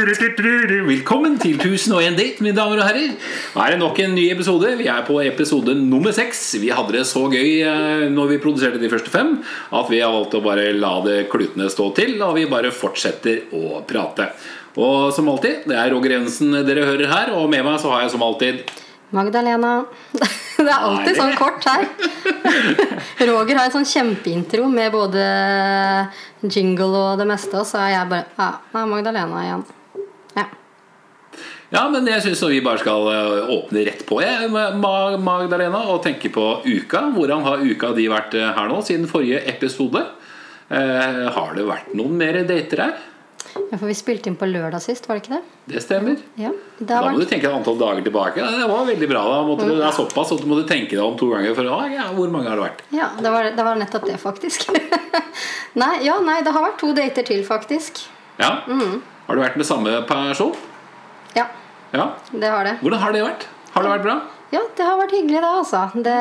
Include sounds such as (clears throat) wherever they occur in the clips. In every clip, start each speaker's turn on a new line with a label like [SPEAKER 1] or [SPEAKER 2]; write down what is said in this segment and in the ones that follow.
[SPEAKER 1] Velkommen til 1001 date, mine damer og herrer. Nå er det nok en ny episode. Vi er på episode nummer seks. Vi hadde det så gøy eh, når vi produserte de første fem at vi har valgt å bare la det klutene stå til, og vi bare fortsetter å prate. Og som alltid, det er Roger Jensen dere hører her, og med meg så har jeg som alltid
[SPEAKER 2] Magdalena. (laughs) Det er alltid sånn kort her. (laughs) Roger har en sånn kjempeintro med både jingle og det meste, og så er jeg bare Ja, det er Magdalena igjen. Ja.
[SPEAKER 1] Ja, men jeg syns vi bare skal eh, åpne rett på, jeg, med Ma- Magdalena, og tenke på uka. Hvordan har uka di vært eh, her nå, siden forrige episode? Eh, har det vært noen mer dater her?
[SPEAKER 2] Ja, For vi spilte inn på lørdag sist, var det ikke det?
[SPEAKER 1] Det stemmer.
[SPEAKER 2] Ja. Det
[SPEAKER 1] Da
[SPEAKER 2] har
[SPEAKER 1] må du
[SPEAKER 2] vært Mm.
[SPEAKER 1] tenke deg antall dager tilbake. Ja, Det var veldig bra. da måtte du, Det er såpass at du måtte tenke deg om to ganger. For å, ja, hvor mange har det vært?
[SPEAKER 2] ja, det var, det var nettopp det, faktisk. (laughs) nei, ja, nei, det har vært to dater til, faktisk.
[SPEAKER 1] Ja.
[SPEAKER 2] Mm.
[SPEAKER 1] Har du vært med samme person?
[SPEAKER 2] Ja,
[SPEAKER 1] Ja.
[SPEAKER 2] det har det.
[SPEAKER 1] Hvordan har det vært? Har det vært bra?
[SPEAKER 2] Ja, det har vært hyggelig, det, altså. Det,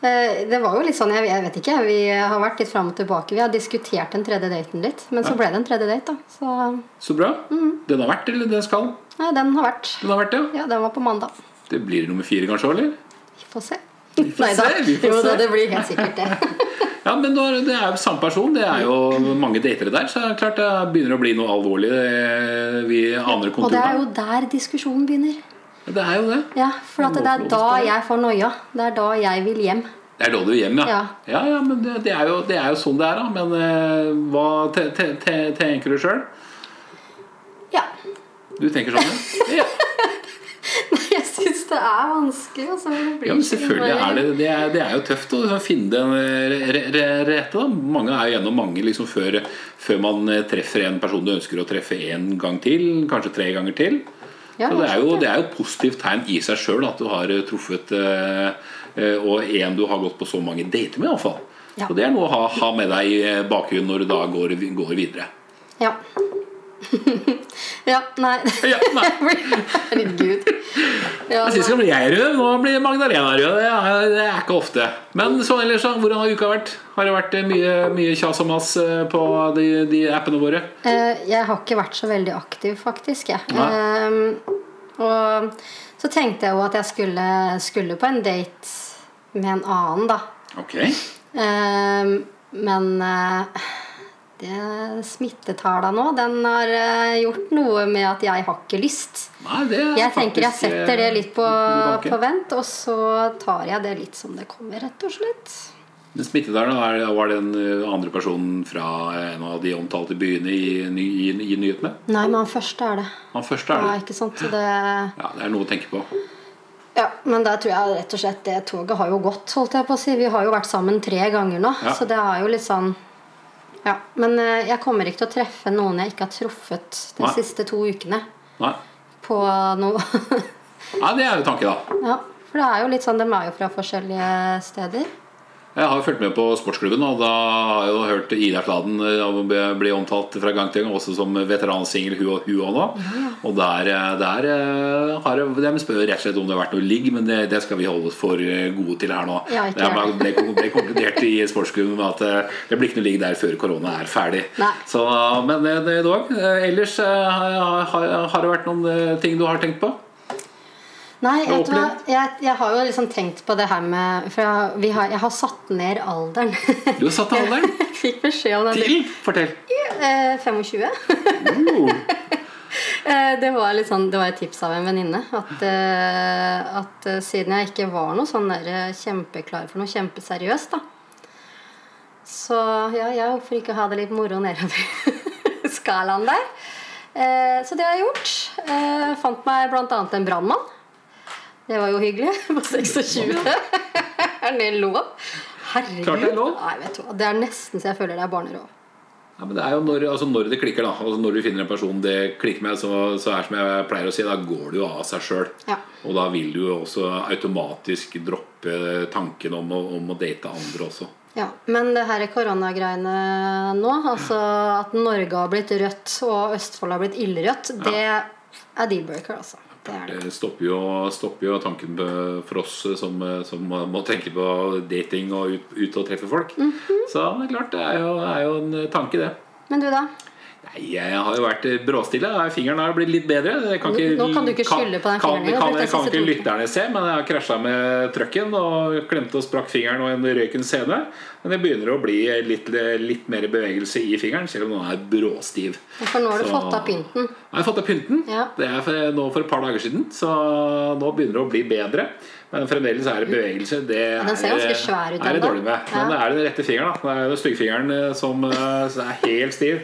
[SPEAKER 2] eh, det var jo litt sånn, jeg, jeg vet ikke. Vi har vært litt fram og tilbake. Vi har diskutert den tredje daten litt, men så ble det en tredje date, da. Så
[SPEAKER 1] Så bra.
[SPEAKER 2] Mm.
[SPEAKER 1] Den har vært, eller den skal?
[SPEAKER 2] nei, den har vært.
[SPEAKER 1] Den har vært, ja.
[SPEAKER 2] Ja, den var på mandag.
[SPEAKER 1] Det blir nummer fire, kanskje? eller?
[SPEAKER 2] Vi får se.
[SPEAKER 1] får se, vi får
[SPEAKER 2] Jo da,
[SPEAKER 1] se.
[SPEAKER 2] det blir helt
[SPEAKER 1] (laughs)
[SPEAKER 2] sikkert det.
[SPEAKER 1] Ja, men da, det er jo samme person. Det er jo mange datere der. Så det er klart det begynner å bli noe alvorlig. Det, vi aner
[SPEAKER 2] Og det er
[SPEAKER 1] konturene.
[SPEAKER 2] jo der diskusjonen begynner.
[SPEAKER 1] Ja, Det er jo det.
[SPEAKER 2] Ja, For at det er da jeg får noia. Det er da jeg vil hjem.
[SPEAKER 1] Det er da du er hjemme, ja.
[SPEAKER 2] Ja.
[SPEAKER 1] Ja, ja, men det, det, er jo, det er jo sånn det er, da. Men eh, hva te, te, te, tenker du sjøl?
[SPEAKER 2] Ja.
[SPEAKER 1] Du tenker sånn, ja? ja?
[SPEAKER 2] (laughs) Jeg syns det er vanskelig, altså. Det blir
[SPEAKER 1] Ja, men
[SPEAKER 2] ikke
[SPEAKER 1] selvfølgelig
[SPEAKER 2] bare-
[SPEAKER 1] er det det. Er, det er jo tøft å liksom finne den re- re- re- rette. Da. Mange er jo gjennom mange liksom før, før man eh, treffer en person du ønsker å treffe en gang til, kanskje tre ganger til.
[SPEAKER 2] Ja,
[SPEAKER 1] Så det er, jo,
[SPEAKER 2] absolutt.
[SPEAKER 1] det er jo et positivt tegn i seg sjøl at du har eh, truffet eh, eh, og en du har gått på så mange dater med, iallfall.
[SPEAKER 2] Ja.
[SPEAKER 1] Så det er noe å ha, ha med deg i eh, bakgrunnen når du da går, går videre.
[SPEAKER 2] Ja. (laughs) ja, nei.
[SPEAKER 1] Ja, nei.
[SPEAKER 2] (laughs) Herregud. Ja,
[SPEAKER 1] Sist
[SPEAKER 2] nei.
[SPEAKER 1] gang ble jeg rød, nå blir Magdalena rød. Det er, det er ikke ofte. Men så ellers, da, hvordan har uka vært? Har det vært eh, mye, mye kjas og mas eh, på de, de appene våre?
[SPEAKER 2] Eh, Jeg har ikke vært så veldig aktiv, faktisk. Jeg.
[SPEAKER 1] Nei.
[SPEAKER 2] Ehm, Og så tenkte jeg jo at jeg skulle, skulle på en date med en annen, da.
[SPEAKER 1] Ok.
[SPEAKER 2] Ehm, Men eh, det smittetalla nå, den har eh, gjort noe med at jeg har ikke lyst.
[SPEAKER 1] Nei, det er
[SPEAKER 2] Jeg tenker jeg
[SPEAKER 1] faktisk, eh,
[SPEAKER 2] setter det litt på,
[SPEAKER 1] god tanke.
[SPEAKER 2] på vent, og så tar jeg det litt som det kommer, rett og slett.
[SPEAKER 1] Men smittedalen, er- var den eh, andre personen fra en av de omtalte byene i, ny, i, i nyhetene?
[SPEAKER 2] Nei, men han første er det.
[SPEAKER 1] Han første er
[SPEAKER 2] Ja,
[SPEAKER 1] det.
[SPEAKER 2] ikke sant? Så det
[SPEAKER 1] Ja, det er noe å tenke på.
[SPEAKER 2] Ja, men der tror jeg rett og slett det toget har jo gått, holdt jeg på å si. Vi har jo vært sammen tre ganger nå,
[SPEAKER 1] Ja.
[SPEAKER 2] så det er jo litt sånn Ja. Men eh, jeg kommer ikke til å treffe noen jeg ikke har truffet de
[SPEAKER 1] Nei.
[SPEAKER 2] siste to ukene
[SPEAKER 1] Nei,
[SPEAKER 2] på noe (laughs)
[SPEAKER 1] Nei det er jo tanke, da.
[SPEAKER 2] Ja. For det er jo litt sånn, de er jo fra forskjellige steder.
[SPEAKER 1] Jeg har jo fulgt med på sportsklubben, og da har jeg jo hørt Ida Fladen eh, bli omtalt fra gang til gang også som veteransingel, hun og hun òg nå. Og der, eh, der eh, har jeg- de spør rett og slett om det har vært noe ligg, men det, det skal vi holde oss for eh, gode til her nå.
[SPEAKER 2] Ja, ikke
[SPEAKER 1] det er
[SPEAKER 2] gjør
[SPEAKER 1] bare- ble, ble konkludert i sportsklubben med at eh, det blir ikke noe ligg der før korona er ferdig.
[SPEAKER 2] Nei.
[SPEAKER 1] Så, men eh, det dog. Eh, Ellers eh, har, har, har det vært noen eh, ting du har tenkt på?
[SPEAKER 2] Nei,
[SPEAKER 1] Har du
[SPEAKER 2] vet du hva? Jeg, jeg har jo liksom tenkt på det her med For jeg, har- vi har, jeg har satt ned alderen. (laughs)
[SPEAKER 1] Du har satt alderen
[SPEAKER 2] Jeg fikk beskjed om det.
[SPEAKER 1] til! Fortell.
[SPEAKER 2] Eh, 25.
[SPEAKER 1] Uh.
[SPEAKER 2] Eh, det, var litt sånn, det var et tips av en venninne. At, eh, at eh, siden jeg ikke var noe sånn der eh, kjempeklar for noe kjempeseriøst, da Så ja, jeg hvorfor ikke ha det litt moro nedover (laughs) skalaen der? Eh, så det har jeg gjort. Eh, fant meg bl.a. en brannmann. Det var jo hyggelig. (laughs) På 26. (laughs) er det lov? Herregud.
[SPEAKER 1] Klart det er lov.
[SPEAKER 2] Nei, vet du, hva, det er nesten så jeg føler det er barnerov.
[SPEAKER 1] (laughs) Ja, men det er jo når, altså når det klikker, da. Altså når du finner en person det klikker med, så, så er det som jeg pleier å si, da går det jo av seg sjøl.
[SPEAKER 2] Ja.
[SPEAKER 1] Og da vil du jo også automatisk droppe tanken om å, om å date andre også.
[SPEAKER 2] Ja, Men det her koronagreiene nå, altså at Norge har blitt rødt og Østfold har blitt ildrødt, det er deal-breaker, altså. Det er det.
[SPEAKER 1] Det stopper jo, stopper jo tanken på- for oss som, som må tenke på dating og ut, ut og treffe folk. Så det er klart, det er jo, det er jo en tanke, det.
[SPEAKER 2] Men du, da?
[SPEAKER 1] Nei, jeg har jo vært eh, bråstille. Fingeren har blitt litt bedre. Jeg Kan ikke,
[SPEAKER 2] Nå kan du ikke skylde på den fingeren
[SPEAKER 1] Kan,
[SPEAKER 2] din. Du har
[SPEAKER 1] kan,
[SPEAKER 2] brukt
[SPEAKER 1] kan,
[SPEAKER 2] den
[SPEAKER 1] kan
[SPEAKER 2] siste
[SPEAKER 1] ikke
[SPEAKER 2] to
[SPEAKER 1] lytterne se, men jeg har krasja med trucken og klemte og sprakk fingeren og en røyken sene. Men det begynner å bli litt, litt mer bevegelse i fingeren, selv om den er bråstiv.
[SPEAKER 2] For nå har du
[SPEAKER 1] Så-
[SPEAKER 2] fått av pynten.
[SPEAKER 1] Nå har jeg fått av pynten.
[SPEAKER 2] Ja.
[SPEAKER 1] Det er for, nå for et par dager siden, så nå begynner det å bli bedre. Men fremdeles er det bevegelse. Det er,
[SPEAKER 2] den ser ganske svær ut
[SPEAKER 1] er det
[SPEAKER 2] ennå.
[SPEAKER 1] dårlig med.
[SPEAKER 2] Ja.
[SPEAKER 1] Men det er den rette fingeren. da. Det er den styggfingeren eh, som eh, som er helt stiv.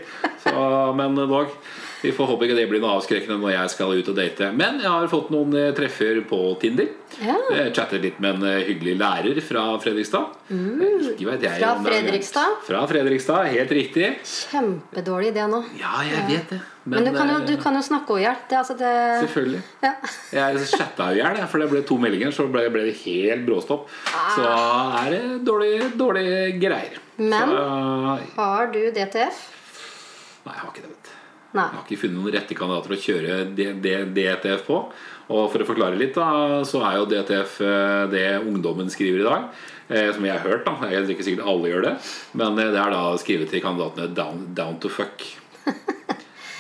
[SPEAKER 1] Så, men eh, dog. Vi får håpe ikke det blir noe avskrekkende når jeg skal ut og date. Men jeg har fått noen eh, treffer på Tinder.
[SPEAKER 2] Ja.
[SPEAKER 1] Jeg chattet litt med en eh, hyggelig lærer fra Fredrikstad. Ikke vet jeg
[SPEAKER 2] Mm. Fra
[SPEAKER 1] om det er-
[SPEAKER 2] Fredrikstad?
[SPEAKER 1] Fra Fredrikstad, Helt riktig.
[SPEAKER 2] Kjempedårlig idé nå.
[SPEAKER 1] Ja, jeg vet det.
[SPEAKER 2] Men du kan jo,
[SPEAKER 1] eh,
[SPEAKER 2] du kan jo snakke henne i hjel. Det, er altså, det,
[SPEAKER 1] Selvfølgelig.
[SPEAKER 2] ja.
[SPEAKER 1] Jeg chatta jo i hjel, jeg, for det ble to meldinger, så ble, ble det helt bråstopp. Så er det dårlige dårlig greier.
[SPEAKER 2] Men?
[SPEAKER 1] Så, nei,
[SPEAKER 2] Har du DTF?
[SPEAKER 1] jeg har ikke det, vet du.
[SPEAKER 2] Nei.
[SPEAKER 1] Jeg har ikke funnet noen rette kandidater å kjøre D- D- DTF på. Og for å forklare litt, da, så er jo DTF eh, det ungdommen skriver i dag. eh, Som jeg har hørt, da. Jeg er ikke sikkert alle gjør det. Men eh, det er da skrevet til kandidatene down, 'down to
[SPEAKER 2] (laughs)
[SPEAKER 1] fuck'.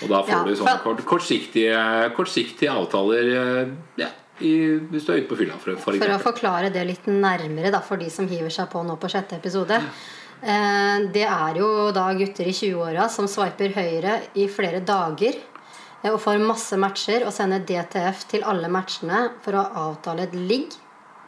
[SPEAKER 1] Og da får
[SPEAKER 2] Ja,
[SPEAKER 1] du sånne
[SPEAKER 2] for-
[SPEAKER 1] kort, kortsiktige, kortsiktige avtaler eh, ja, i, hvis du er ute på fylla, for, for
[SPEAKER 2] For å
[SPEAKER 1] eksempel.
[SPEAKER 2] forklare det litt nærmere da, for de som hiver seg på nå på sjette episode. Eh, Det er jo da gutter i 20-åra som sveiper høyre i flere dager eh, og får masse matcher og sender DTF til alle matchene for å avtale et ligg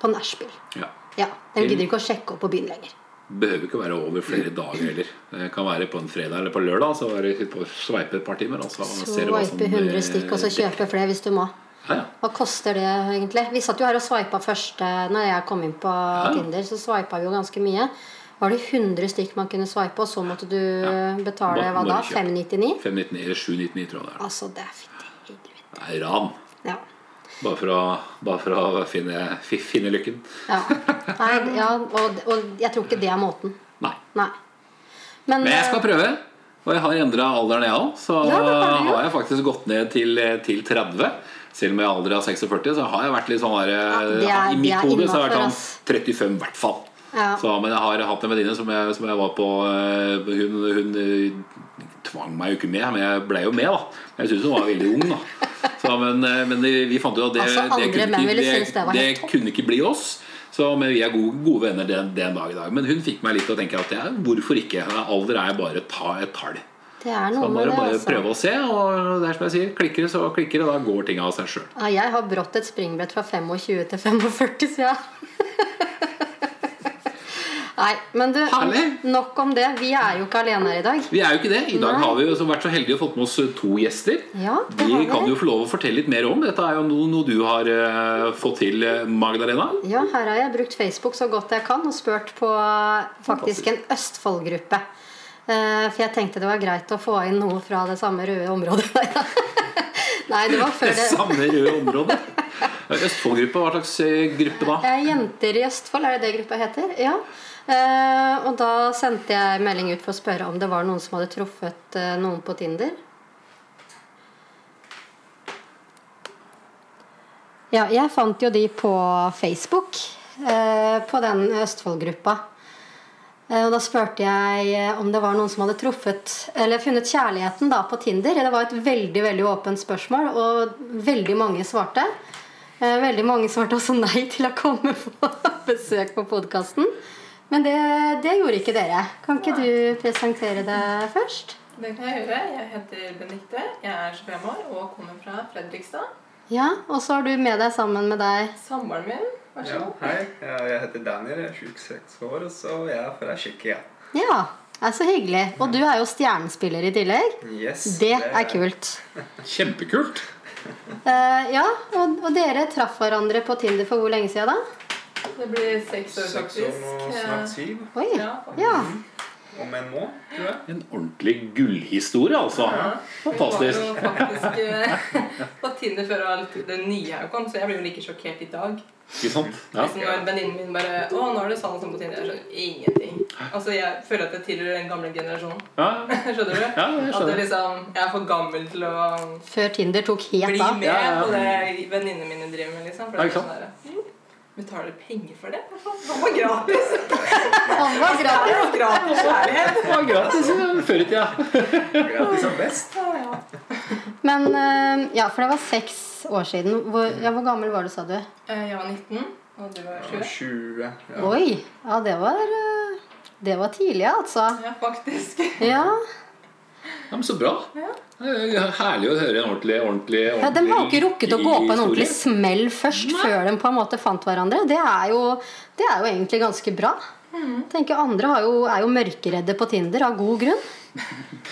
[SPEAKER 2] på nachspiel.
[SPEAKER 1] Ja.
[SPEAKER 2] Ja, de gidder ikke å sjekke opp på byen lenger.
[SPEAKER 1] Behøver ikke være over flere dager heller. Det kan være på en fredag eller på lørdag. Så er det på å sveipe et par timer. og så ser du hva som- eh,
[SPEAKER 2] Sveipe 100 stykk og så kjøpe flere hvis du må.
[SPEAKER 1] Ja, ja.
[SPEAKER 2] Hva koster det egentlig? Vi satt jo her og sveipa første Når jeg kom inn på Tinder, så sveipa vi jo ganske mye. Var det 100 stykk man kunne sveipe, og så måtte du betale
[SPEAKER 1] Må-
[SPEAKER 2] hva
[SPEAKER 1] må
[SPEAKER 2] da?
[SPEAKER 1] du kjøpe.
[SPEAKER 2] 599?
[SPEAKER 1] 599 eller 799, tror jeg det er.
[SPEAKER 2] Altså, det er fytti helvete.
[SPEAKER 1] Det er ran.
[SPEAKER 2] Ja.
[SPEAKER 1] Bare for å, bare for å finne, fi- finne lykken.
[SPEAKER 2] ja.
[SPEAKER 1] (laughs)
[SPEAKER 2] Nei, ja og, og jeg tror ikke det er måten.
[SPEAKER 1] Nei.
[SPEAKER 2] Nei. Men,
[SPEAKER 1] Men jeg skal prøve. Og jeg har endra alderen, jeg òg. Så
[SPEAKER 2] Ja, det har du jo.
[SPEAKER 1] har jeg faktisk gått ned til, til 30. Selv om jeg aldri har 46, så har jeg vært litt sånn der,
[SPEAKER 2] det er-
[SPEAKER 1] I
[SPEAKER 2] det
[SPEAKER 1] mitt
[SPEAKER 2] er
[SPEAKER 1] hode så har jeg vært
[SPEAKER 2] innenfor,
[SPEAKER 1] sånn
[SPEAKER 2] ass.
[SPEAKER 1] 35 i hvert fall.
[SPEAKER 2] Ja.
[SPEAKER 1] Så, men jeg har hatt en venninne som, jeg- som jeg var på eh, Hun, hun eh, tvang meg jo ikke med, men jeg ble jo med, da. Jeg syns hun var veldig ung, da. Så, men, eh, men det- vi fant jo at det,
[SPEAKER 2] Altså, andre
[SPEAKER 1] det, kunne,
[SPEAKER 2] menn
[SPEAKER 1] ikke,
[SPEAKER 2] ville synes det var
[SPEAKER 1] det,
[SPEAKER 2] helt topp.
[SPEAKER 1] kunne ikke bli oss. Så, men vi er gode, gode venner den, den dag i dag. Men hun fikk meg litt til å tenke at ja, hvorfor ikke? Alder er bare ta et tall.
[SPEAKER 2] eh, det
[SPEAKER 1] Da
[SPEAKER 2] er noe
[SPEAKER 1] må
[SPEAKER 2] med
[SPEAKER 1] du
[SPEAKER 2] det,
[SPEAKER 1] bare
[SPEAKER 2] altså.
[SPEAKER 1] prøve å se, og det er som jeg sier, klikker det, så klikker det. Da går ting av seg sjøl.
[SPEAKER 2] Ja, jeg har brått et springbrett fra 25 til 45,
[SPEAKER 1] (laughs)
[SPEAKER 2] så ja. Nei, men du,
[SPEAKER 1] Herlig.
[SPEAKER 2] nok om det. Vi er jo ikke alene her i dag.
[SPEAKER 1] Vi er jo ikke det. I dag
[SPEAKER 2] Nei.
[SPEAKER 1] har vi jo så vært så heldige å fått med oss eh, to gjester.
[SPEAKER 2] Ja, det
[SPEAKER 1] De
[SPEAKER 2] har vi.
[SPEAKER 1] kan jo få lov å fortelle litt mer om. Dette er jo noe, noe du har eh, fått til, eh, Magdalena.
[SPEAKER 2] Ja, her har jeg brukt Facebook så godt jeg kan og spurt på eh, faktisk en Østfold-gruppe. Eh, For jeg tenkte det var greit å få inn noe fra det samme røde området. (laughs) Nei da. Nei, det var
[SPEAKER 1] Det
[SPEAKER 2] før det
[SPEAKER 1] (laughs) samme røde området. Østfold-gruppa, hva slags eh, gruppe da?
[SPEAKER 2] Eh, Jenter i Østfold, er det det gruppa heter? Ja. Eh, Og da sendte jeg melding ut for å spørre om det var noen som hadde truffet eh, noen på Tinder. Ja, jeg fant jo de på Facebook, eh, på den Østfold-gruppa. Eh, og da spurte jeg eh, om det var noen som hadde truffet eller funnet kjærligheten da på Tinder. Det var et veldig veldig åpent spørsmål, og veldig mange svarte. Eh, veldig mange svarte også nei til å komme på (laughs) besøk på podkasten. Men det, det gjorde ikke dere. Kan ikke du presentere deg først?
[SPEAKER 3] Det kan jeg gjøre. Jeg heter Benedicte. Jeg er 25 år og kommer fra Fredrikstad.
[SPEAKER 2] Ja, Og så har du med deg sammen med deg
[SPEAKER 3] Samboeren min, vær så
[SPEAKER 4] Ja,
[SPEAKER 3] god.
[SPEAKER 4] hei. Ja, Jeg heter Daniel, jeg er 26 år, og så jeg er fra Tsjekkia.
[SPEAKER 2] Ja, det er så hyggelig. Og du er jo stjernespiller i tillegg.
[SPEAKER 4] Yes,
[SPEAKER 2] Det er kult.
[SPEAKER 1] Kjempekult.
[SPEAKER 2] Eh, ja, og, og dere traff hverandre på Tinder for hvor lenge siden da?
[SPEAKER 3] Det blir seks år,
[SPEAKER 4] Seks år
[SPEAKER 3] faktisk.
[SPEAKER 4] nå,
[SPEAKER 3] Eh,
[SPEAKER 4] snart syv.
[SPEAKER 2] Oi,
[SPEAKER 3] Ja, faktisk.
[SPEAKER 2] ja.
[SPEAKER 4] Om en måned, tror jeg.
[SPEAKER 1] En ordentlig gullhistorie, altså. Fantastisk.
[SPEAKER 3] Vi var jo faktisk eh, (laughs) på Tinder før og alt det nye er jo kommet, så jeg blir jo like sjokkert i dag.
[SPEAKER 1] Ikke sant? Ja.
[SPEAKER 3] Liksom når venninnen min bare 'Å, nå er det sånn som på Tinder.' Jeg skjønner ingenting. Altså, jeg føler at jeg tilhører den gamle generasjonen. (laughs)
[SPEAKER 1] Ja.
[SPEAKER 3] Skjønner du?
[SPEAKER 1] Ja, jeg
[SPEAKER 3] At det
[SPEAKER 1] skjønner.
[SPEAKER 3] liksom Jeg er for gammel til å
[SPEAKER 2] Før Tinder tok
[SPEAKER 3] bli
[SPEAKER 2] helt av.
[SPEAKER 3] med
[SPEAKER 2] (laughs)
[SPEAKER 1] Ja, ja, ja.
[SPEAKER 3] på det venninnene mine driver med, liksom. For
[SPEAKER 1] Ja,
[SPEAKER 3] det
[SPEAKER 1] ikke
[SPEAKER 3] er
[SPEAKER 1] sant?
[SPEAKER 3] sånn der, betaler penger for det. Det var gratis! (laughs)
[SPEAKER 2] Han var
[SPEAKER 3] Det
[SPEAKER 2] gratis.
[SPEAKER 3] er gratis kjærlighet.
[SPEAKER 1] Det var gratis ja, før i tida.
[SPEAKER 4] Gratis er best.
[SPEAKER 3] Ja, ja.
[SPEAKER 2] Men eh, ja, for det var seks år siden. Hvor, ja, hvor gammel var du, sa du?
[SPEAKER 3] Eh, Jeg var 19, og du var 20.
[SPEAKER 4] 20. Ja.
[SPEAKER 2] Oi! Ja, det var eh, Det var tidlig, altså.
[SPEAKER 3] Ja,
[SPEAKER 2] (laughs)
[SPEAKER 3] faktisk.
[SPEAKER 2] Ja.
[SPEAKER 1] Ja, men Så bra.
[SPEAKER 3] Ja.
[SPEAKER 1] Det er jo Herlig å høre en ordentlig ordentlig,
[SPEAKER 2] ja De har jo ikke
[SPEAKER 1] ordentlig
[SPEAKER 2] rukket å gå på en ordentlig
[SPEAKER 1] historie.
[SPEAKER 2] smell først, før de på en måte fant hverandre. Det er jo, det er jo egentlig ganske bra.
[SPEAKER 3] Mm.
[SPEAKER 2] Tenker Andre har jo, er jo mørkeredde på Tinder av god grunn.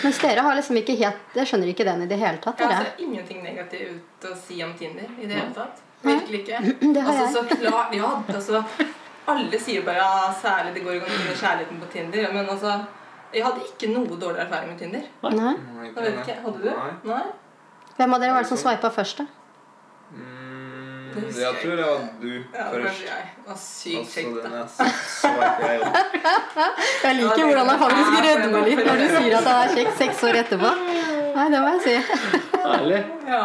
[SPEAKER 2] Mens dere har liksom ikke helt Jeg skjønner ikke den i det hele tatt.
[SPEAKER 3] Jeg
[SPEAKER 2] Dere.
[SPEAKER 3] har altså ingenting negativt å si om Tinder i det hele tatt. Virkelig ikke.
[SPEAKER 2] Det har
[SPEAKER 3] altså, så klart, ja, altså, alle sier bare ja, særlig det går i gang med kjærligheten på Tinder. Men altså, jeg hadde ikke noe dårlig erfaring med Tinder.
[SPEAKER 2] Nei.
[SPEAKER 4] Nei,
[SPEAKER 3] Jeg vet ikke, Hadde du?
[SPEAKER 4] Nei.
[SPEAKER 3] Nei?
[SPEAKER 2] Hvem av dere var det som sveipa først, da?
[SPEAKER 4] Mm,
[SPEAKER 3] Det husker
[SPEAKER 4] jeg
[SPEAKER 3] jeg
[SPEAKER 4] tror det var du
[SPEAKER 3] Ja, det var
[SPEAKER 4] først.
[SPEAKER 3] jeg. Det var sykt
[SPEAKER 4] Altså,
[SPEAKER 3] kjekt,
[SPEAKER 4] den
[SPEAKER 3] da.
[SPEAKER 4] er svart jeg opp.
[SPEAKER 2] Jeg liker hvordan jeg faktisk rødmer litt når du sier at han er kjekk seks år etterpå. Nei, det må jeg si.
[SPEAKER 1] Herlig.
[SPEAKER 3] Ja.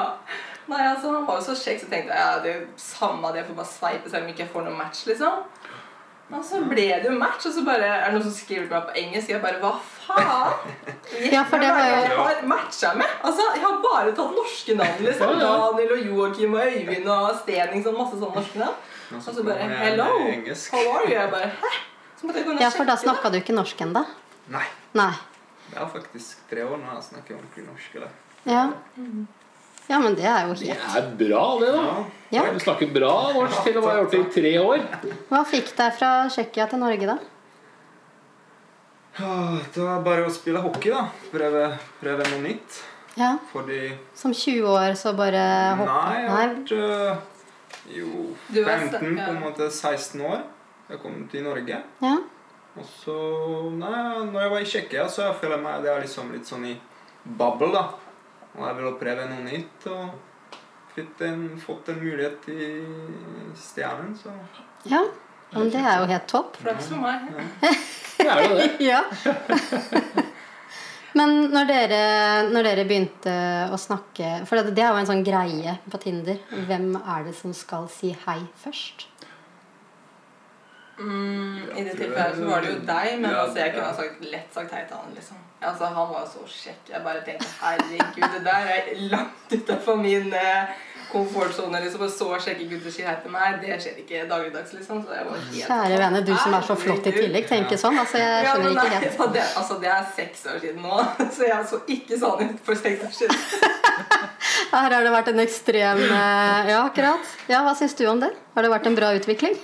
[SPEAKER 3] Nei, altså, han var jo så kjekk, så tenkte jeg ja, det er jo samme det, jeg får bare sveipe selv om jeg ikke får noen match, liksom. Og så ble det jo match, og så bare er det noen som skriver til meg på engelsk. Jeg bare hva faen?
[SPEAKER 2] (laughs) Ja, for det var jo-
[SPEAKER 3] Jeg har matcha med. Altså, jeg har bare tatt norske navn,
[SPEAKER 1] Ja,
[SPEAKER 3] liksom.
[SPEAKER 1] ja.
[SPEAKER 3] Daniel og Joakim og Øyvind og Stening, sånn masse sånne norske navn. (laughs)
[SPEAKER 4] Og
[SPEAKER 3] Og så Altså, bare
[SPEAKER 4] kommer jeg
[SPEAKER 3] hello,
[SPEAKER 4] med engelsk.
[SPEAKER 3] how are you? Jeg bare hæ? Så måtte jeg gå ned og
[SPEAKER 2] Ja, for da
[SPEAKER 3] sjekke det.
[SPEAKER 2] snakka du ikke norsk ennå?
[SPEAKER 4] Nei.
[SPEAKER 2] Nei.
[SPEAKER 4] Det er faktisk tre år nå jeg snakker ordentlig norsk. Eller?
[SPEAKER 2] Ja. ja, men det er jo
[SPEAKER 1] Det
[SPEAKER 2] helt
[SPEAKER 1] er bra, det, da.
[SPEAKER 2] Ja.
[SPEAKER 1] Du snakker bra norsk til å ha gjort det i tre år.
[SPEAKER 2] Hva fikk deg fra Tsjekkia til Norge, da?
[SPEAKER 4] Åh, Ah, Det var bare å spille hockey, da. Prøve, prøve noe nytt.
[SPEAKER 2] Ja,
[SPEAKER 4] Fordi
[SPEAKER 2] Som 20 år så bare hoppa
[SPEAKER 4] Nei, jeg har vært øh, jo
[SPEAKER 3] Du var
[SPEAKER 4] 15, på
[SPEAKER 3] ja.
[SPEAKER 4] en måte 16 år. Jeg kom til Norge.
[SPEAKER 2] Ja.
[SPEAKER 4] Og så Nei, når jeg var i Tsjekkia, så jeg føler meg det er liksom litt sånn i bubble, da. Og jeg vil prøve noe nytt. og fått en, fått en mulighet i Stjernen, så
[SPEAKER 2] ja. Men det er jo helt topp. (laughs)
[SPEAKER 3] Flaks for meg.
[SPEAKER 1] Det er jo det.
[SPEAKER 2] Ja. Men når dere, når dere begynte å snakke For det, det er jo en sånn greie på Tinder. Hvem er det som skal si hei først?
[SPEAKER 3] Mm, I det
[SPEAKER 4] Jeg tror
[SPEAKER 3] tilfellet
[SPEAKER 4] jeg-
[SPEAKER 3] så var det jo deg, men
[SPEAKER 4] Ja,
[SPEAKER 3] altså jeg kunne
[SPEAKER 4] ja.
[SPEAKER 3] ha sagt, lett sagt hei til han. liksom. Altså Han var jo så kjekk. Jeg bare tenkte herregud, det der er langt utafor min eh, komfortsone. liksom, Og så kjekke gutter sier hei til meg. Det skjer ikke dagligdags, liksom. så jeg var helt...
[SPEAKER 2] Kjære vene, du som er så flott i tillegg, tenker sånn. Altså, jeg
[SPEAKER 3] Ja, men
[SPEAKER 2] skjønner
[SPEAKER 3] nei,
[SPEAKER 2] ikke helt.
[SPEAKER 3] altså, (laughs) det, altså, det er seks år siden nå, (laughs) så jeg så ikke sånn ut for seks år siden.
[SPEAKER 2] Her har det vært en ekstrem eh, Ja, akkurat. Ja, Hva syns du om det? Har det vært en bra utvikling?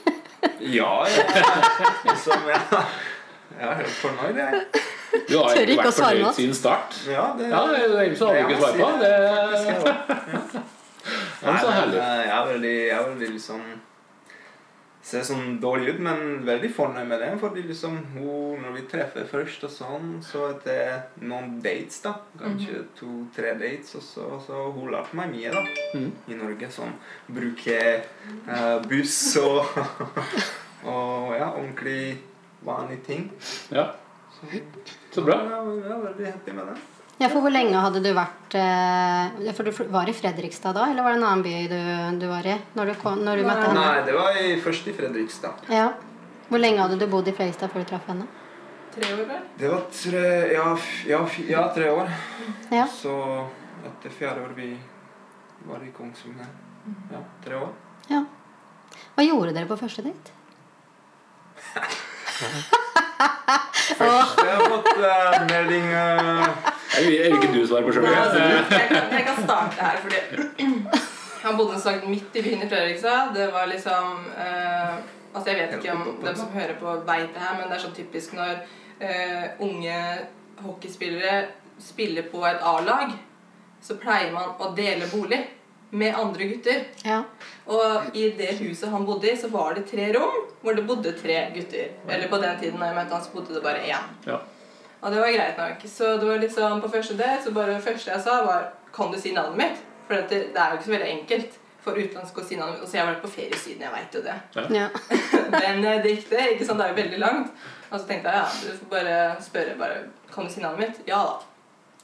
[SPEAKER 4] Ja, (laughs) ja. Som jeg, jeg er helt fornøyd, jeg.
[SPEAKER 1] Du har
[SPEAKER 2] Tør
[SPEAKER 1] ikke
[SPEAKER 2] ikke å
[SPEAKER 1] vært
[SPEAKER 2] svare
[SPEAKER 1] fornøyd
[SPEAKER 2] nå.
[SPEAKER 1] siden start.
[SPEAKER 4] Ja, det,
[SPEAKER 1] Ja, det er jo ellers hadde du ikke svart på.
[SPEAKER 4] sier
[SPEAKER 1] Det
[SPEAKER 4] faktisk, jeg
[SPEAKER 1] er
[SPEAKER 4] også.
[SPEAKER 1] men så
[SPEAKER 4] Nei, men,
[SPEAKER 1] herlig.
[SPEAKER 4] eh, Jeg er veldig, jeg er veldig liksom Ser sånn dårlig ut, men veldig fornøyd med det. Fordi liksom hun, når vi treffer først og sånn, så etter noen dates, da Kanskje to-tre dates, og så, så hun lærte meg mye, da.
[SPEAKER 1] Mhm.
[SPEAKER 4] I Norge. Sånn bruke eh, buss og (laughs) Og ja, ordentlig vanlige ting.
[SPEAKER 1] Ja. Så bra.
[SPEAKER 4] Ja, jeg er veldig happy med det.
[SPEAKER 2] Ja, for Hvor lenge hadde du vært eh, For du fl- var i Fredrikstad da, eller var det en annen by du, du var i? Når du, kom, når du møtte henne?
[SPEAKER 4] Nei, det var i, først i Fredrikstad.
[SPEAKER 2] Ja. Hvor lenge hadde du bodd i Fredrikstad før du traff henne?
[SPEAKER 3] Tre år, vel?
[SPEAKER 4] Det var tre Ja, f- ja, f- ja tre år.
[SPEAKER 2] Ja.
[SPEAKER 4] Så etter fjerde år vi var i Kongsvinger. Ja, tre år.
[SPEAKER 2] ja. Hva gjorde dere på første date?
[SPEAKER 4] Først (laughs) jeg har fått eh, melding eh,
[SPEAKER 1] Jeg vil jeg vil ikke du svare på sjøl.
[SPEAKER 3] Nei, altså, jeg, kan, jeg kan starte her, fordi (clears throat) han bodde en sak midt i byen i Fredrikstad. Det var liksom eh, Altså, jeg vet ikke om dem som hører på, veit det her, men det er sånn typisk når eh, unge hockeyspillere spiller på et A-lag, så pleier man å dele bolig med andre gutter.
[SPEAKER 2] Ja.
[SPEAKER 3] Og i det huset han bodde i, så var det tre rom hvor det bodde tre gutter. Eller på den tiden da jeg møtte han, så bodde det bare én.
[SPEAKER 1] Ja.
[SPEAKER 3] Og det var greit nok. Så det var liksom på første date, så bare det første jeg sa, var Kan du si navnet mitt? For at det, det er jo ikke så veldig enkelt for utenlandske å si navnet mitt. Og så jeg har vært på ferie siden, jeg veit jo det.
[SPEAKER 2] ja.
[SPEAKER 3] Benedicte, eh, ikke sant, det er jo veldig langt. Og så tenkte jeg ja, du får bare spørre bare, Kan du si navnet mitt? Ja da.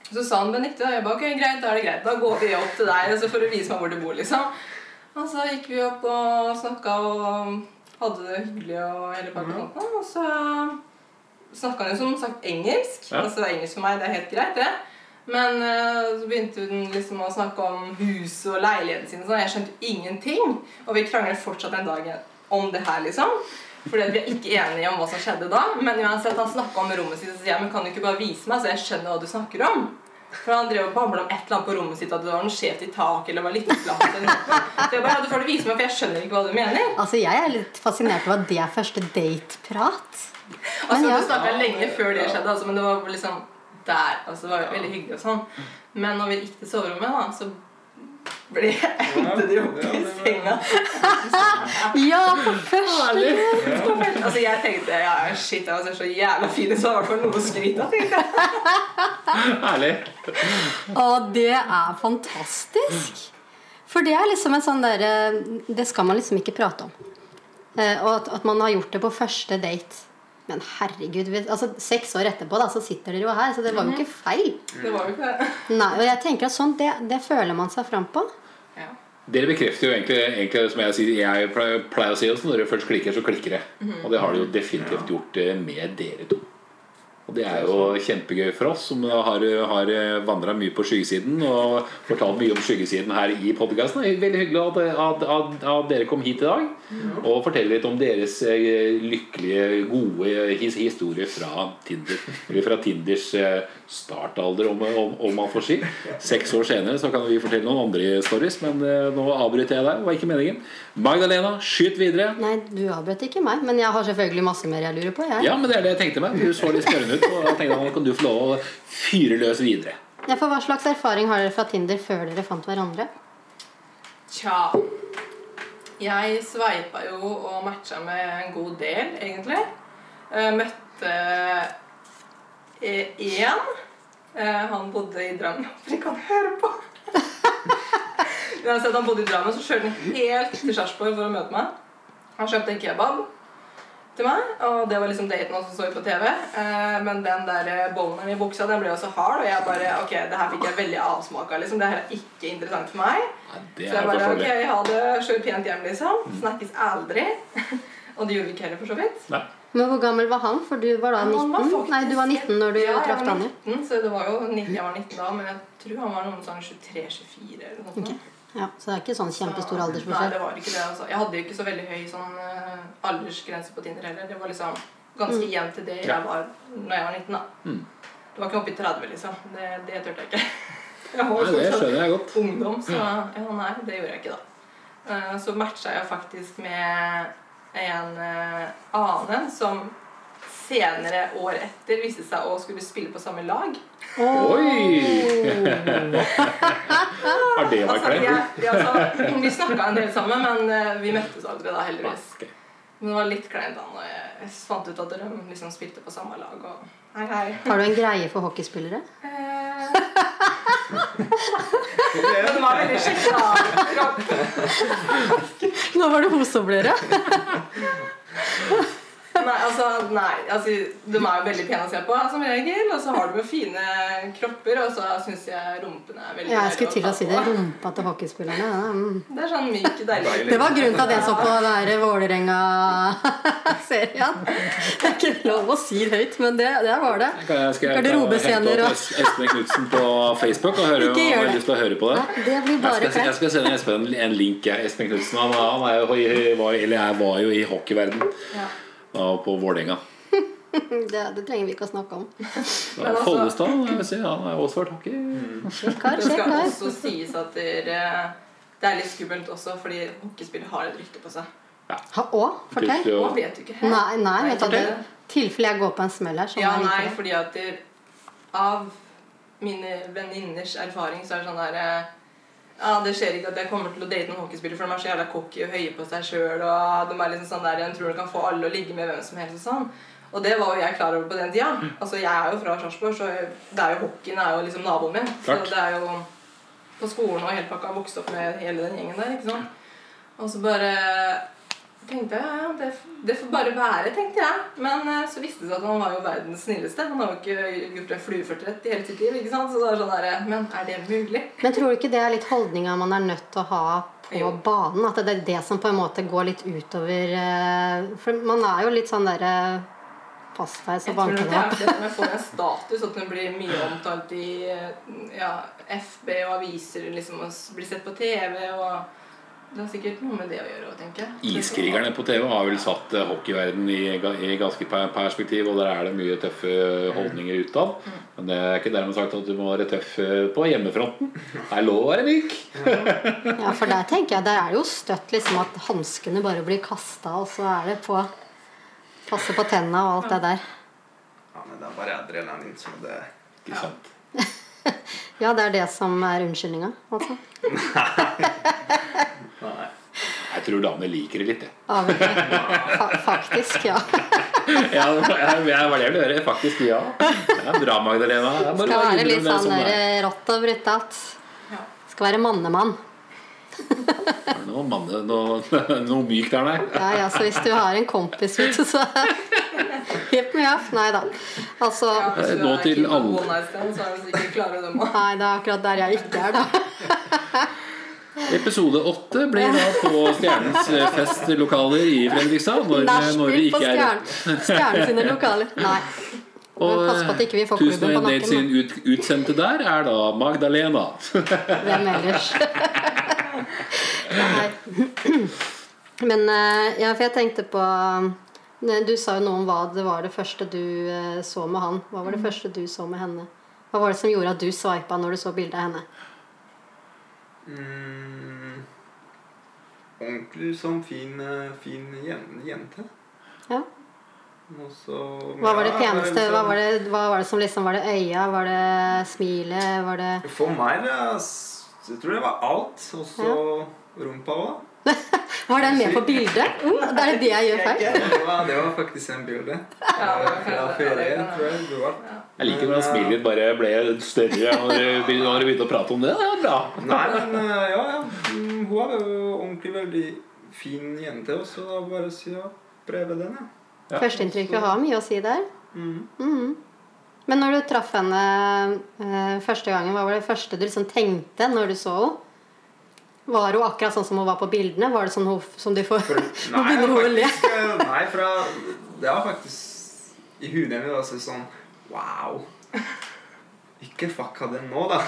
[SPEAKER 3] Så sa han Benedicte, og jeg ba ok, greit, da er det greit. Da går vi opp til deg og så får du vise meg hvor du bor, liksom. Og så gikk vi opp og snakka og hadde det hyggelig og hele pakken. Og så snakka han jo som sagt engelsk.
[SPEAKER 1] Ja.
[SPEAKER 3] Altså engelsk for meg, det er helt greit, det. Men eh, så begynte hun liksom å snakke om huset og leiligheten sin og sånn. Jeg skjønte ingenting. Og vi krangler fortsatt en dag om det her, liksom. Fordi at vi er ikke enige om hva som skjedde da. Men uansett, han snakka om rommet sitt, og så sier jeg men kan du ikke bare vise meg, så jeg skjønner hva du snakker om? For han drev og babla om et eller annet på rommet sitt, at det var noe skjevt i taket eller det var litt flatt. eller noe. Så jeg bare ja, du får det vise meg, for jeg skjønner ikke hva du mener.
[SPEAKER 2] Altså, jeg er litt fascinert over at det er første date-prat.
[SPEAKER 3] Altså,
[SPEAKER 2] Men ja.
[SPEAKER 3] Du snakka lenge før det skjedde, altså, men det var liksom der. altså Det var jo veldig hyggelig og sånn. Men når vi gikk til soverommet, da, så ble jeg (laughs) endte det opp
[SPEAKER 4] Ja,
[SPEAKER 3] i
[SPEAKER 4] det var-
[SPEAKER 3] senga.
[SPEAKER 2] Ja, på første
[SPEAKER 3] Altså Jeg tenkte ja, shit, altså, jeg var så jævla fin, så det var i hvert fall noe å skryte av. tenkte jeg.
[SPEAKER 1] (laughs) Herlig.
[SPEAKER 2] Og det er fantastisk. For det er liksom en sånn derre Det skal man liksom ikke prate om. Eh, Og at, at man har gjort det på første date. Men herregud, vi, altså seks år etterpå da, så sitter dere jo her, så det var jo ikke feil.
[SPEAKER 3] Det var jo ikke det.
[SPEAKER 2] Nei, Og jeg tenker at sånn, det, det føler man seg fram på.
[SPEAKER 3] Ja.
[SPEAKER 1] Dere bekrefter jo egentlig, egentlig det som jeg, sier, jeg pleier pleier å si også, når dere først klikker, så klikker det. Og det har det jo definitivt gjort eh, med dere to. Og det er jo kjempegøy for oss som har, har vandra mye på skyggesiden og fortalt mye om skyggesiden her i podkasten. Veldig hyggelig at, at, at, at dere kom hit i dag og forteller litt om deres eh, lykkelige, gode his historie fra Tinder. Eller fra Tinders eh, startalder, om, om, om man får si. Seks år senere så kan vi fortelle noen andre stories, men eh, nå avbryter jeg deg. Det var ikke meningen. Magdalena, skyt videre.
[SPEAKER 2] Nei, du avbrøt ikke meg, men jeg har selvfølgelig masse mer jeg lurer på. Jeg,
[SPEAKER 1] Ja, men det er det jeg tenkte meg. Du så litt spørrende ut. Og jeg tenkte nå kan du få lov å fyre løs videre.
[SPEAKER 2] ja, for Hva slags erfaring har dere fra Tinder før dere fant hverandre?
[SPEAKER 3] Tja. Jeg sveipa jo og matcha med en god del, egentlig. Eh, Møtte én. Eh, Han bodde i Drammen. (laughs) Håper ikke han hører på. (laughs) Uansett, han bodde i Drammen, så kjørte han helt til Sarpsborg for å møte meg. Han kjøpte en kebab til meg, og det var liksom daten også så vi på TV. Eh, Men den der eh, bowleren i buksa, den ble jo så hard, og jeg bare Ok, det her fikk jeg veldig avsmak av, liksom. Det her er ikke interessant for meg.
[SPEAKER 1] Ja, det
[SPEAKER 3] Så jeg
[SPEAKER 1] er
[SPEAKER 3] bare ok,
[SPEAKER 1] forståelig.
[SPEAKER 3] ha det, kjør pent hjem, liksom. Snakkes aldri. (laughs) Og det gjorde vi ikke heller, for så vidt.
[SPEAKER 1] Nei.
[SPEAKER 2] Men Hvor gammel var han? For du var da 19?
[SPEAKER 3] Han var faktisk-
[SPEAKER 2] Nei, du var 19 når du
[SPEAKER 3] ja,
[SPEAKER 2] traff
[SPEAKER 3] jeg var
[SPEAKER 2] han, jo.
[SPEAKER 3] 19, så det var jo 19, jeg var 19 da, men jeg tror han var noen sånn 23-24 eller noe sånt.
[SPEAKER 2] Ja, så det er ikke sånn kjempestor
[SPEAKER 3] Nei,
[SPEAKER 2] aldersforskjell.
[SPEAKER 3] det var ikke det, altså. Jeg hadde jo ikke så veldig høy sånn eh, aldersgrense på Tinder heller. Det var liksom ganske
[SPEAKER 2] Mm.
[SPEAKER 3] jevnt til det
[SPEAKER 1] Ja.
[SPEAKER 3] jeg var når jeg var 19, da.
[SPEAKER 1] Mm.
[SPEAKER 3] Det var ikke oppi 30, liksom. Det, det turte jeg ikke. (laughs) Jeg
[SPEAKER 1] Nei,
[SPEAKER 3] var
[SPEAKER 1] det
[SPEAKER 3] fortsatt-
[SPEAKER 1] skjønner jeg godt.
[SPEAKER 3] ungdom, så ja, nei, det gjorde jeg ikke da. Eh, Så matcha jeg faktisk med en eh, annen som senere år etter viste seg å skulle spille på samme lag.
[SPEAKER 1] Oi! Har det vært
[SPEAKER 3] Altså, vi,
[SPEAKER 1] kleint?
[SPEAKER 3] ja, altså, vi snakka en del sammen, men eh, vi møttes aldri da, heldigvis.
[SPEAKER 1] Ok.
[SPEAKER 3] Men det var litt kleint da når jeg fant ut at de liksom spilte på samme lag. Og hei, hei.
[SPEAKER 2] Har du en greie for hockeyspillere?
[SPEAKER 3] Eh, (laughs)
[SPEAKER 4] Det
[SPEAKER 3] Men det var veldig kjekt, da. Rob.
[SPEAKER 2] Nå var det hun som ble det.
[SPEAKER 3] Nei, altså, nei, altså De er jo veldig pene å se på altså, som regel. Og så har de jo fine kropper, og så syns jeg rumpene er veldig
[SPEAKER 2] Ja, jeg skulle
[SPEAKER 3] deilige
[SPEAKER 2] til å
[SPEAKER 3] å ta
[SPEAKER 2] si det.
[SPEAKER 3] på.
[SPEAKER 2] Rumpa til hockeyspillerne. ja, mm.
[SPEAKER 3] Det er sånn myk, deilig
[SPEAKER 2] Det var grunnen til at jeg så på den her Vålerenga-serien. Det er ikke lov å si det høyt, men det, det var det.
[SPEAKER 1] Kan jeg, skal jeg ta-
[SPEAKER 2] Garderobescener
[SPEAKER 1] hente
[SPEAKER 2] og-
[SPEAKER 1] opp Es- Espen Knutsen på Facebook og høre
[SPEAKER 2] Ikke
[SPEAKER 1] om han
[SPEAKER 2] gjør
[SPEAKER 1] har
[SPEAKER 2] det.
[SPEAKER 1] lyst til å høre på det?
[SPEAKER 2] Nei, det blir
[SPEAKER 1] Jeg
[SPEAKER 2] bare
[SPEAKER 1] skal, jeg
[SPEAKER 2] kleint.
[SPEAKER 1] skal sende Espen en- en link. jeg. Espen Knutsen han, han er jo, i- var, eller jeg var jo i hockeyverden
[SPEAKER 3] Ja.
[SPEAKER 1] da, på Vålerenga.
[SPEAKER 2] Det, det trenger vi ikke å snakke om.
[SPEAKER 1] Da
[SPEAKER 3] Men altså-
[SPEAKER 1] Follestad må jeg si, han har også vært hockey.
[SPEAKER 2] Sjekk her,
[SPEAKER 3] Det
[SPEAKER 2] sjekk
[SPEAKER 3] skal
[SPEAKER 2] her.
[SPEAKER 3] også sies at dere- det er litt skummelt også, fordi hockeyspillere har et rykte på seg.
[SPEAKER 2] Ha, å, fortell.
[SPEAKER 1] Plutselig
[SPEAKER 3] Nå
[SPEAKER 1] å-
[SPEAKER 3] vet du ikke helt.
[SPEAKER 2] Nei, nei, vet du det.
[SPEAKER 3] fortell.
[SPEAKER 2] tilfelle jeg går på en smell her. så
[SPEAKER 3] Ja,
[SPEAKER 2] må jeg vite
[SPEAKER 3] nei,
[SPEAKER 2] det.
[SPEAKER 3] fordi at det- av mine venninners erfaring så er det sånn der eh, Ja, det skjer ikke at jeg kommer til å date noen hockeyspiller, for de er så jævla cocky og høye på seg sjøl, og de er liksom sånn der De tror de kan få alle å ligge med hvem som helst og sånn. Og det var jo jeg klar over på den tida. Altså, jeg er jo fra Sarpsborg, så det er jo hockeyen er jo liksom naboen min.
[SPEAKER 1] Klart.
[SPEAKER 3] Så det er jo på skolen og helt pakka vokst opp med hele den gjengen der, ikke sant. Og så bare tenkte jeg ja, det, det får bare være, tenkte jeg. Men eh, så visste det seg at han var jo verdens snilleste. Han har jo ikke gjort en flueførtrett i hele sitt liv. ikke sant? Så det er sånn der, Men er det mulig?
[SPEAKER 2] Men tror du ikke det er litt holdninga man er nødt til å ha på
[SPEAKER 3] Jo.
[SPEAKER 2] banen. At det er det som på en måte går litt utover eh, For man er jo litt sånn derre Pass deg, så
[SPEAKER 3] Jeg tror
[SPEAKER 2] banker
[SPEAKER 3] nok
[SPEAKER 2] det
[SPEAKER 3] det er
[SPEAKER 2] opp.
[SPEAKER 3] det som jeg får en status, at den blir mye omtalt i eh, ja, FB og aviser liksom, og s- blir sett på TV. og Det har sikkert noe med det å gjøre. tenker jeg.
[SPEAKER 1] Iskrigerne på TV har vel satt eh, hockeyverden i, ga- i ganske per- perspektiv, og der er det mye tøffe holdninger utad. Men det er ikke dermed sagt at du må være tøff eh, på hjemmefronten. Det er lov å være myk.
[SPEAKER 2] Ja, for der tenker jeg, der er det jo støtt liksom at hanskene bare blir kasta, og så er det på Passe på tenna og alt det der.
[SPEAKER 4] Ja, men det er bare adrenalin som det
[SPEAKER 1] Ikke sant?
[SPEAKER 2] Ja, det er det som er unnskyldninga, altså.
[SPEAKER 4] Nei.
[SPEAKER 1] Jeg tror damene liker det litt, jeg.
[SPEAKER 2] Avhengig. Fa faktisk, ja.
[SPEAKER 1] (laughs) Ja, jeg, jeg var det jeg ville høre. Faktisk, ja. Det er bra, Magdalena. Det er
[SPEAKER 2] Skal
[SPEAKER 1] bare å
[SPEAKER 2] være litt
[SPEAKER 1] innrømme det
[SPEAKER 2] sånn
[SPEAKER 1] som det er.
[SPEAKER 2] der rått og brutalt.
[SPEAKER 3] Ja.
[SPEAKER 2] Skal være mannemann.
[SPEAKER 1] Er det Noe, manne, (laughs) noe, noe mykt der, nei.
[SPEAKER 2] Ja, ja, så hvis du har en kompis ute, så Hipp me up. Nei da. Altså
[SPEAKER 3] Ja, hvis du
[SPEAKER 1] Eh, Nå
[SPEAKER 3] er
[SPEAKER 1] til
[SPEAKER 3] keen på
[SPEAKER 1] alle.
[SPEAKER 3] one night stand, så er du sikkert klare
[SPEAKER 2] (laughs)
[SPEAKER 3] dem også.
[SPEAKER 2] Nei, det er akkurat der jeg ikke er, da.
[SPEAKER 1] Episode åtte blir da på Stjernens eh, festlokaler i Fredrikstad. Når, når vi
[SPEAKER 2] Nachspiel på
[SPEAKER 1] ikke er
[SPEAKER 2] stjernen stjerne sine lokaler. Nei.
[SPEAKER 1] Og
[SPEAKER 2] Men pass på at ikke vi får
[SPEAKER 1] Tusen
[SPEAKER 2] klubben
[SPEAKER 1] og
[SPEAKER 2] på
[SPEAKER 1] en del
[SPEAKER 2] nakken.
[SPEAKER 1] sin ut, utsendte der er da Magdalena.
[SPEAKER 2] da. Hvem ellers? Nei. Men eh, ja, for jeg tenkte på eh, Du sa jo noe om hva det var det første du eh, så med han. Hva var det første du så med henne? Hva var det som gjorde at du sveipa når du så bildet av henne?
[SPEAKER 4] Mm, ordentlig sånn fin, eh, fin jen- jente.
[SPEAKER 2] Ja.
[SPEAKER 4] Og så
[SPEAKER 2] Hva var det
[SPEAKER 4] Ja,
[SPEAKER 2] peneste?
[SPEAKER 4] liksom-
[SPEAKER 2] Hva var det, hva var det som liksom Var det øya? Var det smilet? Var det
[SPEAKER 4] For meg, da, s- jeg tror det var alt. Og så rumpa òg.
[SPEAKER 2] Var den med på bildet? Uh, det er det det jeg gjør feil.
[SPEAKER 4] Det, var- det var faktisk en bilde.
[SPEAKER 3] Ja, det var
[SPEAKER 4] Fra
[SPEAKER 3] kanskje- ja, det
[SPEAKER 4] ferien,
[SPEAKER 3] kan-
[SPEAKER 4] tror jeg. Det var.
[SPEAKER 1] Jeg liker hvordan smilet ditt bare ble større når du begyn- når du begynte å prate om det. Det er bra.
[SPEAKER 4] Nei, men eh, ja, ja. Mm, Hun var jo ordentlig veldig fin jente, og så da bare si ja, prøve den, ja.
[SPEAKER 1] Ja.
[SPEAKER 2] Førsteinntrykket har mye å si der.
[SPEAKER 4] Mm.
[SPEAKER 2] Mhm. Men når du traff henne eh, første gangen, hva var det første du liksom tenkte når du så henne? Var hun akkurat sånn som hun var på bildene? Var det sånn hun, som du får Nå
[SPEAKER 4] Nei,
[SPEAKER 2] begynner hun å le.
[SPEAKER 4] faktisk, eh, nei, fra Det var faktisk I hudet mitt var det sånn Wow. Ikke fucka den nå, da.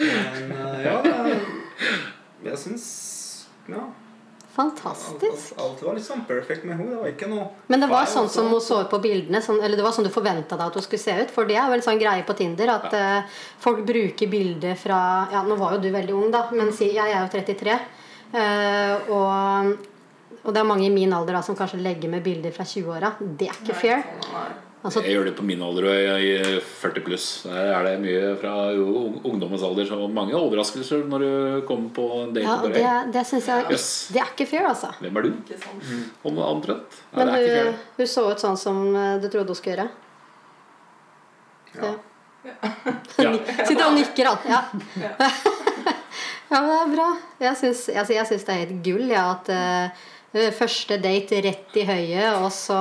[SPEAKER 4] Men eh, ja, det- jeg syns ja, alt, alt,
[SPEAKER 2] Fantastisk.
[SPEAKER 4] alt var liksom perfekt med henne. Det var ikke noe
[SPEAKER 2] Men det var
[SPEAKER 4] feil,
[SPEAKER 2] sånn som
[SPEAKER 4] altså.
[SPEAKER 2] hun så ut på bildene? Sånn, eller det var sånn du forventa deg at hun skulle se ut? For det er vel en sånn greie på Tinder at eh, folk bruker bilder fra Ja, nå var jo du veldig ung, da, men si, jeg er jo 33. eh, og, og det er mange i min alder da som kanskje legger med bilder fra 20-åra. Det er ikke fair.
[SPEAKER 3] Nei.
[SPEAKER 2] Altså,
[SPEAKER 1] Jeg gjør det på min alder og jeg er 40 pluss. Der er det mye fra jo, ungdommens alder. Så mange overraskelser når du kommer på en date.
[SPEAKER 2] ja,
[SPEAKER 1] og
[SPEAKER 2] det,
[SPEAKER 1] bare,
[SPEAKER 2] det syns jeg
[SPEAKER 1] Yes.
[SPEAKER 2] Det er ikke fair, altså.
[SPEAKER 1] Hvem er du?
[SPEAKER 3] Ikke sånn. sant?
[SPEAKER 1] Om omtrent. Nei,
[SPEAKER 2] Men
[SPEAKER 1] det er ikke
[SPEAKER 2] hun,
[SPEAKER 1] fair.
[SPEAKER 2] hun så ut sånn som eh, du trodde hun skulle gjøre.
[SPEAKER 4] Ja.
[SPEAKER 1] Ja.
[SPEAKER 2] (laughs) Sitter og nikker, han. Ja. (laughs)
[SPEAKER 3] Ja.
[SPEAKER 2] ja, men det er bra. Jeg syns, altså, jeg syns det er helt gull ja, at eh, første date rett i høyet, og så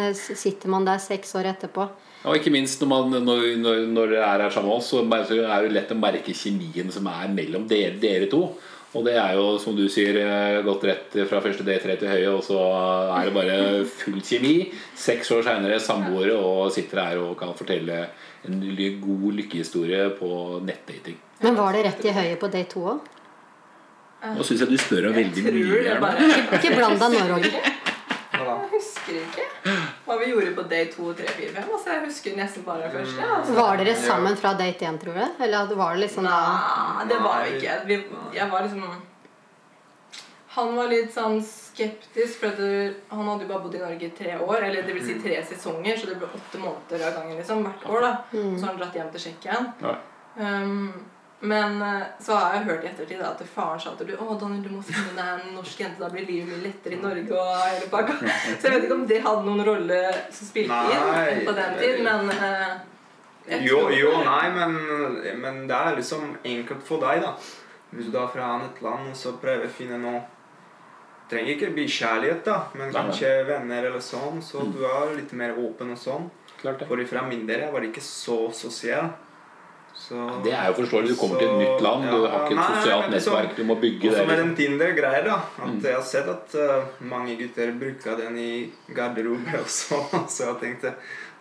[SPEAKER 2] eh, s- sitter man der seks år etterpå.
[SPEAKER 1] Og ikke minst når, man, når, når, når dere er her sammen med oss, så mer- så er det lett å merke kjemien som er mellom dere, dere to. Og det er jo, som du sier, eh, gått rett fra første date rett til høye, og så er det bare full kjemi. Seks år seinere samboere og sitter her og kan fortelle en ly- god lykkehistorie på nettdating.
[SPEAKER 2] Men var det rett i høyet på date to òg?
[SPEAKER 1] Nå syns jeg du spør om veldig
[SPEAKER 3] Tror
[SPEAKER 1] mye
[SPEAKER 3] det
[SPEAKER 1] her nå.
[SPEAKER 3] bare
[SPEAKER 2] Ikke bland deg nå, Roger.
[SPEAKER 4] Hva da?
[SPEAKER 3] Jeg husker ikke hva vi gjorde på day 2, 3, 4, 5. Altså, jeg husker nesten bare den første. Altså.
[SPEAKER 2] Var dere sammen fra date én, tror du? Eller at var det liksom da
[SPEAKER 3] Nei, det var jo ikke vi, Jeg var liksom Han var litt sånn skeptisk, for at det, han hadde jo bare bodd i Norge i tre år. Eller det vil si tre sesonger, så det ble åtte måneder av gangen liksom, hvert år. da Så har han dratt hjem til Tsjekkia.
[SPEAKER 1] Ja.
[SPEAKER 3] Um, men eh, så har jeg hørt i ettertid da, at faren sa til du, Å, Daniel, du må finne deg en norsk jente. Da blir livet mye lettere i Norge. Og hele pakka. Så jeg vet ikke om det hadde noen rolle som spilte
[SPEAKER 4] Nei.
[SPEAKER 3] inn på den tid, men eh, jeg
[SPEAKER 4] Jo,
[SPEAKER 3] tror-
[SPEAKER 4] jo, nei, men, men det er liksom enkelt for deg, da. Hvis du da er fra annet land og så prøver å finne noe Trenger ikke bli kjærlighet, da, men
[SPEAKER 1] Nei, Mm. nei.
[SPEAKER 4] kanskje venner eller sånn, så du er litt mer åpen og sånn.
[SPEAKER 1] Klart det.
[SPEAKER 4] For fra min del jeg var ikke så sosial. Så,
[SPEAKER 1] Det er jo forståelig. Du kommer til et
[SPEAKER 4] Så-
[SPEAKER 1] nytt land, du
[SPEAKER 4] ja,
[SPEAKER 1] har ikke
[SPEAKER 4] nei,
[SPEAKER 1] et
[SPEAKER 4] nei,
[SPEAKER 1] sosialt
[SPEAKER 4] men liksom-
[SPEAKER 1] nettverk. Du må bygge
[SPEAKER 4] Også
[SPEAKER 1] det.
[SPEAKER 4] med den
[SPEAKER 1] liksom.
[SPEAKER 4] Tinder-greia, da. At
[SPEAKER 1] Mm.
[SPEAKER 4] Jeg har sett at eh, mange gutter bruker den i (laughs) garderober også. så jeg tenkte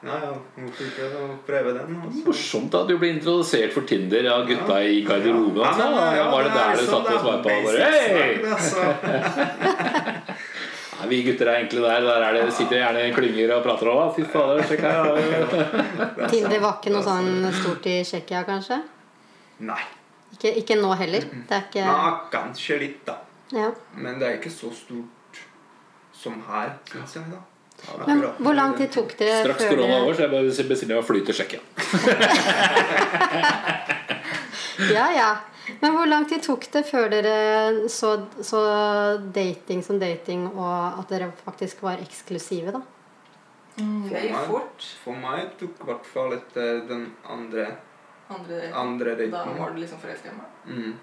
[SPEAKER 4] ja, ja, hvorfor ikke å prøve den? Og så-
[SPEAKER 1] Morsomt at du ble introdusert for Tinder av gutta i garderoben.
[SPEAKER 4] Ja,
[SPEAKER 1] Altså.
[SPEAKER 4] men, ja,
[SPEAKER 1] Ja, var det der du
[SPEAKER 4] liksom
[SPEAKER 1] satt og
[SPEAKER 4] det er
[SPEAKER 1] sveipa? og bare,
[SPEAKER 4] basic
[SPEAKER 1] «Hei!»
[SPEAKER 4] smak, altså.
[SPEAKER 1] Nei, Vi gutter er egentlig der. Der er det, sitter gjerne klynger og prater om «Å, Fy fader, sjekk her.
[SPEAKER 2] Tinder var ikke noe
[SPEAKER 1] altså.
[SPEAKER 2] sånn stort i Tsjekkia, kanskje?
[SPEAKER 4] Nei.
[SPEAKER 2] Ikke, ikke nå heller. Det er ikke
[SPEAKER 4] Nei, kanskje litt, da.
[SPEAKER 2] ja.
[SPEAKER 4] Men det er ikke så stort som her, syns jeg, da.
[SPEAKER 2] Men hvor lang tid tok det
[SPEAKER 1] Straks
[SPEAKER 2] før
[SPEAKER 1] korona er
[SPEAKER 2] det
[SPEAKER 1] over, så jeg bare bestiller meg fly til Tsjekkia.
[SPEAKER 2] Ja, ja. Men hvor lang tid tok det før dere så, så dating som dating, og at dere faktisk var eksklusive, da?
[SPEAKER 3] Det gikk fort.
[SPEAKER 4] For meg tok i hvert fall etter den andre,
[SPEAKER 3] Andre,
[SPEAKER 4] andre
[SPEAKER 3] da
[SPEAKER 4] daten.
[SPEAKER 3] var du liksom forelska i meg.
[SPEAKER 4] Mm.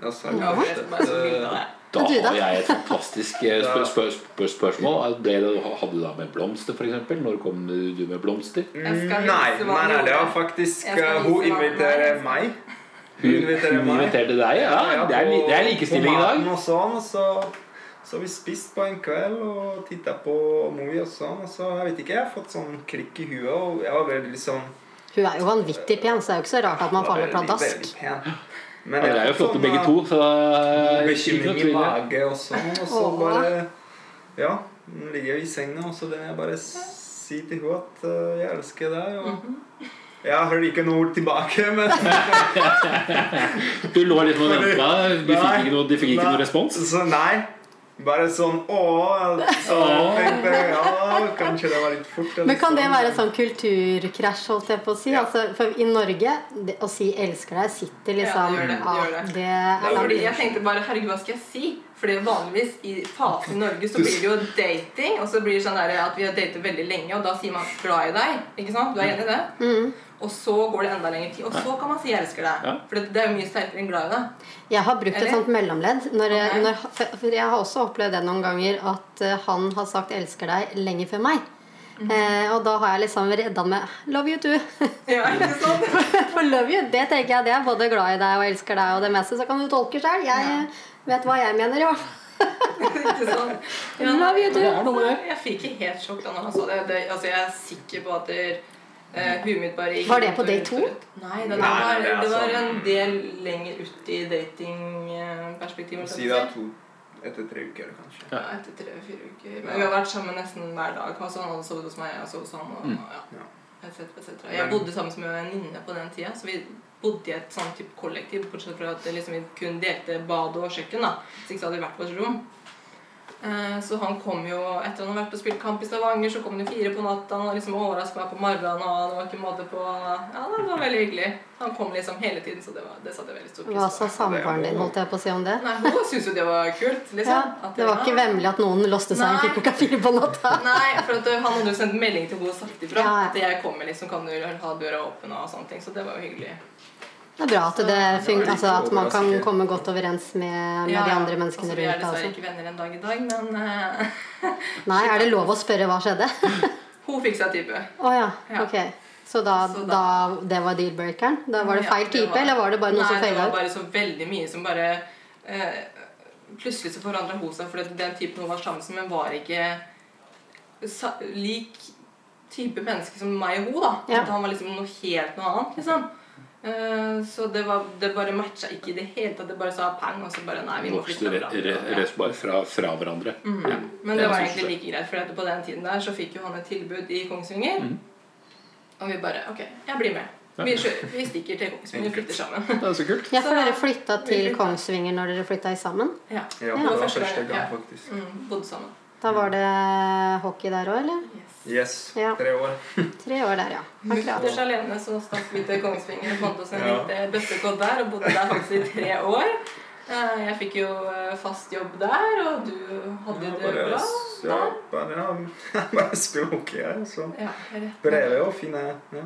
[SPEAKER 4] Da sa
[SPEAKER 3] Jeg var
[SPEAKER 4] jeg
[SPEAKER 3] forelsket bare som bilde av
[SPEAKER 4] at, eh,
[SPEAKER 3] deg.
[SPEAKER 1] Da
[SPEAKER 2] Men du, da?
[SPEAKER 1] har jeg et fantastisk eh, spør spør spør spørsmål. Ble det, hadde du da med blomster, f.eks.? Når kom du med blomster?
[SPEAKER 4] Nei,
[SPEAKER 3] Jeg skal
[SPEAKER 4] nei,
[SPEAKER 3] hilse hva han
[SPEAKER 4] nei, det var
[SPEAKER 3] gjorde.
[SPEAKER 4] faktisk
[SPEAKER 3] Jeg skal
[SPEAKER 4] eh, Hun
[SPEAKER 3] hilse hva han
[SPEAKER 4] inviterer
[SPEAKER 3] gjorde.
[SPEAKER 4] meg.
[SPEAKER 1] Hun hun inviterte deg? Ja, det er, li- det er likestilling i dag.
[SPEAKER 4] Og sånn, og så, så vi spiste på en kveld og titta på movie og sånn. Og så jeg vet ikke, jeg har fått sånn krikk i huet, og jeg var veldig liksom
[SPEAKER 2] Hun er jo vanvittig pen, så det er jo ikke så rart at man faller
[SPEAKER 4] veldig,
[SPEAKER 2] pladask.
[SPEAKER 4] veldig pen. Men
[SPEAKER 1] Ja,
[SPEAKER 4] jeg
[SPEAKER 1] Dere er
[SPEAKER 4] har
[SPEAKER 1] jo
[SPEAKER 4] fått
[SPEAKER 1] flotte
[SPEAKER 4] sånn,
[SPEAKER 1] begge
[SPEAKER 4] eh,
[SPEAKER 1] to, så det er ikke noe
[SPEAKER 4] bekymring i
[SPEAKER 1] tvil.
[SPEAKER 4] mage og sånn, og så
[SPEAKER 2] Åh.
[SPEAKER 4] bare Ja, nå ligger jeg i senga, og så vil jeg bare si til henne at eh, jeg elsker deg.
[SPEAKER 2] Mhm.
[SPEAKER 4] Og jeg hører ikke noe ord tilbake, men
[SPEAKER 1] Du lå liksom og venta. Du fikk
[SPEAKER 4] Nei.
[SPEAKER 1] ikke noe, du fikk ikke
[SPEAKER 4] Nei.
[SPEAKER 1] noe respons?
[SPEAKER 4] Så nei. Bare sånn åh. Så
[SPEAKER 1] Åh.
[SPEAKER 4] tenkte jeg ja, kanskje det var litt fort. eller
[SPEAKER 2] Men kan det
[SPEAKER 4] sånn.
[SPEAKER 2] være en sånn kulturkrasj, holdt jeg på å si?
[SPEAKER 4] Ja.
[SPEAKER 2] Altså, for i Norge, det, å si 'elsker deg' sitter liksom
[SPEAKER 3] Ja, det gjør det, det gjør
[SPEAKER 2] ah,
[SPEAKER 3] det.
[SPEAKER 2] det er
[SPEAKER 3] Ja, fordi
[SPEAKER 2] langt.
[SPEAKER 3] jeg tenkte bare Herregud, hva skal jeg si? Fordi vanligvis i fasen i Norge så blir det jo dating. Og så blir det sånn der at vi har datet veldig lenge, og da sier man 'glad i deg'. Ikke sant? Du er enig i det? Og så går det enda lengre tid, og så kan man si 'jeg elsker deg'.
[SPEAKER 1] Ja.
[SPEAKER 3] For det er jo mye sterkere enn 'glad i deg'. (laughs)
[SPEAKER 2] Jeg har brukt et
[SPEAKER 3] Eller?
[SPEAKER 2] sånt mellomledd. Når, jeg-
[SPEAKER 3] Ok.
[SPEAKER 2] når, for- for jeg har også opplevd det noen ganger at eh, han har sagt 'elsker deg' lenge før meg.
[SPEAKER 3] Mhm.
[SPEAKER 2] Eh, og da har jeg liksom redda han med 'love you too'. (laughs)
[SPEAKER 3] Ja, ikke sant?
[SPEAKER 2] For love you, det tenker jeg det er både glad i deg og elsker deg og det meste. Så kan du tolke sjøl. Jeg eh, vet hva jeg mener, i hvert fall.
[SPEAKER 3] ikke sant? Ja,
[SPEAKER 2] Love you
[SPEAKER 1] Det er
[SPEAKER 2] too.
[SPEAKER 1] noe med det.
[SPEAKER 3] Jeg fikk ikke helt sjokk da når han sa det. det altså, jeg er sikker på at det, eh, huet mitt bare gikk
[SPEAKER 2] Var det
[SPEAKER 3] rundt
[SPEAKER 2] på
[SPEAKER 3] og
[SPEAKER 2] day
[SPEAKER 3] rundt
[SPEAKER 2] to?
[SPEAKER 3] og rundt. Nei, det, det,
[SPEAKER 4] Nei,
[SPEAKER 3] var,
[SPEAKER 4] det er
[SPEAKER 3] det var
[SPEAKER 4] sånn-
[SPEAKER 3] en del lenger ut i eh, datingperspektivet.
[SPEAKER 4] Si det er to etter tre uker, kanskje.
[SPEAKER 3] Ja, etter tre-fire uker. Men vi har vært sammen nesten hver dag. Altså, han hadde sovet hos meg, jeg har sovet hos han. Og, ja.
[SPEAKER 4] Ja.
[SPEAKER 3] Et cetera, et cetera. Jeg bodde sammen med en venninne på den tida, så vi bodde i et sånn type kollektiv. Bortsett fra at det liksom, vi kun delte bad og kjøkken. da Så ikke så hadde vi hvert vårt rom. Eh, Så han kom jo Etter han hadde vært og spilt kamp i Stavanger, så kom han jo fire på natta. Han liksom overraska meg på morgenen, og det var ikke måte på Ja, det var veldig hyggelig. Han kom liksom hele tiden, så det, var, det satte jeg veldig stor
[SPEAKER 2] Hva
[SPEAKER 3] pris
[SPEAKER 2] sa
[SPEAKER 3] på.
[SPEAKER 2] samboeren din, holdt jeg på å si om det?
[SPEAKER 3] Nei, hun syntes jo det var kult, liksom.
[SPEAKER 2] Ja,
[SPEAKER 3] At
[SPEAKER 2] det var ikke vemmelig at noen låste seg inn til
[SPEAKER 3] Nei.
[SPEAKER 2] klokka fire på natta.
[SPEAKER 3] Nei, for at ø, han hadde jo sendt melding til henne og sagt ifra.
[SPEAKER 2] Ja, ja.
[SPEAKER 3] At jeg kommer, liksom, kan du ha døra åpen og sånne ting. Så det var jo hyggelig.
[SPEAKER 2] Det er bra at, det fun
[SPEAKER 4] litt
[SPEAKER 2] altså, at man kan
[SPEAKER 4] overraskende.
[SPEAKER 2] komme godt overens med, med
[SPEAKER 3] Ja,
[SPEAKER 2] de
[SPEAKER 3] ja.
[SPEAKER 2] andre menneskene
[SPEAKER 3] altså, Vi er
[SPEAKER 2] rundt.
[SPEAKER 3] dessverre
[SPEAKER 2] Altså.
[SPEAKER 3] ikke venner en dag i dag, men eh, ø,
[SPEAKER 2] Nei, er det lov å spørre hva skjedde?
[SPEAKER 3] (laughs) hun fikk seg type.
[SPEAKER 2] Å ja,
[SPEAKER 3] Ja.
[SPEAKER 2] ok. Så da,
[SPEAKER 3] Så
[SPEAKER 2] da det var deal-breakeren? Da var det
[SPEAKER 3] Ja,
[SPEAKER 2] feil type,
[SPEAKER 3] var-
[SPEAKER 2] eller var det bare noe
[SPEAKER 3] Nei,
[SPEAKER 2] som
[SPEAKER 3] det
[SPEAKER 2] feila
[SPEAKER 3] var
[SPEAKER 2] ut?
[SPEAKER 3] bare så veldig mye som bare ø, Plutselig så forandra hun seg, for at den typen hun var sammen med, men var ikke sa, lik type menneske som meg og hun. da.
[SPEAKER 2] Ja.
[SPEAKER 3] At han var liksom noe helt noe annet. liksom. Eh, så det, var, det bare matcha ikke i det hele tatt. Det bare sa pang, og så bare Nei, vi må
[SPEAKER 1] Vokste
[SPEAKER 3] flytte
[SPEAKER 1] re- re-
[SPEAKER 3] hverandre. Ja.
[SPEAKER 1] rest bare fra, fra hverandre.
[SPEAKER 3] Mm.
[SPEAKER 1] Ja.
[SPEAKER 3] Men det
[SPEAKER 1] er
[SPEAKER 3] var
[SPEAKER 1] sånn
[SPEAKER 3] egentlig
[SPEAKER 1] skjer.
[SPEAKER 3] like greit, for at på den tiden der så fikk jo han et tilbud i Kongsvinger.
[SPEAKER 1] Mm.
[SPEAKER 3] Og vi bare Ok, jeg blir med. Vi, kjører, vi stikker til Kongsvinger og flytter sammen.
[SPEAKER 1] Det er så kult.
[SPEAKER 2] Ja, for
[SPEAKER 3] Så-
[SPEAKER 2] dere flytta til
[SPEAKER 3] flytta.
[SPEAKER 2] Kongsvinger når dere flytta sammen?
[SPEAKER 3] Ja.
[SPEAKER 4] Ja,
[SPEAKER 2] Ja.
[SPEAKER 4] det var
[SPEAKER 3] Første gang,
[SPEAKER 4] første gang,
[SPEAKER 3] ja.
[SPEAKER 4] faktisk.
[SPEAKER 3] Mm, bodde sammen.
[SPEAKER 2] Da var det hockey der òg, eller?
[SPEAKER 3] Yes.
[SPEAKER 4] Yes.
[SPEAKER 2] Ja.
[SPEAKER 4] Tre år.
[SPEAKER 2] Tre år der, ja. Akkurat.
[SPEAKER 3] Mutters alene, så stakk vi til Kongsvinger og fant oss en
[SPEAKER 4] Ja.
[SPEAKER 3] lite bøttekott der og bodde der faktisk i tre år. Eh, Jeg fikk jo eh, fast jobb der, og du hadde
[SPEAKER 4] Ja,
[SPEAKER 3] det
[SPEAKER 4] bare-
[SPEAKER 3] bra
[SPEAKER 4] ja,
[SPEAKER 3] der.
[SPEAKER 4] bare, ja, (laughs) bare spille hockey her, og så
[SPEAKER 3] Ja, rett.
[SPEAKER 4] prøve å finne ja.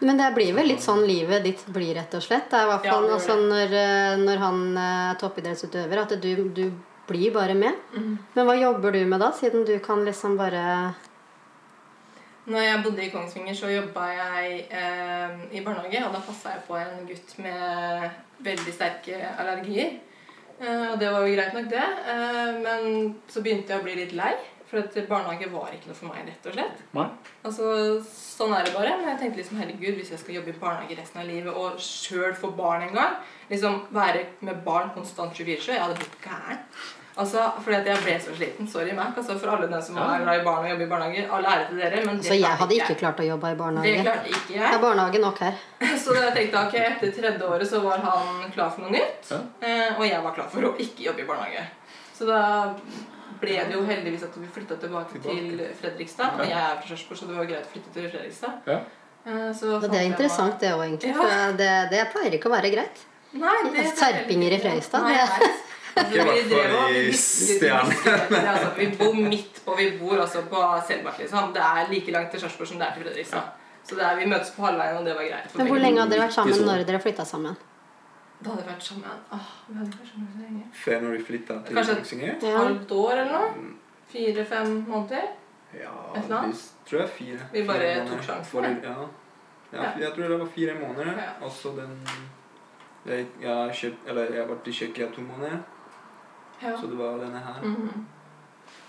[SPEAKER 2] Men det blir vel litt sånn livet ditt blir, rett og slett. Det er i hvert
[SPEAKER 3] Ja,
[SPEAKER 2] fall
[SPEAKER 3] det gjør
[SPEAKER 2] altså, når, eh, når han eh, er toppidrettsutøver, at du, du blir
[SPEAKER 3] Mm.
[SPEAKER 2] bare med. Men hva jobber du med da, siden du kan liksom bare
[SPEAKER 3] Når jeg bodde i Kongsvinger, så jobba jeg eh, i barnehage. Og da passa jeg på en gutt med veldig sterke allergier. Eh, og det var jo greit nok, det. Eh, men så begynte jeg å bli litt lei. For at barnehage var ikke noe for meg, rett og slett.
[SPEAKER 1] Nei.
[SPEAKER 3] Altså, sånn er det bare. Men jeg tenkte liksom, herregud, hvis jeg skal jobbe i barnehage resten av livet og sjøl få barn en gang liksom Være med barn konstant 24-7 Jeg hadde blitt gæren. Altså, fordi at jeg ble så sliten. Sorry, Mac. Altså, for alle dere som
[SPEAKER 1] Ja.
[SPEAKER 3] er glad i barn og jobber i barnehage. All ære til dere. Men det
[SPEAKER 2] Så jeg
[SPEAKER 3] klarte
[SPEAKER 2] hadde ikke klart å jobbe i
[SPEAKER 3] Det
[SPEAKER 2] barnehage.
[SPEAKER 3] klarte ikke
[SPEAKER 2] Det
[SPEAKER 3] jeg.
[SPEAKER 2] er barnehage nok her.
[SPEAKER 3] Så da tenkte jeg, ok, etter tredje året så var han klar for noe nytt.
[SPEAKER 1] Ja.
[SPEAKER 3] eh, Og jeg var klar for å ikke jobbe i barnehage. Så da ble det jo heldigvis at vi flytta tilbake til Fredrikstad. Og jeg er fra Sarpsborg, så det var greit å flytte til Fredrikstad.
[SPEAKER 1] Ja.
[SPEAKER 3] Eh, Så
[SPEAKER 2] Og det er interessant, det òg, egentlig. For det, det pleier ikke å være greit.
[SPEAKER 3] Nei, det
[SPEAKER 2] Terpinger i Fredrikstad,
[SPEAKER 3] Nei,
[SPEAKER 2] det-
[SPEAKER 3] nei. Altså,
[SPEAKER 4] Ikke i hvert
[SPEAKER 3] drev
[SPEAKER 4] fall
[SPEAKER 3] og-
[SPEAKER 4] i
[SPEAKER 3] vi
[SPEAKER 4] Stjernen.
[SPEAKER 3] visste jo ikke det, altså, Vi bor midt på, vi bor altså på Selbakk, liksom. Det er like langt til Sarpsborg som det er til Fredrikstad. Så det er, vi møtes på halvveien, og det var greit. for
[SPEAKER 2] Men
[SPEAKER 3] begge.
[SPEAKER 2] hvor lenge hadde dere vært
[SPEAKER 1] Ikke
[SPEAKER 2] sammen
[SPEAKER 1] så.
[SPEAKER 2] når dere flytta sammen?
[SPEAKER 3] Da hadde vi vært sammen. Åh, vi hadde vært sammen så lenge.
[SPEAKER 4] Før når vi flytta til
[SPEAKER 3] Kanskje-
[SPEAKER 4] Kongsvinger?
[SPEAKER 3] Et
[SPEAKER 2] Ja.
[SPEAKER 3] halvt år eller noe? Fire-fem måneder?
[SPEAKER 4] Ja,
[SPEAKER 3] Et eller annet?
[SPEAKER 4] vi s- tror jeg fire.
[SPEAKER 3] Vi bare
[SPEAKER 4] fire
[SPEAKER 3] tok
[SPEAKER 4] måneder.
[SPEAKER 3] sjansen,
[SPEAKER 4] For-
[SPEAKER 3] ja.
[SPEAKER 4] Ja.
[SPEAKER 3] Ja.
[SPEAKER 4] Ja, for jeg tror det var fire måneder.
[SPEAKER 3] Ja.
[SPEAKER 4] Og så den jeg, jeg, kjøpt, eller jeg har vært i Tsjekkia to måneder,
[SPEAKER 3] Ja.
[SPEAKER 4] så det var denne her.
[SPEAKER 3] Mhm.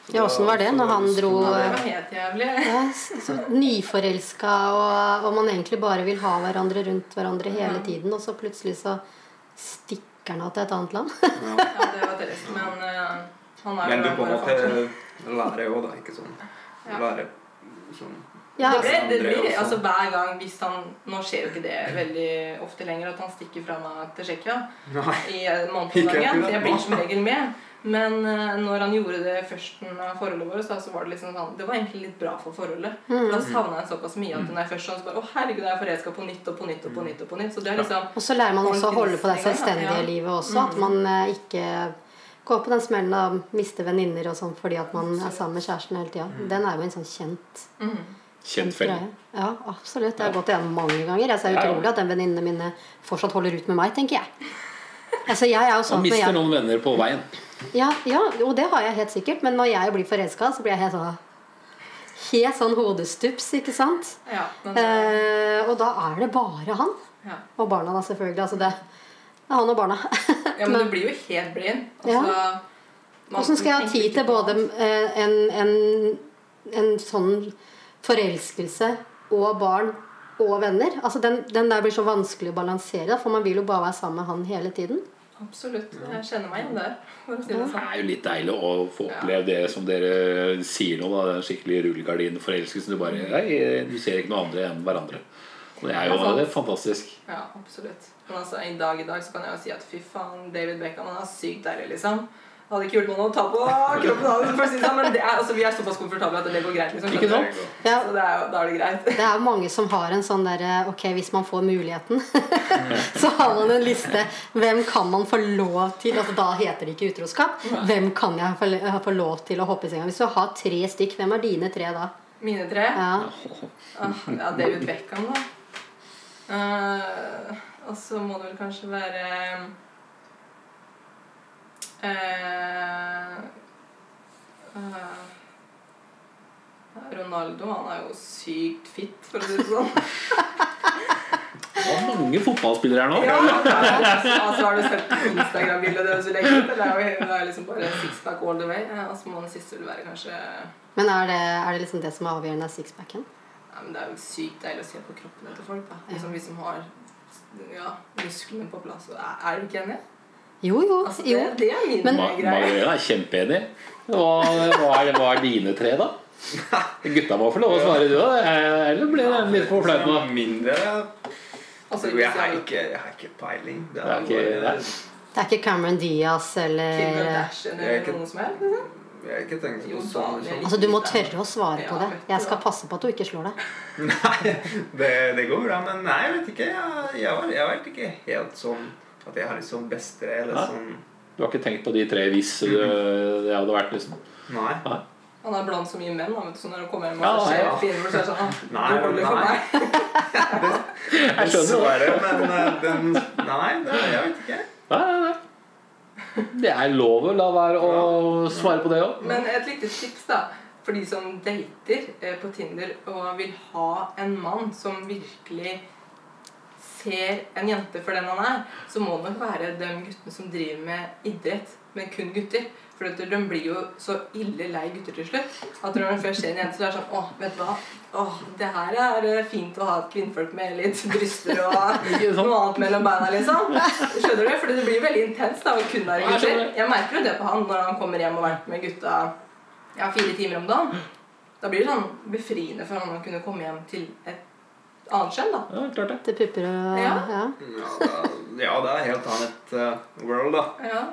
[SPEAKER 4] Så
[SPEAKER 2] Ja, åssen var det
[SPEAKER 4] så
[SPEAKER 2] når han
[SPEAKER 4] stor-
[SPEAKER 2] dro,
[SPEAKER 3] Det
[SPEAKER 2] eh,
[SPEAKER 3] var helt jævlig.
[SPEAKER 2] Ja, så så nyforelska, og, og man egentlig bare vil ha hverandre rundt hverandre hele
[SPEAKER 3] Ja.
[SPEAKER 2] tiden, og så plutselig så stikker han av til et annet land.
[SPEAKER 4] Ja.
[SPEAKER 3] Ja, det var trist, men eh, han er
[SPEAKER 4] Men du
[SPEAKER 3] glad i
[SPEAKER 4] på en
[SPEAKER 3] våre
[SPEAKER 4] måte
[SPEAKER 3] folk.
[SPEAKER 4] lærer òg, da. Ikke sånn
[SPEAKER 3] Ja.
[SPEAKER 4] lærer sånn
[SPEAKER 2] Ja,
[SPEAKER 3] det ble, det
[SPEAKER 4] Andre
[SPEAKER 3] blir,
[SPEAKER 4] også.
[SPEAKER 3] altså Hver gang hvis han Nå skjer jo ikke det veldig ofte lenger at han stikker fra meg til Tsjekkia
[SPEAKER 4] Nei.
[SPEAKER 3] i en måned om
[SPEAKER 4] Ikke
[SPEAKER 3] dagen.
[SPEAKER 4] akkurat
[SPEAKER 3] Jeg blir
[SPEAKER 4] nå.
[SPEAKER 3] som regel med. Men eh, når han gjorde det førsten av forholdet vårt, da, så var det liksom sånn Det var egentlig litt bra for forholdet.
[SPEAKER 2] Mm.
[SPEAKER 3] For Da savna jeg såpass mye at når jeg først sånn, så bare Å, herregud, jeg er forelska på nytt og på nytt og på nytt og på nytt. Så det er liksom
[SPEAKER 2] Og så lærer man også å holde på det
[SPEAKER 3] Folkens,
[SPEAKER 2] selvstendige
[SPEAKER 3] ja. Mm.
[SPEAKER 2] livet også. At man eh, ikke går på den smellen av å miste venninner og sånn fordi at man er sammen med kjæresten hele tida. Den er jo en sånn kjent,
[SPEAKER 1] Kjent felle.
[SPEAKER 2] greie. Ja, absolutt. Jeg har gått igjennom mange ganger. Jeg ser
[SPEAKER 1] Ja, ja.
[SPEAKER 2] utrolig at den venninnene mine fortsatt holder ut med meg, tenker jeg. Altså, jeg er jo
[SPEAKER 1] Man
[SPEAKER 2] sånn at når
[SPEAKER 1] mister
[SPEAKER 2] jeg,
[SPEAKER 1] noen venner på veien.
[SPEAKER 2] ja, ja, og det har jeg helt sikkert. Men når jeg blir forelska, så blir jeg helt sånn Helt sånn hodestups, ikke sant?
[SPEAKER 3] Ja. Men,
[SPEAKER 2] Eh, og da er det bare han.
[SPEAKER 3] ja.
[SPEAKER 2] Og barna, da, selvfølgelig. Altså det, det er han og barna.
[SPEAKER 3] ja, men du blir jo helt blind.
[SPEAKER 2] Ja.
[SPEAKER 3] Altså, man-
[SPEAKER 2] Hvordan skal jeg
[SPEAKER 3] man
[SPEAKER 2] ha
[SPEAKER 3] tenker
[SPEAKER 2] tid
[SPEAKER 3] ikke
[SPEAKER 2] til
[SPEAKER 3] på
[SPEAKER 2] både
[SPEAKER 3] alt.
[SPEAKER 2] eh, en, en, en sånn forelskelse og barn og venner? Altså den, den der blir så vanskelig å balansere, da, for man vil jo bare være sammen med han hele tiden.
[SPEAKER 3] Absolutt. Jeg kjenner meg igjen der. For å si det
[SPEAKER 1] Det
[SPEAKER 3] sånn.
[SPEAKER 1] er jo litt deilig å få oppleve det som dere sier nå. Da, den skikkelige rullegardinforelskelsen. Du bare Hei, du ser ikke noe andre enn hverandre. Og det er jo det er fantastisk.
[SPEAKER 3] Ja, absolutt. Men altså, i dag i dag så kan jeg jo si at fy faen, David Beckham han er sykt deilig, liksom. Jeg Hadde ikke gjort noe å ta på kroppen hans, for å si det sånn, men det er, altså, vi er såpass komfortable at det går greit. liksom.
[SPEAKER 1] Ikke
[SPEAKER 3] skjønner
[SPEAKER 1] sant?
[SPEAKER 3] du?
[SPEAKER 2] Ja,
[SPEAKER 3] Så det er, jo- da er det greit. (laughs)
[SPEAKER 2] det er jo mange som har en sånn derre Ok, hvis man får muligheten, (laughs) så har man en liste. Hvem kan man få lov til? Altså, da heter det ikke utroskap. Hvem kan jeg få- eh, få lov til å hoppe i senga? Hvis du har tre stykk, hvem er dine tre da?
[SPEAKER 3] Mine tre.
[SPEAKER 2] Ja.
[SPEAKER 3] Ah, ja, David Beckham, da. Eh, og så må det vel kanskje være eh, eh, Ronaldo, han er jo sykt fit, for å si det sånn.
[SPEAKER 1] Det er mange fotballspillere her nå.
[SPEAKER 3] Ja,
[SPEAKER 4] (laughs)
[SPEAKER 3] altså, har du sett Instagram-bildet deres legger ut? Eller er det jo- det er liksom bare sixpack all the way? Eh, Og så må den siste vel være kanskje Nei,
[SPEAKER 2] Men er det, er det liksom det som er avgjørende, er sixpacken?
[SPEAKER 3] men Det er jo sykt deilig å se på kroppen til folk. da liksom, Vi som har ja, musklene på plass. og Er er du ikke enig?
[SPEAKER 2] Jo, jo.
[SPEAKER 3] Altså,
[SPEAKER 2] jo.
[SPEAKER 3] det, det er min
[SPEAKER 2] Men-
[SPEAKER 1] Ma
[SPEAKER 3] greie.
[SPEAKER 1] Magdalena er kjempeenig. Hva, hva, er, hva er dine tre, da? Gutta må få lov å svare, du òg. Eller blir det litt for flaut nå?
[SPEAKER 4] Mindre
[SPEAKER 3] Altså,
[SPEAKER 4] Jo, jeg
[SPEAKER 3] hvis jeg-
[SPEAKER 4] har ikke, jeg har ikke peiling. Det
[SPEAKER 1] Det er ikke-
[SPEAKER 4] bare-
[SPEAKER 1] det er-
[SPEAKER 2] Det er ikke Cameron Diaz
[SPEAKER 3] Kim
[SPEAKER 2] eller
[SPEAKER 3] Kardashian
[SPEAKER 4] Jeg er
[SPEAKER 3] eller
[SPEAKER 4] ikke-
[SPEAKER 3] noen som helst. Liksom.
[SPEAKER 4] Jeg har ikke tenkt
[SPEAKER 3] Jo,
[SPEAKER 4] på sånn.
[SPEAKER 3] Daniel.
[SPEAKER 4] Liksom.
[SPEAKER 2] Altså, du må tørre å svare på
[SPEAKER 3] Ja,
[SPEAKER 2] det.
[SPEAKER 3] vet du
[SPEAKER 2] Jeg skal
[SPEAKER 3] hva.
[SPEAKER 2] passe på at du ikke slår deg.
[SPEAKER 4] Det, det går bra, men nei, jeg vet ikke. Jeg, jeg, var, jeg var ikke helt sånn at jeg har liksom beste eller
[SPEAKER 1] Nei.
[SPEAKER 4] sånn
[SPEAKER 1] Du har ikke tenkt på de tre hvis du- det hadde vært liksom
[SPEAKER 4] Nei.
[SPEAKER 1] Nei.
[SPEAKER 3] Han er blant så mye menn. da, vet du, så når det kommer en
[SPEAKER 1] Ja,
[SPEAKER 3] masse ja,
[SPEAKER 4] ja.
[SPEAKER 3] kjefer, så er det sånn ah,
[SPEAKER 4] Nei,
[SPEAKER 3] det holder for
[SPEAKER 4] nei.
[SPEAKER 3] meg.
[SPEAKER 1] (laughs) Jeg skjønner det.
[SPEAKER 4] Dessverre, men eh, den Nei, det, jeg vet ikke.
[SPEAKER 1] Nei, nei, nei. Det er lov å la være å svare på det òg.
[SPEAKER 3] Men et lite tips, da. for de som dater eh, på Tinder og vil ha en mann som virkelig ser en jente for den han er, så må det nok være de guttene som driver med idrett, men kun gutter. For at de blir jo så ille lei gutter til slutt at når de først ser en jente, så er det sånn Å, vet du hva? Åh, det her er eh, fint å ha et kvinnfolk med litt bryster
[SPEAKER 1] (laughs)
[SPEAKER 3] og noe annet mellom beina, liksom. Skjønner du? Fordi det blir veldig intenst da, å kun være
[SPEAKER 1] Ja, jeg
[SPEAKER 3] gutter.
[SPEAKER 1] skjønner det.
[SPEAKER 3] Jeg merker jo det på han når han kommer hjem og har vært med gutta ja, fire timer om dagen. Da blir det sånn befriende for han å kunne komme hjem til et annet kjønn, da.
[SPEAKER 1] Ja, klart det.
[SPEAKER 2] Til pupper og ja.
[SPEAKER 3] Ja.
[SPEAKER 4] Ja, da, ja, det er helt annet eh, world, da.
[SPEAKER 3] Ja.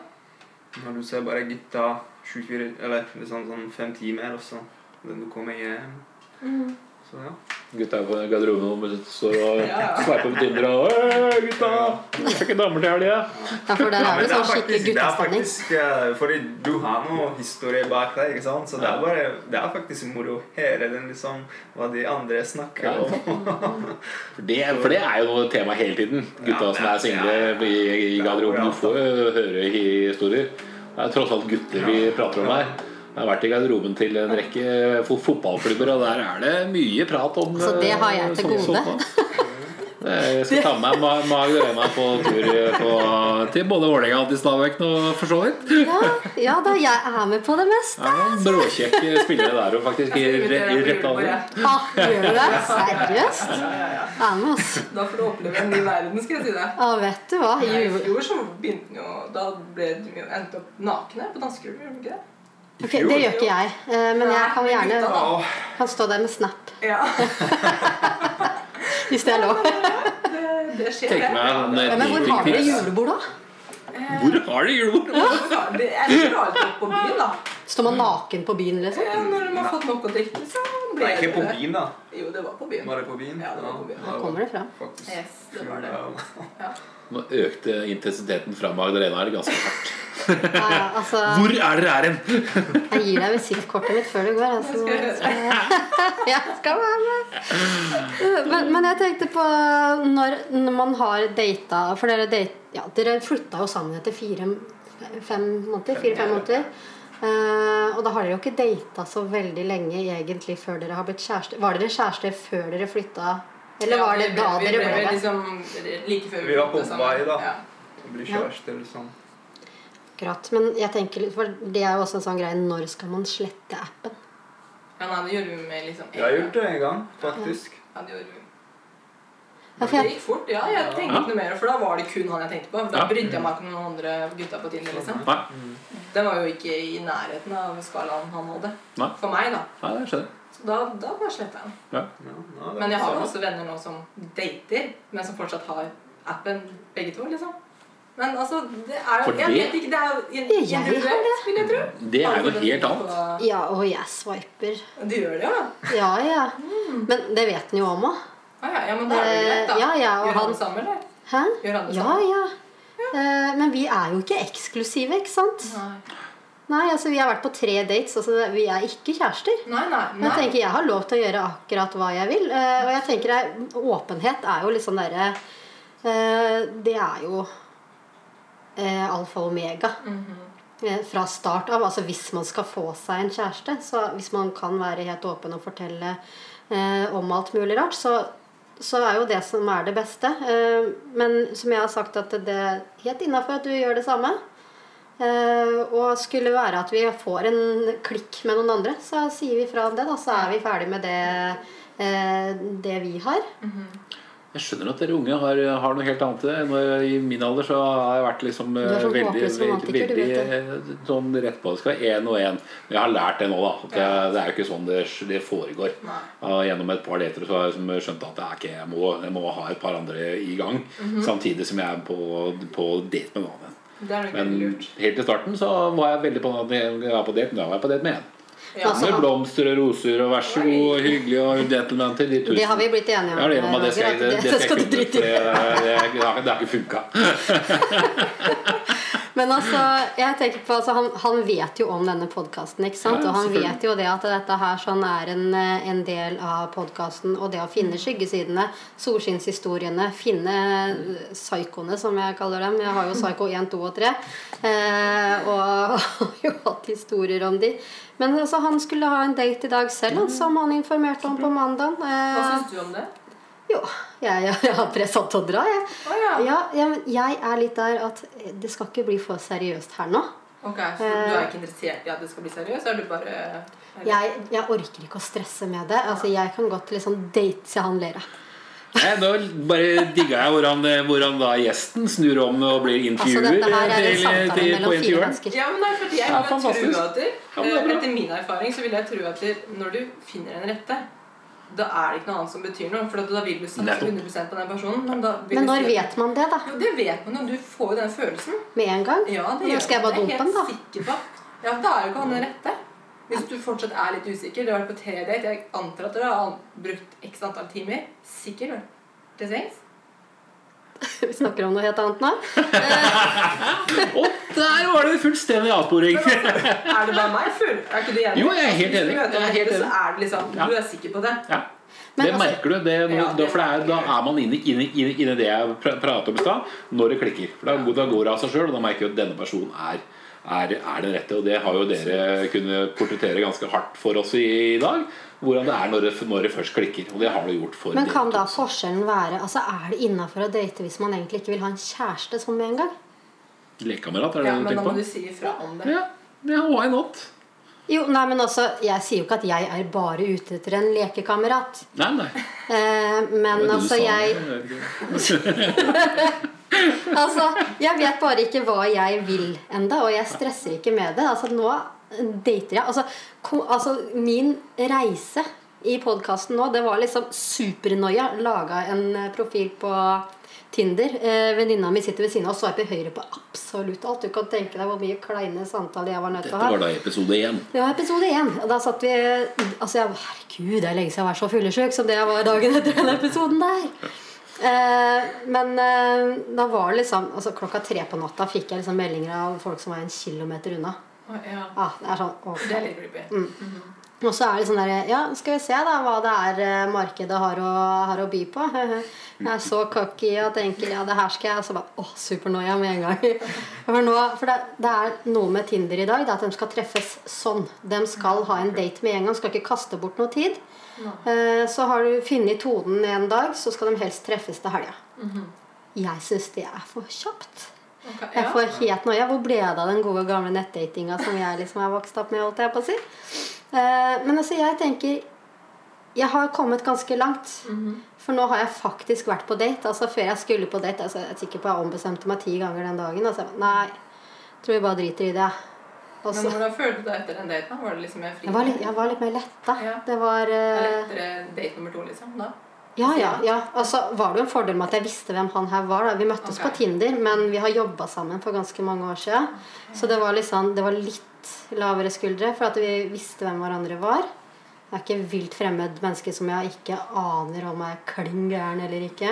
[SPEAKER 4] Når du ser bare gutta 24, eller liksom sånn fem timer, og så den du kommer hjem
[SPEAKER 2] Mm.
[SPEAKER 4] Så ja.
[SPEAKER 1] Gutta er på garderoben og står og
[SPEAKER 3] Ja.
[SPEAKER 1] sveiper på Tinder og «Øy, gutta! Jeg skal ikke damer til helga.
[SPEAKER 2] ja, for der
[SPEAKER 4] Ja,
[SPEAKER 2] er
[SPEAKER 4] men
[SPEAKER 2] det sånn skikkelig
[SPEAKER 4] det er
[SPEAKER 2] guttestemning.
[SPEAKER 4] faktisk eh, Fordi du har noe historie bak deg, ikke sant? Så det er, bare, det er faktisk moro å høre den, liksom, hva de andre snakker
[SPEAKER 1] Ja.
[SPEAKER 4] (laughs) om.
[SPEAKER 1] For det, for det er jo noe tema hele tiden. Gutta
[SPEAKER 4] Ja,
[SPEAKER 1] som er single
[SPEAKER 4] ja, ja.
[SPEAKER 1] i, i garderoben. Du
[SPEAKER 4] overalt,
[SPEAKER 1] får jo høre historier. Det er tross alt gutter vi prater om her. Jeg har vært i garderoben til en rekke fo- fotballklubber, og der er det mye prat om
[SPEAKER 2] Så det har jeg til
[SPEAKER 1] eh, sånn-
[SPEAKER 2] gode.
[SPEAKER 1] sånn. Eh, Jeg skal ta med meg Mag Røyna på tur på, til både Vålerenga og til Stabæk nå, for så vidt. Det
[SPEAKER 2] Ja, ja da, jeg er med på det meste.
[SPEAKER 1] er noen bråkjekke spillere der og faktisk i,
[SPEAKER 3] Jeg skal
[SPEAKER 1] re,
[SPEAKER 3] invitere
[SPEAKER 1] i
[SPEAKER 3] deg på
[SPEAKER 1] rett alder.
[SPEAKER 3] julebordet.
[SPEAKER 2] Ah, gjør du det? Seriøst?
[SPEAKER 3] Ja, ja, ja.
[SPEAKER 2] Er med oss.
[SPEAKER 3] Da får du oppleve en ny verden, skal jeg si deg.
[SPEAKER 2] Ah, vet du hva?
[SPEAKER 3] I
[SPEAKER 2] Jul...
[SPEAKER 3] fjor så begynte den jo Da ble de jo endt opp nakne på dansegulvet, gjorde de ikke det?
[SPEAKER 2] Ok, det gjør ikke jeg. eh, Men jeg kan
[SPEAKER 3] Nei,
[SPEAKER 2] gjerne
[SPEAKER 3] gutta,
[SPEAKER 4] Åh,
[SPEAKER 2] kan stå der med snap,
[SPEAKER 3] Ja,
[SPEAKER 2] hvis det er lov.
[SPEAKER 3] det, det skjer,
[SPEAKER 1] Tenk meg
[SPEAKER 3] det.
[SPEAKER 1] en
[SPEAKER 2] Ja, Men hvor har dere
[SPEAKER 1] datingtips.
[SPEAKER 2] julebord, da?
[SPEAKER 1] Hvor har dere julebord?
[SPEAKER 3] Det er ikke rart opp på byen, da.
[SPEAKER 2] Står man naken på byen, liksom?
[SPEAKER 3] Eh, Når de har fått nok å drikke, så ble
[SPEAKER 4] Nei, ikke på
[SPEAKER 3] det.
[SPEAKER 4] byen, da.
[SPEAKER 3] Jo, det var på byen.
[SPEAKER 4] Var det på byen?
[SPEAKER 3] Ja, det var på byen.
[SPEAKER 2] Her kommer det fram.
[SPEAKER 4] Faktisk.
[SPEAKER 3] Yes, det var det. Ja.
[SPEAKER 1] Nå økte intensiteten fra Magdalena her ganske hardt.
[SPEAKER 2] Ja, ja, altså,
[SPEAKER 1] Hvor er dere er hen?
[SPEAKER 2] jeg gir deg visittkortet mitt før du går.
[SPEAKER 3] Jeg skal gjøre
[SPEAKER 2] Altså.
[SPEAKER 3] det.
[SPEAKER 2] Jeg skal være med. Men, men jeg tenkte på når, når man har data For dere, date, ja, dere flytta jo sammen etter fire-fem måneder. Fire, måneder. Eh, og da har dere jo ikke data så veldig lenge egentlig før dere har blitt kjærester. Var dere kjærester før dere flytta? Eller
[SPEAKER 3] Ja,
[SPEAKER 2] var det
[SPEAKER 3] vi
[SPEAKER 2] da
[SPEAKER 3] vi
[SPEAKER 2] dere ble det?
[SPEAKER 3] liksom like før
[SPEAKER 4] Vi var på
[SPEAKER 3] flyttet sammen.
[SPEAKER 4] vei, da.
[SPEAKER 3] Ja.
[SPEAKER 4] Det blir kjæreste, liksom.
[SPEAKER 2] Akkurat. Men jeg tenker litt, for det er jo også en sånn greie Når skal man slette appen?
[SPEAKER 3] Ja, nei, det gjorde vi med liksom en
[SPEAKER 4] Jeg har
[SPEAKER 3] gang.
[SPEAKER 4] gjort det en gang, faktisk.
[SPEAKER 3] Ja, det gjorde vi.
[SPEAKER 2] Ja, for
[SPEAKER 3] Det
[SPEAKER 2] jeg,
[SPEAKER 3] gikk fort, ja. Jeg tenkte ikke noe mer, for da var det kun han jeg tenkte på. Da
[SPEAKER 1] Ja.
[SPEAKER 3] brydde jeg meg ikke om noen andre gutta på Tinder. liksom.
[SPEAKER 1] Nei,
[SPEAKER 4] Mm.
[SPEAKER 3] Den var jo ikke i nærheten av skalaen han hadde.
[SPEAKER 1] nei,
[SPEAKER 3] For meg, da.
[SPEAKER 1] nei det skjønner jeg.
[SPEAKER 3] Så da, da bare sletta jeg den.
[SPEAKER 4] Ja, ja, det
[SPEAKER 3] Men jeg har
[SPEAKER 4] var
[SPEAKER 3] jo også
[SPEAKER 4] sånn.
[SPEAKER 3] venner nå som dater, men som fortsatt har appen, begge to, liksom. Men altså, det er jo
[SPEAKER 1] For
[SPEAKER 3] Jeg
[SPEAKER 1] det-
[SPEAKER 3] vet ikke, det er jo
[SPEAKER 2] Ja, jeg har
[SPEAKER 3] individuelt, vil jeg tro.
[SPEAKER 1] Det er jo noe helt annet.
[SPEAKER 2] ja, og jeg swiper.
[SPEAKER 3] Du gjør det, ja?
[SPEAKER 2] Ja, ja. Men det vet den jo om òg.
[SPEAKER 3] Ah, ja, ja, men da er det greit, da.
[SPEAKER 2] Eh, ja, ja, og
[SPEAKER 3] Gjør han
[SPEAKER 2] han-
[SPEAKER 3] det samme, eller?
[SPEAKER 2] Hæ?
[SPEAKER 3] Gjør han det
[SPEAKER 2] Ja,
[SPEAKER 3] samme?
[SPEAKER 2] ja. Eh, Men vi er jo ikke eksklusive, ikke sant?
[SPEAKER 3] Nei.
[SPEAKER 2] Nei, altså Vi har vært på tre dates, altså vi er ikke kjærester.
[SPEAKER 3] Nei, nei.
[SPEAKER 2] Men jeg
[SPEAKER 3] nei.
[SPEAKER 2] tenker jeg har lov til å gjøre akkurat hva jeg vil. eh, Og jeg tenker eh, åpenhet er jo litt sånn derre eh, Det er jo eh, alfa og omega. Eh, Fra start av, altså hvis man skal få seg en kjæreste, så hvis man kan være helt åpen og fortelle eh, om alt mulig rart, så, så er jo det som er det beste. Eh, men som jeg har sagt, at det er helt innafor at du gjør det samme. Eh, og skulle være at vi får en klikk med noen andre, så sier vi fra om det, da. Så er vi ferdig med det, eh, det vi har.
[SPEAKER 1] Jeg skjønner at dere unge har, har noe helt annet. Når, I min alder så har jeg vært liksom
[SPEAKER 2] er sånn
[SPEAKER 1] eh, veldig,
[SPEAKER 2] håpløs romantiker,
[SPEAKER 1] veldig,
[SPEAKER 2] du vet
[SPEAKER 1] eh, sånn rett på. Det skal være én og én. Men jeg har lært det nå, da. At jeg, det er jo ikke sånn det, det foregår.
[SPEAKER 3] Nei.
[SPEAKER 1] Og gjennom et par dater så har jeg liksom skjønt at det er ikke, jeg, må, jeg må ha et par andre i gang. Samtidig som jeg er på, på date med en annen.
[SPEAKER 3] Det er nok
[SPEAKER 1] Men
[SPEAKER 3] veldig lurt.
[SPEAKER 1] helt til starten så var jeg veldig på at jeg var på date, men da var jeg på date med en.
[SPEAKER 3] Ja.
[SPEAKER 2] Altså,
[SPEAKER 1] Med blomster og roser og vær så god og hyggelig og gentleman til de tusen.
[SPEAKER 2] Det har vi blitt enige om. Eh,
[SPEAKER 1] Ja, det, er det, men det skal jeg,
[SPEAKER 2] (laughs) Roger,
[SPEAKER 1] det, det
[SPEAKER 2] at
[SPEAKER 1] skal jeg
[SPEAKER 2] skal du
[SPEAKER 1] kutte ut,
[SPEAKER 2] drite i.
[SPEAKER 1] for det, det, det har ikke funka.
[SPEAKER 2] Men altså, jeg tenker på altså, han, han vet jo om denne podkasten, ikke sant?
[SPEAKER 1] Ja,
[SPEAKER 2] og han
[SPEAKER 1] selvfølgelig.
[SPEAKER 2] vet jo det at dette her sånn er en, eh, en del av podkasten. Og det å finne skyggesidene, solskinnshistoriene, finne eh, psykoene, som jeg kaller dem. Jeg har jo psyko 1, 2 og 3. Eh, og (laughs) har jo hatt historier om de. Men altså, han skulle ha en date i dag selv, han, som han informerte om på mandag.
[SPEAKER 3] Hva
[SPEAKER 2] Eh,
[SPEAKER 3] syns du om det?
[SPEAKER 2] jo, jeg, jeg har pressa til å dra, jeg.
[SPEAKER 3] Å ja.
[SPEAKER 2] Ja, ja, men jeg er litt der at det skal ikke bli for seriøst her nå.
[SPEAKER 3] Ok, Så du
[SPEAKER 2] Eh.
[SPEAKER 3] er ikke interessert i at det skal bli seriøst? Er du bare eller-
[SPEAKER 2] Jeg, jeg orker ikke å stresse med det. Altså, Jeg kan godt liksom date seg han ler av.
[SPEAKER 1] Nei, Nå bare digga jeg hvordan, eh, hvordan da gjesten snur om og blir
[SPEAKER 2] Altså,
[SPEAKER 1] intervjuer.
[SPEAKER 2] dette her er en
[SPEAKER 1] til-
[SPEAKER 2] samtale
[SPEAKER 1] til- på
[SPEAKER 2] mellom fire
[SPEAKER 1] intervjueren.
[SPEAKER 2] mennesker.
[SPEAKER 3] Ja, men nei, fordi jeg
[SPEAKER 1] Ja,
[SPEAKER 3] vil tro
[SPEAKER 1] fantastisk.
[SPEAKER 3] at eh,
[SPEAKER 1] Ja, men det er bra.
[SPEAKER 3] Etter min erfaring så vil jeg tro at når du finner en rette da er det ikke noe annet som betyr noe. For at da vil du satse
[SPEAKER 1] Nettopp.
[SPEAKER 3] 100 på den personen. Men, da vil
[SPEAKER 2] Men
[SPEAKER 3] du
[SPEAKER 2] når
[SPEAKER 3] si-
[SPEAKER 2] vet man det, da?
[SPEAKER 3] Jo, det vet man jo. Du får jo den følelsen.
[SPEAKER 2] Med en gang?
[SPEAKER 3] Ja, det
[SPEAKER 2] Nå
[SPEAKER 3] gjør
[SPEAKER 2] skal jeg bare
[SPEAKER 3] man. Det
[SPEAKER 2] dumpe
[SPEAKER 3] er
[SPEAKER 2] den, da.
[SPEAKER 3] helt sikker på. Ja, da er jo ikke han den rette. Hvis du fortsatt er litt usikker Du har vært på T-date. Jeg antar at dere har an- brukt x antall timer. Sikker, du. Det trengs.
[SPEAKER 2] (laughs) Vi snakker om noe helt annet nå.
[SPEAKER 1] Og der var det fullstendig avsporing!
[SPEAKER 3] Men altså, er det bare meg? Føler Er ikke du enig?
[SPEAKER 1] Jo, jeg er helt
[SPEAKER 3] Hvis du
[SPEAKER 1] enig.
[SPEAKER 3] møter
[SPEAKER 1] Jeg er
[SPEAKER 3] en
[SPEAKER 1] helt enig.
[SPEAKER 3] rette, Så er det liksom
[SPEAKER 1] Ja.
[SPEAKER 3] Du er sikker på det.
[SPEAKER 1] Ja.
[SPEAKER 2] Men
[SPEAKER 1] det
[SPEAKER 2] altså-
[SPEAKER 1] merker du. Det, er noe-
[SPEAKER 3] Ja, det
[SPEAKER 1] da, for det er, da
[SPEAKER 3] merker jeg.
[SPEAKER 1] er man inne, inne, inne, inne i det jeg pra- pratet om i stad, når det klikker. For da, da går det av seg sjøl, og da merker du at denne personen er, er, er den rette. Og det har jo dere kunnet portrettere ganske hardt for oss i, i dag. Hvordan det er når det, når det først klikker. Og det har du gjort for
[SPEAKER 2] Men
[SPEAKER 1] dere
[SPEAKER 2] kan
[SPEAKER 1] to.
[SPEAKER 2] da forskjellen være Altså, Er det innafor å date hvis man egentlig ikke vil ha en kjæreste sånn med en gang?
[SPEAKER 1] Lekekamerat, er det
[SPEAKER 3] Ja,
[SPEAKER 1] det du
[SPEAKER 3] men da
[SPEAKER 1] tenker
[SPEAKER 3] må du
[SPEAKER 1] på?
[SPEAKER 3] si ifra om
[SPEAKER 2] Mm.
[SPEAKER 3] det.
[SPEAKER 1] Ja, ja, why not?
[SPEAKER 2] Jo, nei, men også, Jeg sier jo ikke at jeg er bare ute etter en lekekamerat.
[SPEAKER 1] Nei, nei.
[SPEAKER 2] Eh, men
[SPEAKER 1] Det var det du
[SPEAKER 2] altså,
[SPEAKER 1] sa.
[SPEAKER 2] jeg Altså, Jeg vet bare ikke hva jeg vil enda, og jeg stresser ikke med det. Altså, Nå dater jeg. Altså, ko- altså min reise i podkasten nå, det var liksom supernoia. Laga en eh, profil på Tinder. Eh, Venninna mi sitter ved siden av og sveiper høyre på absolutt alt. Du kan tenke deg hvor mye kleine samtaler jeg var nødt til
[SPEAKER 1] Dette
[SPEAKER 2] å ha.
[SPEAKER 1] var da episode én.
[SPEAKER 2] Det var episode én. Og da satt vi Altså, jeg, herregud, det er lenge siden jeg har vært så fyllesyk som det jeg var dagen etter den episoden der. Eh, men eh, da var det liksom altså, Klokka tre på natta fikk jeg liksom meldinger av folk som var en kilometer unna.
[SPEAKER 3] Å, Ja.
[SPEAKER 2] Ah, det er sånn, å,
[SPEAKER 3] Det er litt creepy.
[SPEAKER 2] Mm. og så er det sånn der Ja, skal vi se da hva det er eh, markedet har å, har å by på. (laughs) Jeg er så cocky og tenker ja, det her skal jeg. Og så bare åh, supernoia med en gang. (laughs) For, nå, for det, det er noe med Tinder i dag, det er at de skal treffes sånn. De skal ha en date med en gang, skal ikke kaste bort noe tid. Eh, Så har du funnet tonen en dag, så skal de helst treffes til helga. Jeg syns det er for kjapt.
[SPEAKER 3] Ok,
[SPEAKER 2] Jeg
[SPEAKER 3] ja.
[SPEAKER 2] får helt noia. Hvor ble det av den gode gamle nettdatinga som jeg liksom er vokst opp med? holdt jeg på å si Eh, Men altså, jeg tenker Jeg har kommet ganske langt.
[SPEAKER 3] Mhm.
[SPEAKER 2] For nå har jeg faktisk vært på date. Altså Før jeg skulle på date, altså, jeg er sikker på jeg ombestemte meg ti ganger den dagen. Altså, nei, tror vi bare driter i det. Og
[SPEAKER 3] Men
[SPEAKER 2] så,
[SPEAKER 3] hvordan følte du deg etter den daten? Var det liksom mer fri?
[SPEAKER 2] jeg, var litt, jeg var litt mer letta.
[SPEAKER 3] Ja.
[SPEAKER 2] Det var eh,
[SPEAKER 3] Etter date nummer to, liksom? Da?
[SPEAKER 2] Ja, ja. ja. Altså, var det jo en fordel med at jeg visste hvem han her var. Da. Vi møttes
[SPEAKER 3] Ok.
[SPEAKER 2] på Tinder, men vi har jobba sammen for ganske mange år siden. Så det var, liksom, det var litt lavere skuldre, for at vi visste hvem hverandre var. Jeg er ikke vilt fremmed menneske som jeg ikke aner om er klin gæren eller ikke.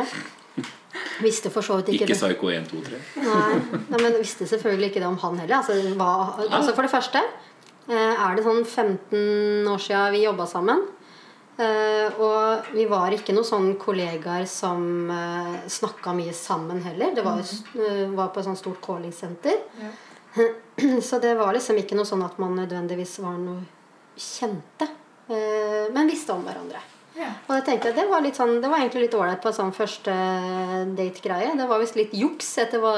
[SPEAKER 2] Visste for så vidt ikke,
[SPEAKER 1] Ikke
[SPEAKER 2] det.
[SPEAKER 1] Psycho 1, 2, 3.
[SPEAKER 2] Nei. Nei, men visste selvfølgelig ikke det om han heller. Altså, hva, altså For det første eh, er det sånn 15 år siden vi jobba sammen. Eh, og vi var ikke noen sånne kollegaer som uh, snakka mye sammen heller. Det var, jo s- eh, var på et sånt stort callingsenter.
[SPEAKER 3] Ja.
[SPEAKER 2] (clears throat) Så det var liksom ikke noe sånn at man nødvendigvis var noe kjente. eh, men visste om hverandre.
[SPEAKER 3] Ja.
[SPEAKER 2] Og jeg tenkte at det var, litt sånn, det var egentlig litt ålreit på en sånn første date-greie. Det var visst litt juks etter hva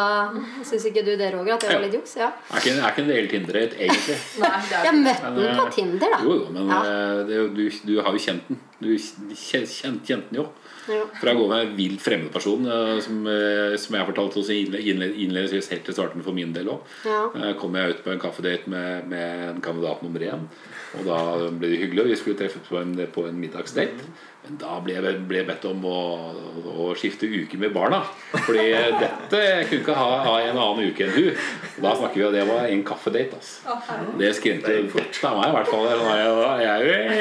[SPEAKER 2] Syns ikke du det, Roger? At det var litt juks? Ja.
[SPEAKER 1] Er ikke, er ikke en del Tinder et egentlig?
[SPEAKER 3] Nei,
[SPEAKER 2] (laughs)
[SPEAKER 3] det er
[SPEAKER 2] Jeg møtte den på Tinder, da.
[SPEAKER 1] Jo, jo, men
[SPEAKER 2] Ja.
[SPEAKER 1] eh, det, er jo- du, du har jo kjent den. Du kje- kjent, kjent den jo.
[SPEAKER 2] Jo.
[SPEAKER 1] Fra å gå med en vill fremmedperson, eh, som, eh, som jeg fortalte oss i innle- innle- innledningsvis helt til starten for min del òg,
[SPEAKER 2] Ja.
[SPEAKER 1] Eh, kom jeg ut på en kaffedate med, med en kandidat nummer én. Og da ble det hyggelig, og vi skulle treffes på en, på en middagsdate. Men da ble jeg ble jeg bedt om å, å skifte uke med barna. Fordi dette jeg kunne ikke ha, ha en annen uke enn hun. Og Da snakker vi om det var en kaffedate. Altså.
[SPEAKER 3] Å, herregud.
[SPEAKER 1] Det skremte godt av meg, i hvert fall. Da er jeg- Da er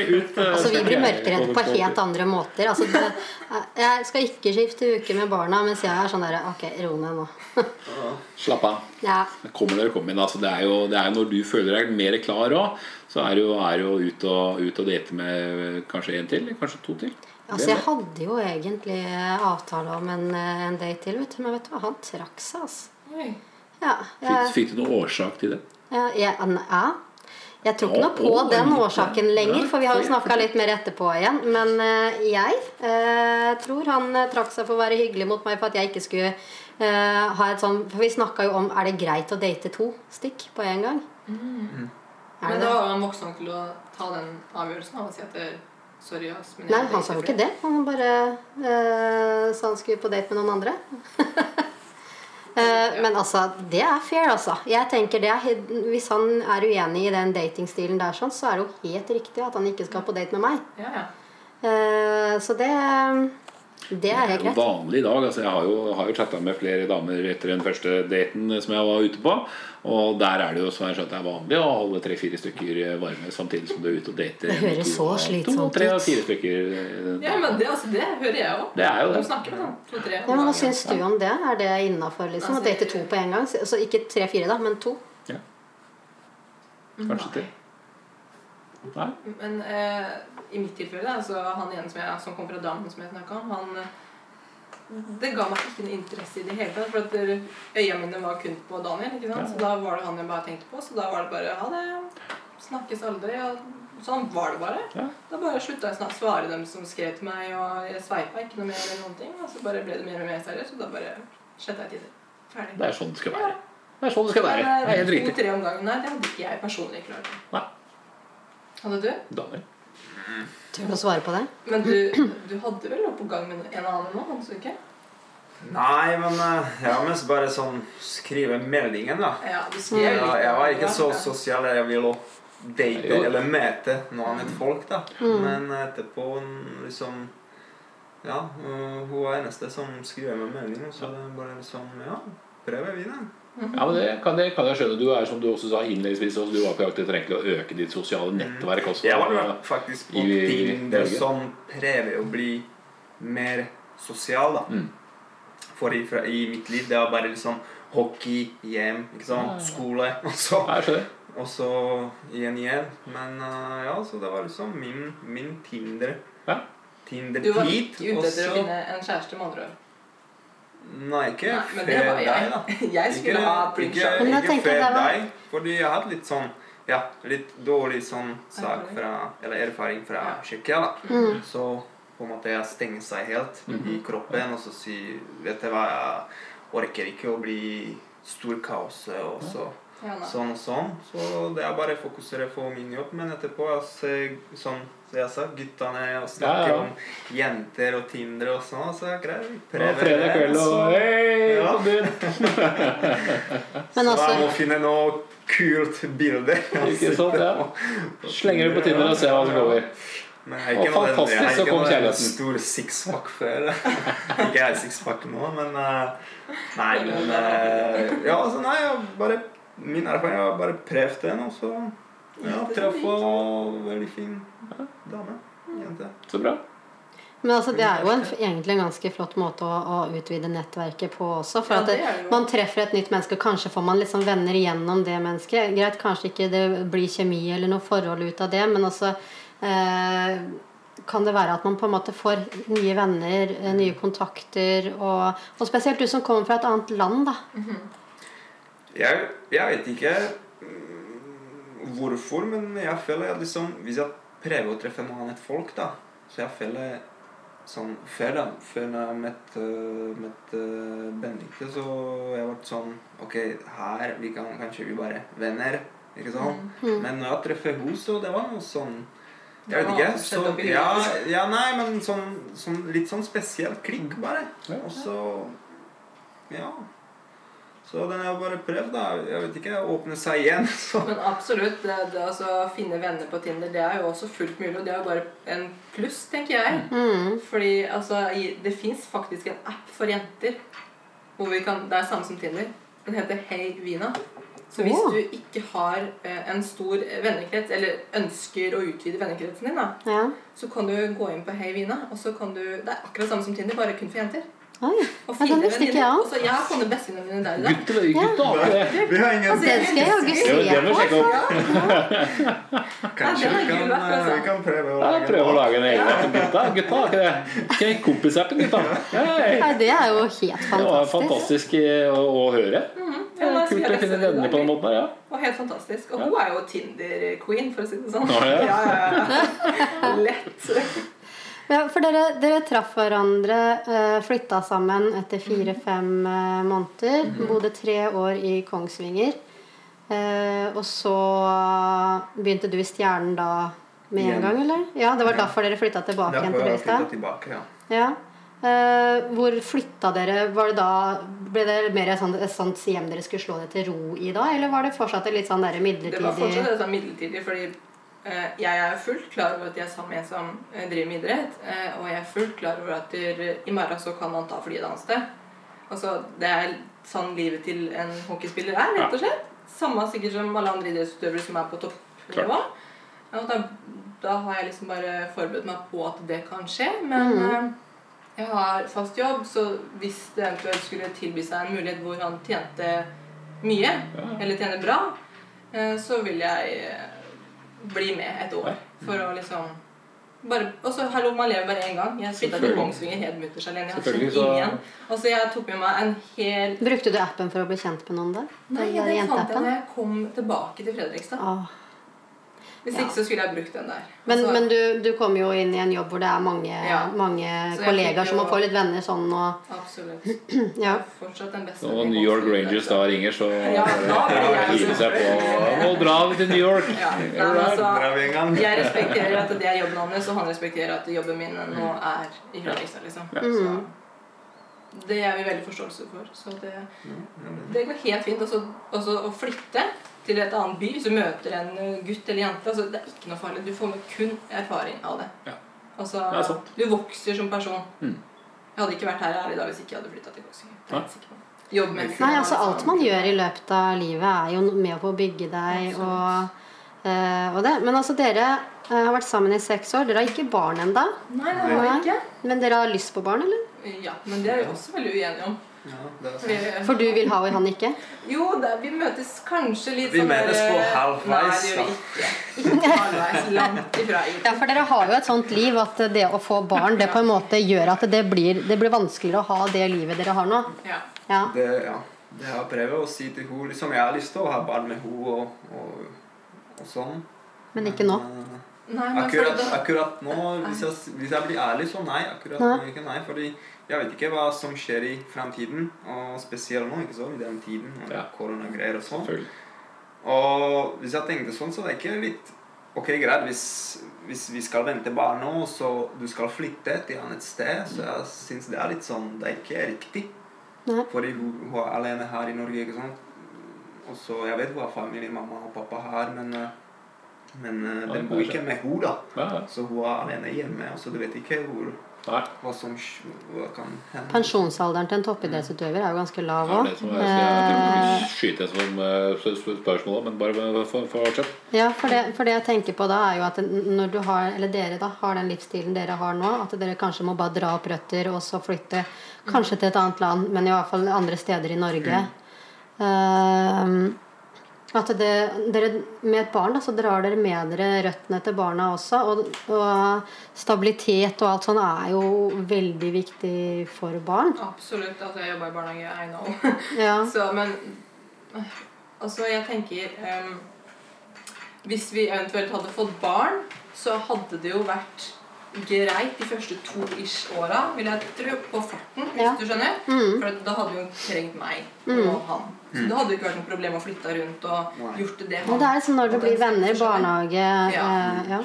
[SPEAKER 1] jeg jo ut eh,
[SPEAKER 2] Altså, vi blir mørkere enn på helt andre måter. Altså, det, jeg skal ikke skifte uke med barna mens jeg er sånn der Ok, ro ned nå.
[SPEAKER 1] Slapp av.
[SPEAKER 2] Ja.
[SPEAKER 1] Det kommer når det kommer. men Altså, det, er jo, det er jo når du føler deg mer klar òg, så er det jo, er det jo ut, og, ut og date med kanskje én til, kanskje to til.
[SPEAKER 2] Altså, jeg hadde jo egentlig avtale om en, en date til, vet du. Men vet du hva, han trakk seg, altså.
[SPEAKER 3] Oi.
[SPEAKER 2] Ja,
[SPEAKER 1] fikk,
[SPEAKER 2] jeg,
[SPEAKER 1] fikk du noen årsak til det?
[SPEAKER 2] ja, jeg, ja. jeg tror ikke noe på
[SPEAKER 1] Å, å,
[SPEAKER 2] den
[SPEAKER 1] en liten-
[SPEAKER 2] årsaken lenger,
[SPEAKER 1] Nei,
[SPEAKER 2] for vi har jo
[SPEAKER 1] for-
[SPEAKER 2] snakka litt mer etterpå igjen. Men eh, jeg eh, tror han eh, trakk seg for å være hyggelig mot meg for at jeg ikke skulle eh, ha et sånn For vi snakka jo om er det greit å date to stykk på én gang. Er
[SPEAKER 3] Men
[SPEAKER 2] det?
[SPEAKER 3] da var han voksen nok til å ta den avgjørelsen av å si at det, sorry, ass. Men jeg
[SPEAKER 2] Nei,
[SPEAKER 3] vil
[SPEAKER 2] han sa jo
[SPEAKER 3] bli
[SPEAKER 2] ikke det. Han bare eh, sa han skulle på date med noen andre. (laughs) Eh, Men altså, det er fair, altså. Jeg tenker det er, helt- Hvis han er uenig i den datingstilen der, sånn, så er det jo helt riktig at han ikke skal på date med meg.
[SPEAKER 3] Ja, ja.
[SPEAKER 2] Eh, Så det Det er helt greit.
[SPEAKER 1] vanlig i dag. Altså, jeg har jo, har jo chatta med flere damer etter den første daten som jeg var ute på. Og der er det jo sånn at det er vanlig å holde tre-fire stykker eh, varme samtidig som du er ute og dater.
[SPEAKER 2] Det høres
[SPEAKER 1] To-
[SPEAKER 2] så slitsomt
[SPEAKER 1] To, tre og
[SPEAKER 2] ut.
[SPEAKER 1] fire stykker. eh,
[SPEAKER 3] ja men det, altså, det hører jeg òg.
[SPEAKER 1] Det er jo
[SPEAKER 3] De
[SPEAKER 1] det.
[SPEAKER 3] snakker med sånn to-tre.
[SPEAKER 2] Ja, men Hva syns du om det? Er det innafor liksom, å date to på en gang? Så altså, ikke tre-fire, da, men to?
[SPEAKER 3] Mm.
[SPEAKER 1] Kanskje til. Nei.
[SPEAKER 3] Men eh, i mitt tilfelle, da, så han ene som, jeg, som kom fra Drammen, som jeg snakka om, han eh, Det ga meg ikke noe interesse i det hele tatt. For at eh, øya mine var kun på Daniel, ikke sant?
[SPEAKER 1] Ja.
[SPEAKER 3] så da var det han jeg bare tenkte på. Så da var det bare ha det. Snakkes aldri. Og sånn var det bare.
[SPEAKER 1] Ja.
[SPEAKER 3] Da bare slutta jeg snart å svare dem som skrev til meg, og jeg sveipa ikke noe mer eller noen ting. Og så bare ble det mer og mer seriøst, og da bare sletta jeg tider. Ferdig.
[SPEAKER 1] Det er sånn det skal være. Det er sånn det skal være. Det er helt riktig.
[SPEAKER 3] eh, To-tre om gangen her, det hadde ikke jeg personlig klart.
[SPEAKER 1] Nei.
[SPEAKER 3] Hadde du?
[SPEAKER 1] Daniel.
[SPEAKER 2] Tør du å svare på det?
[SPEAKER 3] Men du, du hadde vel noe på gang med en annen nå, hadde du ikke?
[SPEAKER 4] Nei, men eh, jeg var mest bare sånn skrive meldingen, da.
[SPEAKER 3] Ja, du skrev
[SPEAKER 4] Jeg,
[SPEAKER 3] litt.
[SPEAKER 4] jeg var ikke så sosial. Jeg ville også date
[SPEAKER 1] Jo.
[SPEAKER 4] eller møte noe annet folk, da.
[SPEAKER 2] Mm.
[SPEAKER 4] Men eh, etterpå liksom Ja, øh, hun var eneste som skrev meg melding, så det er bare liksom Ja, prøver vi det.
[SPEAKER 1] Ja, men det kan, det kan jeg skjønne. Du er som du også sa innledningsvis, også, du var på jakt etter egentlig å øke ditt sosiale nettverk også.
[SPEAKER 4] Jeg var faktisk på
[SPEAKER 1] I- i
[SPEAKER 4] Tinder
[SPEAKER 1] Norge.
[SPEAKER 4] som prøver å bli mer sosial, da.
[SPEAKER 1] Mm.
[SPEAKER 4] For i, fra, i mitt liv det var bare liksom hockey, hjem, ikke
[SPEAKER 1] Ja, ja.
[SPEAKER 3] Mm.
[SPEAKER 4] sant? skole (laughs) og så
[SPEAKER 1] Ja, jeg skjønner.
[SPEAKER 4] Og så igjen igjen. Men eh, ja, så det var liksom min, min Tinder.
[SPEAKER 1] Ja.
[SPEAKER 4] Tinder
[SPEAKER 3] Du var
[SPEAKER 4] tid,
[SPEAKER 3] ikke ute
[SPEAKER 4] og
[SPEAKER 3] etter å
[SPEAKER 4] så-
[SPEAKER 3] finne en kjæreste, med andre ord.
[SPEAKER 4] Nei, ikke
[SPEAKER 3] Nei, men det
[SPEAKER 4] før
[SPEAKER 3] var jeg.
[SPEAKER 4] deg, da.
[SPEAKER 3] (laughs) Jeg skulle
[SPEAKER 4] Ikke,
[SPEAKER 3] ha
[SPEAKER 4] ikke,
[SPEAKER 3] prinsen.
[SPEAKER 2] Men da
[SPEAKER 4] ikke
[SPEAKER 2] tenkte jeg
[SPEAKER 4] før
[SPEAKER 2] det var-
[SPEAKER 4] deg, fordi jeg hadde litt sånn ja, litt dårlig sånn sak fra, eller erfaring fra
[SPEAKER 3] Ja.
[SPEAKER 4] Tsjekkia. da.
[SPEAKER 2] Mm.
[SPEAKER 4] Så på en måte jeg stenger seg helt i
[SPEAKER 1] Mhm.
[SPEAKER 4] kroppen og så sier Vet du hva, jeg orker ikke å bli stor kaos eh, og så
[SPEAKER 3] Ja, nei.
[SPEAKER 4] sånn og sånn. Så det er bare å fokusere på min jobb. Men etterpå jeg ser, sånn som jeg sa, guttene og snakker
[SPEAKER 1] Ja, ja.
[SPEAKER 4] om jenter og Tinder og sånn. Så jeg greier vi
[SPEAKER 1] Det var
[SPEAKER 4] prøver
[SPEAKER 1] fredag kveld,
[SPEAKER 4] det,
[SPEAKER 1] og
[SPEAKER 4] så-
[SPEAKER 1] hei!
[SPEAKER 4] Ja.
[SPEAKER 1] kom igjen.
[SPEAKER 2] Men
[SPEAKER 4] så jeg
[SPEAKER 2] altså
[SPEAKER 4] må finne noe kult bilde.
[SPEAKER 1] (laughs) Ikke sant, ja. Slenger det på Tinder og ser hva som kommer.
[SPEAKER 4] Men jeg er ikke
[SPEAKER 1] Og
[SPEAKER 4] noe-
[SPEAKER 1] fantastisk,
[SPEAKER 4] jeg er
[SPEAKER 1] så
[SPEAKER 4] ikke
[SPEAKER 1] kom
[SPEAKER 4] noe
[SPEAKER 1] kjærligheten.
[SPEAKER 4] Stor sixpack før. (laughs) ikke jeg er sixpack nå, men eh, Nei, men eh, Ja, altså, nei, jeg bare Min erfaring var bare prøv den, og så ja, traff hun veldig fin dame. Jente.
[SPEAKER 1] Så bra.
[SPEAKER 2] Men altså, det er jo en, egentlig en ganske flott måte å, å utvide nettverket på også. For
[SPEAKER 3] Ja,
[SPEAKER 2] at
[SPEAKER 3] det
[SPEAKER 2] det,
[SPEAKER 3] er det jo.
[SPEAKER 2] man treffer et nytt menneske, og kanskje får man liksom venner gjennom det mennesket. Greit, kanskje ikke det blir kjemi eller noe forhold ut av det, men altså eh, kan det være at man på en måte får nye venner, eh, nye kontakter, og, og spesielt du som kommer fra et annet land, da.
[SPEAKER 4] Jeg, jeg vet ikke mm, hvorfor, men jeg føler at liksom Hvis jeg prøver å treffe noe annet folk, da, så jeg føler sånn Før da, før jeg møtte møtte eh, Benedicte, så jeg ble sånn Ok, her vi kan kanskje vi bare venner, ikke sant? Men når jeg treffer henne, så det var noe sånn jeg vet
[SPEAKER 3] Det var
[SPEAKER 4] ikke.
[SPEAKER 3] noe som
[SPEAKER 4] Så,
[SPEAKER 3] skjedde oppi
[SPEAKER 4] ja,
[SPEAKER 3] huet.
[SPEAKER 4] ja, nei, men sånn, sånn litt sånn spesiell klikk, bare. Og så Ja. Så den har jeg bare prøvd, da. Jeg vet ikke, åpne seg igjen, (laughs) så
[SPEAKER 3] Men absolutt, det, det å så finne venner på Tinder, det er jo også fullt mulig, og det er jo bare en pluss, tenker jeg.
[SPEAKER 2] Mm,
[SPEAKER 3] Fordi altså, i- det fins faktisk en app for jenter hvor vi kan Det er samme som Tinder. Den heter Hey Vina. Så hvis
[SPEAKER 2] Åh.
[SPEAKER 3] du ikke har eh, en stor vennekrets, eller ønsker å utvide vennekretsen din, da,
[SPEAKER 2] Ja.
[SPEAKER 3] så kan du gå inn på Hey Vina, og så kan du Det er akkurat samme som Tinder, bare kun for jenter.
[SPEAKER 2] Oi. Ja,
[SPEAKER 3] Og
[SPEAKER 2] den
[SPEAKER 3] fine
[SPEAKER 2] visste ikke jeg
[SPEAKER 3] venninner.
[SPEAKER 2] om.
[SPEAKER 3] Og så jeg har funnet bestevenninne mine der i dag.
[SPEAKER 1] Gutter, gutter har ikke det.
[SPEAKER 4] Vi har ingen
[SPEAKER 2] Og den skal jeg jaggu
[SPEAKER 1] Jo, det må
[SPEAKER 2] se
[SPEAKER 1] jeg
[SPEAKER 2] på.
[SPEAKER 1] sjekke opp.
[SPEAKER 4] Kanskje
[SPEAKER 3] Ja, den
[SPEAKER 4] vi
[SPEAKER 3] er
[SPEAKER 4] kan,
[SPEAKER 3] gul, altså.
[SPEAKER 4] eh, vi kan prøve å
[SPEAKER 1] Ja,
[SPEAKER 4] lage
[SPEAKER 1] prøve å
[SPEAKER 4] en app.
[SPEAKER 1] lage en egen app. Gutta, gutta har ikke det. Okay, Kompisappen, gutta. Hei.
[SPEAKER 2] Nei, det er jo helt
[SPEAKER 1] Det var
[SPEAKER 2] fantastisk.
[SPEAKER 1] fantastisk eh, å, å høre.
[SPEAKER 3] Ja,
[SPEAKER 1] Ja,
[SPEAKER 3] da skal
[SPEAKER 1] kult
[SPEAKER 3] jeg
[SPEAKER 1] å finne
[SPEAKER 3] lese den i
[SPEAKER 1] venner
[SPEAKER 3] dag.
[SPEAKER 1] på den måten her, ja.
[SPEAKER 3] Og helt fantastisk. Og hun er jo Tinder-queen, for å si det sånn.
[SPEAKER 1] Ja, ja.
[SPEAKER 3] ja, ja. (laughs) Lett.
[SPEAKER 2] Ja, for dere, dere traff hverandre, eh, flytta sammen etter fire-fem eh, måneder. Bodde tre år i Kongsvinger. Eh, og så begynte du i Stjernen da med en
[SPEAKER 4] Igjen.
[SPEAKER 2] gang, eller? Ja, det var derfor dere flytta tilbake igjen
[SPEAKER 4] Derfor
[SPEAKER 2] til
[SPEAKER 4] har jeg
[SPEAKER 2] Bøystad?
[SPEAKER 4] flyttet tilbake, ja.
[SPEAKER 2] Ja. Eh, hvor flytta dere? Var det da, Ble det mer et sånt, et sånt hjem dere skulle slå dere til ro i da, eller var det fortsatt et litt sånn der midlertidig
[SPEAKER 3] Det var fortsatt det sånn midlertidig, fordi eh, jeg er fullt klar over at jeg er sammen med en som eh, driver med idrett, eh, og jeg er fullt klar over at der, eh, i morgen så kan man ta fly et annet sted. Altså, det er sånn livet til en hockeyspiller er, rett og slett. Samme sikkert som alle andre idrettsutøvere som er på toppnivå. Og da, da har jeg liksom bare forberedt meg på at det kan skje, men eh, jeg har fast jobb, så hvis det eventuelt skulle tilby seg en mulighet hvor han tjente mye, eller tjener bra, eh, så vil jeg eh, bli med et år. For å liksom bare, og så hallo, man lever bare én gang. Jeg flytta til
[SPEAKER 1] Selvfølgelig.
[SPEAKER 3] Kongsvinger helt mutters alene. Jeg har
[SPEAKER 1] Selvfølgelig,
[SPEAKER 3] kjent
[SPEAKER 1] så-
[SPEAKER 3] ingen. Og så jeg tok med meg en hel
[SPEAKER 2] Brukte du appen for å bli kjent med noen der?
[SPEAKER 3] Nei,
[SPEAKER 2] Den der
[SPEAKER 3] det fant jeg
[SPEAKER 2] jenteappen?
[SPEAKER 3] når jeg kom tilbake til Fredrikstad.
[SPEAKER 2] Åh.
[SPEAKER 3] Hvis
[SPEAKER 2] Ah, Ja.
[SPEAKER 3] ikke så skulle jeg brukt den der.
[SPEAKER 2] Men,
[SPEAKER 3] Altså,
[SPEAKER 2] men du, du kommer jo inn i en jobb hvor det er mange,
[SPEAKER 3] Ja.
[SPEAKER 2] mange
[SPEAKER 3] Så jeg
[SPEAKER 2] kollegaer
[SPEAKER 3] fikk
[SPEAKER 2] som må
[SPEAKER 3] jo-
[SPEAKER 2] få litt venner sånn og
[SPEAKER 3] Absolutt.
[SPEAKER 2] ja.
[SPEAKER 3] Fortsatt den beste.
[SPEAKER 1] Og New York Rangers da ringer, så
[SPEAKER 3] Ja, da blir jeg
[SPEAKER 1] hiver seg på.
[SPEAKER 3] selvfølgelig-
[SPEAKER 1] Nå drar vi til New York.
[SPEAKER 3] Ja, nei, men
[SPEAKER 1] Alright.
[SPEAKER 3] altså,
[SPEAKER 4] Drar vi en gang?
[SPEAKER 3] jeg respekterer at det er jobben hans, og han respekterer at jobben min nå er i Fredrikstad. Liksom.
[SPEAKER 2] Mm.
[SPEAKER 3] Så, det er vi veldig forståelse for. Så det, det går helt fint. Og så- Og så å flytte til et annet by hvis du møter en eh, gutt eller jente altså, Det er ikke noe farlig. Du får kun erfaring av det.
[SPEAKER 1] Ja.
[SPEAKER 3] Altså,
[SPEAKER 1] Det er sant.
[SPEAKER 3] du vokser som person.
[SPEAKER 1] Mm.
[SPEAKER 3] Jeg hadde ikke vært her jeg er i dag hvis ikke jeg hadde flytta til Kongsvinger. Det er jeg
[SPEAKER 1] Nei.
[SPEAKER 3] helt sikker på. Jobbmessig.
[SPEAKER 2] Nei, altså alt man gjør i løpet av livet, er jo med på å bygge deg og, eh, og det. Men altså, dere eh, har vært sammen i seks år. Dere har ikke barn ennå.
[SPEAKER 3] Nei, det har vi ikke.
[SPEAKER 2] Men dere har lyst på barn, eller?
[SPEAKER 3] Ja, men det er vi også veldig uenige om.
[SPEAKER 4] Ja, det er sant.
[SPEAKER 3] Fordi-
[SPEAKER 2] For du vil ha og han ikke?
[SPEAKER 3] Jo, da, vi møtes kanskje litt
[SPEAKER 4] Vi
[SPEAKER 3] sånn
[SPEAKER 4] møtes
[SPEAKER 3] der-
[SPEAKER 4] på halvveis,
[SPEAKER 3] Nei, det gjør vi ikke. Ikke halvveis. Langt ifra.
[SPEAKER 2] Ja, for dere har jo et sånt liv at det å få barn det på en måte gjør at det blir, det blir vanskeligere å ha det livet dere har nå.
[SPEAKER 3] Ja.
[SPEAKER 2] Ja.
[SPEAKER 4] Det, ja. det jeg prøver å si til henne liksom, Jeg har lyst til å ha barn med henne og, og, og sånn.
[SPEAKER 2] Men ikke nå.
[SPEAKER 4] eh,
[SPEAKER 3] Nei, men for
[SPEAKER 4] Akkurat,
[SPEAKER 3] da, Ah.
[SPEAKER 4] akkurat nå, hvis jeg, hvis jeg blir ærlig, så nei. akkurat
[SPEAKER 2] Nei.
[SPEAKER 4] nå ikke nei, fordi jeg vet ikke hva som skjer i fremtiden, og spesielt nå, ikke så, i den tiden, og
[SPEAKER 1] Ja.
[SPEAKER 4] koronagreier og sånn.
[SPEAKER 1] Selvfølgelig.
[SPEAKER 4] Og hvis jeg tenkte sånn, så er det ikke litt Ok, greit, hvis, hvis vi skal vente bare nå, så du skal flytte til annet sted, så jeg syns det er litt sånn Det er ikke riktig.
[SPEAKER 2] Nei.
[SPEAKER 4] Fordi hun, hun er alene her i Norge, ikke sant. Og så Jeg vet hun har familie, mamma og pappa her, men eh, men eh,
[SPEAKER 1] Ja,
[SPEAKER 4] den
[SPEAKER 1] det
[SPEAKER 4] bor
[SPEAKER 1] er
[SPEAKER 4] ikke med henne, da.
[SPEAKER 1] Ja, ja.
[SPEAKER 4] Så hun er alene hjemme, så du vet ikke hvor,
[SPEAKER 1] Nei.
[SPEAKER 4] hva som sk- hva kan hende.
[SPEAKER 2] Pensjonsalderen til en toppidrettsutøver er jo ganske
[SPEAKER 1] Det
[SPEAKER 2] lav
[SPEAKER 1] er
[SPEAKER 2] òg.
[SPEAKER 1] det som er, så jeg skyter jeg som eh, s- s- spørsmål, men bare for- fortsett.
[SPEAKER 2] Ja, for det, for det jeg tenker på da, er jo at n- når du har, eller dere da, har den livsstilen dere har nå, at dere kanskje må bare dra opp røtter og så flytte kanskje til et annet land, men i hvert fall andre steder i Norge.
[SPEAKER 3] Mm.
[SPEAKER 2] Ehm, at det, dere med et barn da, så drar dere med dere røttene til barna også. Og, og stabilitet og alt sånn er jo veldig viktig for barn.
[SPEAKER 3] absolutt. Altså, jeg jobber i barnehage, I know.
[SPEAKER 2] Ja.
[SPEAKER 3] Så, men Altså, jeg tenker em, Hvis vi eventuelt hadde fått barn, så hadde det jo vært greit de første to ish åra, vil jeg tro, på farten, hvis
[SPEAKER 2] Ja.
[SPEAKER 3] du skjønner.
[SPEAKER 2] Mm.
[SPEAKER 3] For at da hadde hun trengt meg og han. Så det hadde jo ikke vært noe problem å flytte rundt og
[SPEAKER 4] Mm. Nei.
[SPEAKER 3] gjort det
[SPEAKER 2] Men
[SPEAKER 3] han
[SPEAKER 2] det er liksom når det blir venner, barnehage
[SPEAKER 3] Ja.
[SPEAKER 2] eh, ja.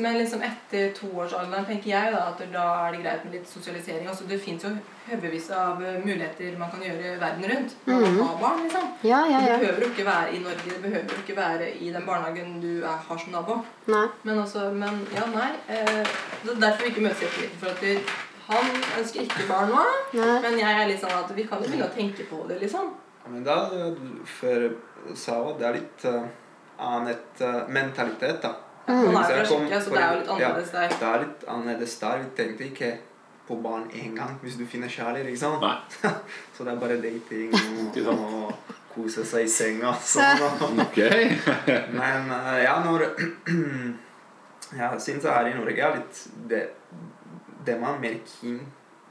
[SPEAKER 3] Men liksom etter toårsalderen tenker jeg da at da er det greit med litt sosialisering. Altså, det fins jo haugevis av eh, muligheter man kan gjøre verden rundt. når Man har barn, liksom.
[SPEAKER 2] ja, Mhm. ja,
[SPEAKER 3] Det
[SPEAKER 2] ja.
[SPEAKER 3] behøver jo ikke være i Norge, det behøver jo ikke være i den barnehagen du er, har som nabo.
[SPEAKER 2] Nei.
[SPEAKER 3] Men altså, men ja, nei. Eh, det er derfor vi ikke møtes i ettertid. For at vi, han ønsker ikke barn nå.
[SPEAKER 2] Nei.
[SPEAKER 3] Men jeg er litt sånn at vi kan jo begynne å tenke på det, liksom.
[SPEAKER 4] Men da eh, for Sava, det er litt eh, annet eh, mentalitet, da.
[SPEAKER 2] Mm.
[SPEAKER 3] Han er
[SPEAKER 4] Så
[SPEAKER 3] fra
[SPEAKER 4] jeg kom
[SPEAKER 3] Tsjekkia, så
[SPEAKER 4] for-
[SPEAKER 3] det er jo litt annerledes
[SPEAKER 4] ja,
[SPEAKER 3] der.
[SPEAKER 4] Det er litt annerledes der. Vi tenkte ikke på barn én gang hvis du finner kjærlighet, ikke sant?
[SPEAKER 1] Nei.
[SPEAKER 4] Så det er bare (laughs) dating
[SPEAKER 1] Ikke
[SPEAKER 4] og,
[SPEAKER 1] sant.
[SPEAKER 4] og kose seg i senga
[SPEAKER 3] (laughs)
[SPEAKER 4] og sånn. da.
[SPEAKER 1] Ok.
[SPEAKER 4] Men eh, ja, når (clears throat) Jeg syns her i Norge er litt det, det man er mer keen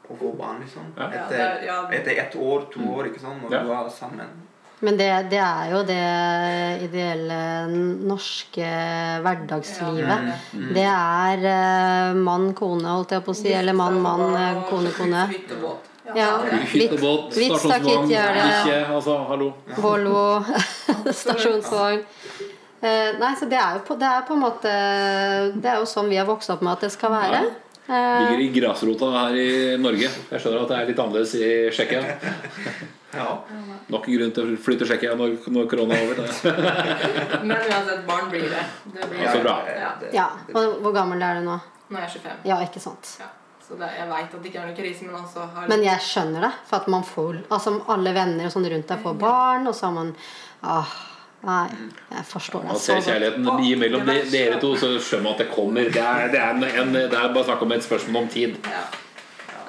[SPEAKER 4] å få barn, liksom.
[SPEAKER 1] Ja. Mm.
[SPEAKER 3] Ja, det
[SPEAKER 4] Etter,
[SPEAKER 3] er, ja,
[SPEAKER 4] etter ett år, to år, ikke sant, når
[SPEAKER 1] Ja.
[SPEAKER 4] du er sammen.
[SPEAKER 2] Men det, det er jo det ideelle norske hverdagslivet.
[SPEAKER 3] Ja.
[SPEAKER 2] Det er eh, mann, kone, holdt jeg på å si. Eller mann, mann, eh, kone, kone.
[SPEAKER 3] Hytte og båt.
[SPEAKER 2] Ja.
[SPEAKER 3] det er det.
[SPEAKER 1] Hytt og båt,
[SPEAKER 2] Litt- litt
[SPEAKER 1] stasjonsvogn,
[SPEAKER 2] stakitt gjør det,
[SPEAKER 1] ikke Altså, hallo.
[SPEAKER 2] Volvo, (laughs) stasjonsvogn. Eh, nei, så det er jo på, det er på en måte Det er jo sånn vi har vokst opp med at det skal være. Eh,
[SPEAKER 1] Ligger i grasrota her i Norge. Jeg skjønner at det er litt annerledes i Tsjekkia.
[SPEAKER 4] Ja.
[SPEAKER 1] Nok grunn til å flytte til Tsjekkia når, når korona er over. Det.
[SPEAKER 3] Men uansett, barn blir det. det blir
[SPEAKER 1] Ja, så
[SPEAKER 3] det.
[SPEAKER 1] bra.
[SPEAKER 3] Ja.
[SPEAKER 4] det-
[SPEAKER 2] ja.
[SPEAKER 4] det-
[SPEAKER 2] Og hvor gammel er du nå?
[SPEAKER 3] Nå er jeg 25.
[SPEAKER 2] Ja, ikke sant.
[SPEAKER 3] Ja. Så det, jeg veit at det ikke er noe krise, men også har
[SPEAKER 2] Men jeg skjønner det. For at man får Altså alle venner og sånn rundt deg får barn, og så har man Åh, nei. Jeg forstår
[SPEAKER 1] Man
[SPEAKER 2] deg så
[SPEAKER 1] ser
[SPEAKER 2] godt.
[SPEAKER 1] kjærligheten ligge mellom de, dere to, så skjønner man at det kommer. Det er, det er, en, en, det er bare snakk om et spørsmål om tid.
[SPEAKER 3] ja.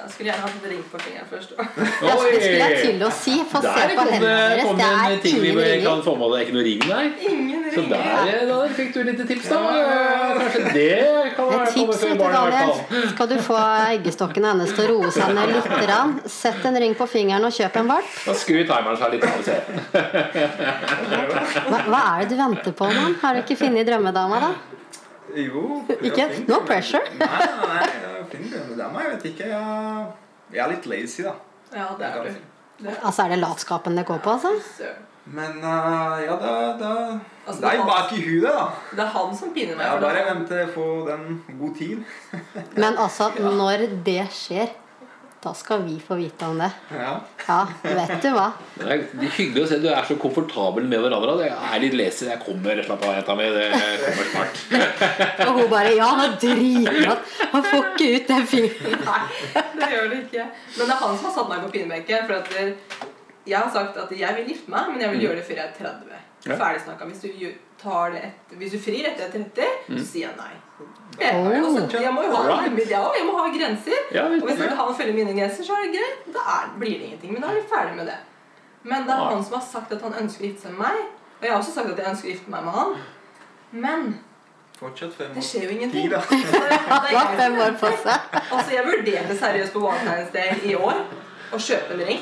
[SPEAKER 3] Jeg skulle gjerne hatt et ring på fingeren
[SPEAKER 1] (laughs)
[SPEAKER 3] først.
[SPEAKER 2] Ja,
[SPEAKER 1] Oi!
[SPEAKER 2] det skulle jeg til å si. Få se
[SPEAKER 1] Der
[SPEAKER 2] på
[SPEAKER 1] kom det, sånn,
[SPEAKER 2] hendene
[SPEAKER 1] eh, kom det en
[SPEAKER 2] deres. Det
[SPEAKER 1] ting
[SPEAKER 2] er
[SPEAKER 1] vi
[SPEAKER 2] ingen ringer.
[SPEAKER 1] kan få med. Det er ikke noe ring der.
[SPEAKER 3] Ingen
[SPEAKER 1] Så
[SPEAKER 3] ringer!
[SPEAKER 1] der, eh, da fikk du litt tips, da. Eh, Kanskje det kan være
[SPEAKER 2] Et
[SPEAKER 1] komme
[SPEAKER 2] tips,
[SPEAKER 1] før
[SPEAKER 2] vet du,
[SPEAKER 1] barnet, i hvert
[SPEAKER 2] Daniel.
[SPEAKER 1] fall.
[SPEAKER 2] Skal du få eggestokken hennes til å roe seg ned litt, grann, sett en ring på fingeren og kjøp en valp?
[SPEAKER 1] Da skrur timeren seg litt av og til.
[SPEAKER 2] Hva, hva er det du venter på, mann? Har du ikke funnet drømmedama, da?
[SPEAKER 4] Jo.
[SPEAKER 2] Ikke-
[SPEAKER 4] jeg finner
[SPEAKER 2] no
[SPEAKER 4] det.
[SPEAKER 2] pressure.
[SPEAKER 4] nei, nei, nei, jeg finner det med dem. Jeg vet ikke. Jeg, jeg er litt lazy, da.
[SPEAKER 3] Ja, det er du. Det er
[SPEAKER 2] Altså, er det latskapen det går på, altså?
[SPEAKER 3] søren.
[SPEAKER 4] Men eh, ja, da, da
[SPEAKER 3] Altså,
[SPEAKER 4] Det er
[SPEAKER 3] det
[SPEAKER 4] jo
[SPEAKER 3] var-
[SPEAKER 4] bak i huet, da.
[SPEAKER 3] Det er han som piner meg.
[SPEAKER 4] Jeg
[SPEAKER 3] for det.
[SPEAKER 4] bare venter på den god tid.
[SPEAKER 2] Men altså, når det skjer, da skal vi få vite om det.
[SPEAKER 4] Ja.
[SPEAKER 2] Ja, vet du hva?
[SPEAKER 1] Men Det er hyggelig å se. Du er så komfortabel med hverandre. at Jeg er litt lazy. Jeg kommer. Slapp av, jenta mi. Det kommer snart.
[SPEAKER 2] Og hun bare Ja, han er dritbra. Han får ikke ut den fingeren.
[SPEAKER 3] Nei, (laughs) det gjør det ikke. Men det er han som har satt meg på pinebenken. For at jeg har sagt at jeg vil gifte meg, men jeg vil gjøre det før jeg er 30.
[SPEAKER 1] Mm. Ja.
[SPEAKER 3] Ferdig snakka. Hvis, du gj- tar det et- hvis du frir etter jeg er 30, så sier jeg nei. Jeg,
[SPEAKER 2] Oh.
[SPEAKER 3] altså, jeg må jo ha
[SPEAKER 1] Mm. Alright.
[SPEAKER 3] limit, jeg også. Jeg må ha grenser.
[SPEAKER 1] Ja,
[SPEAKER 3] Og hvis jeg
[SPEAKER 1] vel,
[SPEAKER 3] vil ha og følge mine grenser, så er det greit. Da er, blir det ingenting. Men da er vi ferdig med det. Men det er
[SPEAKER 1] Ja.
[SPEAKER 3] han som har sagt at han ønsker å gifte seg med meg. Og jeg har også sagt at jeg ønsker å gifte meg med han. Men
[SPEAKER 4] Fortsatt fem
[SPEAKER 3] det
[SPEAKER 4] år
[SPEAKER 3] skjer jo
[SPEAKER 4] tid,
[SPEAKER 3] ingenting.
[SPEAKER 4] da.
[SPEAKER 3] (laughs) Det er- det er
[SPEAKER 2] Da
[SPEAKER 3] jeg
[SPEAKER 2] fem år på seg.
[SPEAKER 3] Altså, jeg vurderte seriøst på Valentine's Day i år å kjøpe en ring.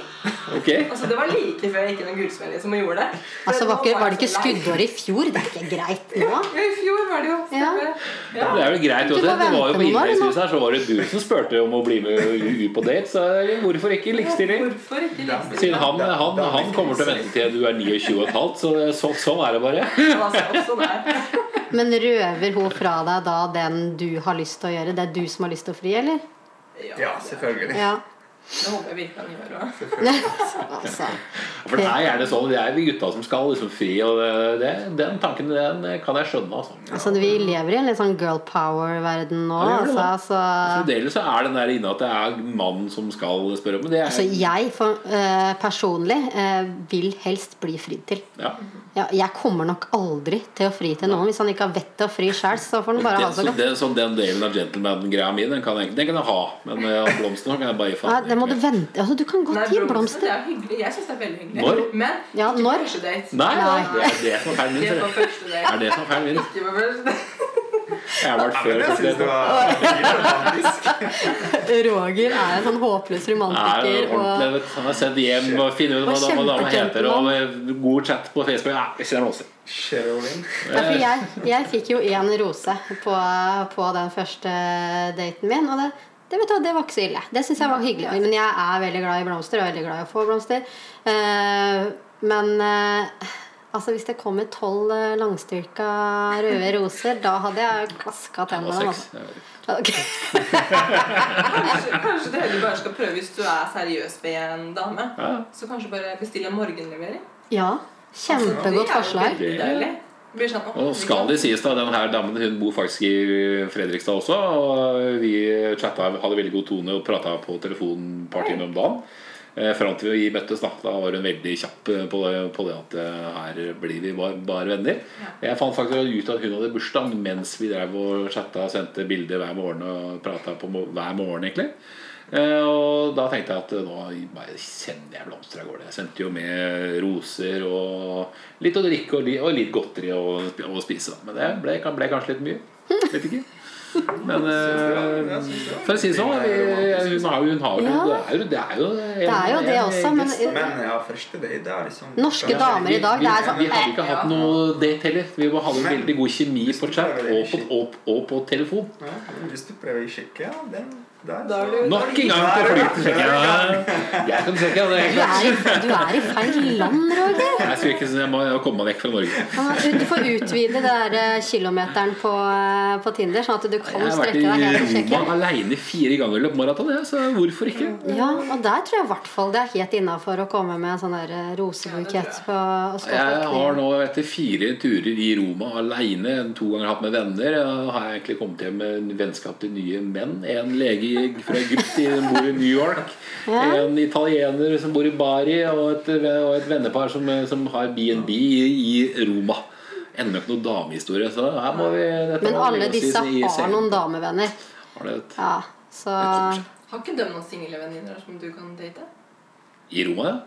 [SPEAKER 1] Ok.
[SPEAKER 3] Altså, Det var like før jeg gikk inn i gullsmedje som jeg gjorde det. For
[SPEAKER 2] Altså, var,
[SPEAKER 3] nå
[SPEAKER 2] ikke, var det
[SPEAKER 3] jeg
[SPEAKER 2] ikke
[SPEAKER 3] så lei.
[SPEAKER 2] skuddår i fjor? Det er ikke greit nå.
[SPEAKER 3] Ja, I fjor var det jo.
[SPEAKER 2] Ja.
[SPEAKER 3] stemmer det.
[SPEAKER 1] Ja, men Det er vel greit
[SPEAKER 2] Du får
[SPEAKER 1] uansett. Det var jo på
[SPEAKER 2] vente noen år,
[SPEAKER 1] innledningsvis her, så var det du som spurte om å bli med ut på date. Så hvorfor ikke likestilling?
[SPEAKER 3] Hvorfor ikke
[SPEAKER 1] Siden
[SPEAKER 3] likestilling?
[SPEAKER 1] han, han, han kommer til å vente til du er 29 og et halvt, så det- så, sånn er det bare.
[SPEAKER 3] Ja, altså, også der.
[SPEAKER 2] Men røver hun fra deg da den du har lyst til å gjøre? Det er du som har lyst til å fri, eller?
[SPEAKER 4] Ja, selvfølgelig.
[SPEAKER 2] Ja.
[SPEAKER 3] Det håper jeg virkelig han gjør også.
[SPEAKER 2] altså.
[SPEAKER 1] For det er gjerne sånn, det er vi gutta som skal liksom fri, og det, det- den tanken den kan jeg skjønne. altså.
[SPEAKER 2] altså, vi lever i en litt sånn girl power-verden nå.
[SPEAKER 1] Ja, det gjør det,
[SPEAKER 2] Altså,
[SPEAKER 1] da.
[SPEAKER 2] altså,
[SPEAKER 1] Fremdeles så er den der inne at det er mannen som skal spørre om men det.
[SPEAKER 2] altså
[SPEAKER 1] Er,
[SPEAKER 2] jeg for, eh, personlig eh, vil helst bli fridd til.
[SPEAKER 1] ja.
[SPEAKER 2] Ja, jeg kommer nok aldri til å fri til noen. Hvis han ikke har vett til å fri sjøl, så får han bare ha
[SPEAKER 1] Den,
[SPEAKER 2] det så
[SPEAKER 1] så,
[SPEAKER 2] godt.
[SPEAKER 1] den, så den delen av gentleman-greia mi, den kan jeg, den kan jeg ha. Men eh, blomstene kan jeg bare gi
[SPEAKER 2] Nei,
[SPEAKER 1] faen
[SPEAKER 2] det må du vente altså, Du kan
[SPEAKER 3] Nei,
[SPEAKER 2] godt gi
[SPEAKER 3] blomster,
[SPEAKER 2] blomster.
[SPEAKER 3] det er hyggelig. Jeg syns det er veldig hyggelig.
[SPEAKER 1] Når?
[SPEAKER 3] Men
[SPEAKER 2] Ja,
[SPEAKER 3] ikke
[SPEAKER 2] når?
[SPEAKER 3] på første date.
[SPEAKER 1] Nei, nei, det er det som er feilen min.
[SPEAKER 3] Ikke på
[SPEAKER 1] ser du.
[SPEAKER 3] første
[SPEAKER 1] Det er
[SPEAKER 3] date.
[SPEAKER 1] det som er feilen min.
[SPEAKER 3] Ikke på første date.
[SPEAKER 1] Jeg har vært
[SPEAKER 4] Ja,
[SPEAKER 1] før.
[SPEAKER 4] men jeg
[SPEAKER 1] så det-
[SPEAKER 4] synes det var helt romantisk.
[SPEAKER 2] Roger er en sånn håpløs
[SPEAKER 1] Er det
[SPEAKER 2] romantiker.
[SPEAKER 1] ordentlig,
[SPEAKER 2] Og
[SPEAKER 1] vet du. Han har sendt hjem og finne ut hva
[SPEAKER 2] Og
[SPEAKER 1] dama- dama heter.
[SPEAKER 2] kjempegentleman.
[SPEAKER 1] Og god chat på Facebook. Nei, ikke det er noe
[SPEAKER 4] Sherilyn.
[SPEAKER 2] Ja, for jeg, jeg fikk jo én rose på, på den første daten min. Og det, det, vet du, hva, det var ikke så ille. Det syns jeg var hyggelig. Men jeg er veldig glad i blomster og er veldig glad i å få blomster. Eh, men eh, altså, hvis det kommer tolv eh, langstyrka røde roser, da hadde jeg klaska tennene.
[SPEAKER 1] sex.
[SPEAKER 2] Altså.
[SPEAKER 1] Jeg vet ikke.
[SPEAKER 2] Ok.
[SPEAKER 3] Kanskje, kanskje du heller bare skal prøve hvis du er seriøs med en dame.
[SPEAKER 1] Ja.
[SPEAKER 3] Så kanskje bare bestille en morgenlevering.
[SPEAKER 2] Ja. Kjempegodt forslag.
[SPEAKER 3] Det er Altså, jo veldig deilig. Det blir sånn, å,
[SPEAKER 1] Og skal det sies, da, den her damen hun bor faktisk i Fredrikstad også. Og vi chatta, hadde veldig god tone og prata på telefonen et par timer om dagen. Eh, eh, fram til vi møttes. Da Da var hun veldig kjapp eh, på det, på det at eh, her blir vi bare, bare venner. Jeg fant faktisk ut at hun hadde bursdag mens vi drev og chatta og sendte bilder hver morgen. Og prata på mo- hver morgen egentlig Eh, Og da tenkte jeg at eh, nå bare sender jeg blomster av gårde. Jeg sendte jo med roser og litt å drikke og, li, og litt godteri og, sp- og spise. da. Men det ble, kan- ble kanskje litt mye. Vet ikke. Men eh, for å si det sånn, vi, hun har jo, hun har jo det, er jo, det er jo
[SPEAKER 2] Det er jo det også, men
[SPEAKER 4] Men ja, første date det er liksom
[SPEAKER 2] Norske damer i dag,
[SPEAKER 1] vi,
[SPEAKER 2] det er
[SPEAKER 1] vi hadde
[SPEAKER 2] sånn
[SPEAKER 1] ikke hatt noe date heller. Vi hadde
[SPEAKER 4] Men-
[SPEAKER 1] veldig god kjemi på chat og på, og, og på telefon.
[SPEAKER 4] Ja, Hvis du prøver å sjekke, ja, den der
[SPEAKER 3] Da er
[SPEAKER 4] så-
[SPEAKER 3] du-
[SPEAKER 1] Nok en gang på flytesjekken! Jeg kan sjekke, ja, det er klart.
[SPEAKER 2] du er, i, du er i feil land, Roger.
[SPEAKER 1] Jeg skulle ikke si jeg må komme meg vekk fra Norge.
[SPEAKER 2] Ja, men Du får utvide det der eh, kilometeren på, eh, på Tinder, sånn at du
[SPEAKER 1] Jeg
[SPEAKER 2] kan
[SPEAKER 1] har vært
[SPEAKER 2] strekke deg helt til
[SPEAKER 1] i
[SPEAKER 2] Tsjekkia.
[SPEAKER 1] Roma aleine fire ganger i løpet av maraton, jeg, så hvorfor ikke?
[SPEAKER 2] Ja, og der tror jeg i hvert fall det er helt innafor å komme med en sånn der eh, rosebukett på og stå
[SPEAKER 1] Jeg
[SPEAKER 2] på
[SPEAKER 1] har
[SPEAKER 2] kne.
[SPEAKER 1] nå etter fire turer i Roma aleine, to ganger hatt med venner, jeg har egentlig kommet hjem med vennskap til nye menn. En lege i- fra Egypt i- som bor i New York.
[SPEAKER 2] Ja.
[SPEAKER 1] En italiener som bor i Bari, og et, og et vennepar som, som har B&B i, i Roma. Ennå ikke noe damehistorie, så her må vi dette
[SPEAKER 2] Men
[SPEAKER 1] må vi
[SPEAKER 2] alle
[SPEAKER 1] også
[SPEAKER 2] disse
[SPEAKER 1] sånn i- i
[SPEAKER 2] har
[SPEAKER 1] seng.
[SPEAKER 2] noen damevenner.
[SPEAKER 1] Har det et-
[SPEAKER 2] Ja, så
[SPEAKER 3] Har ikke de noen single venninner som du kan date?
[SPEAKER 1] I Roma, ja.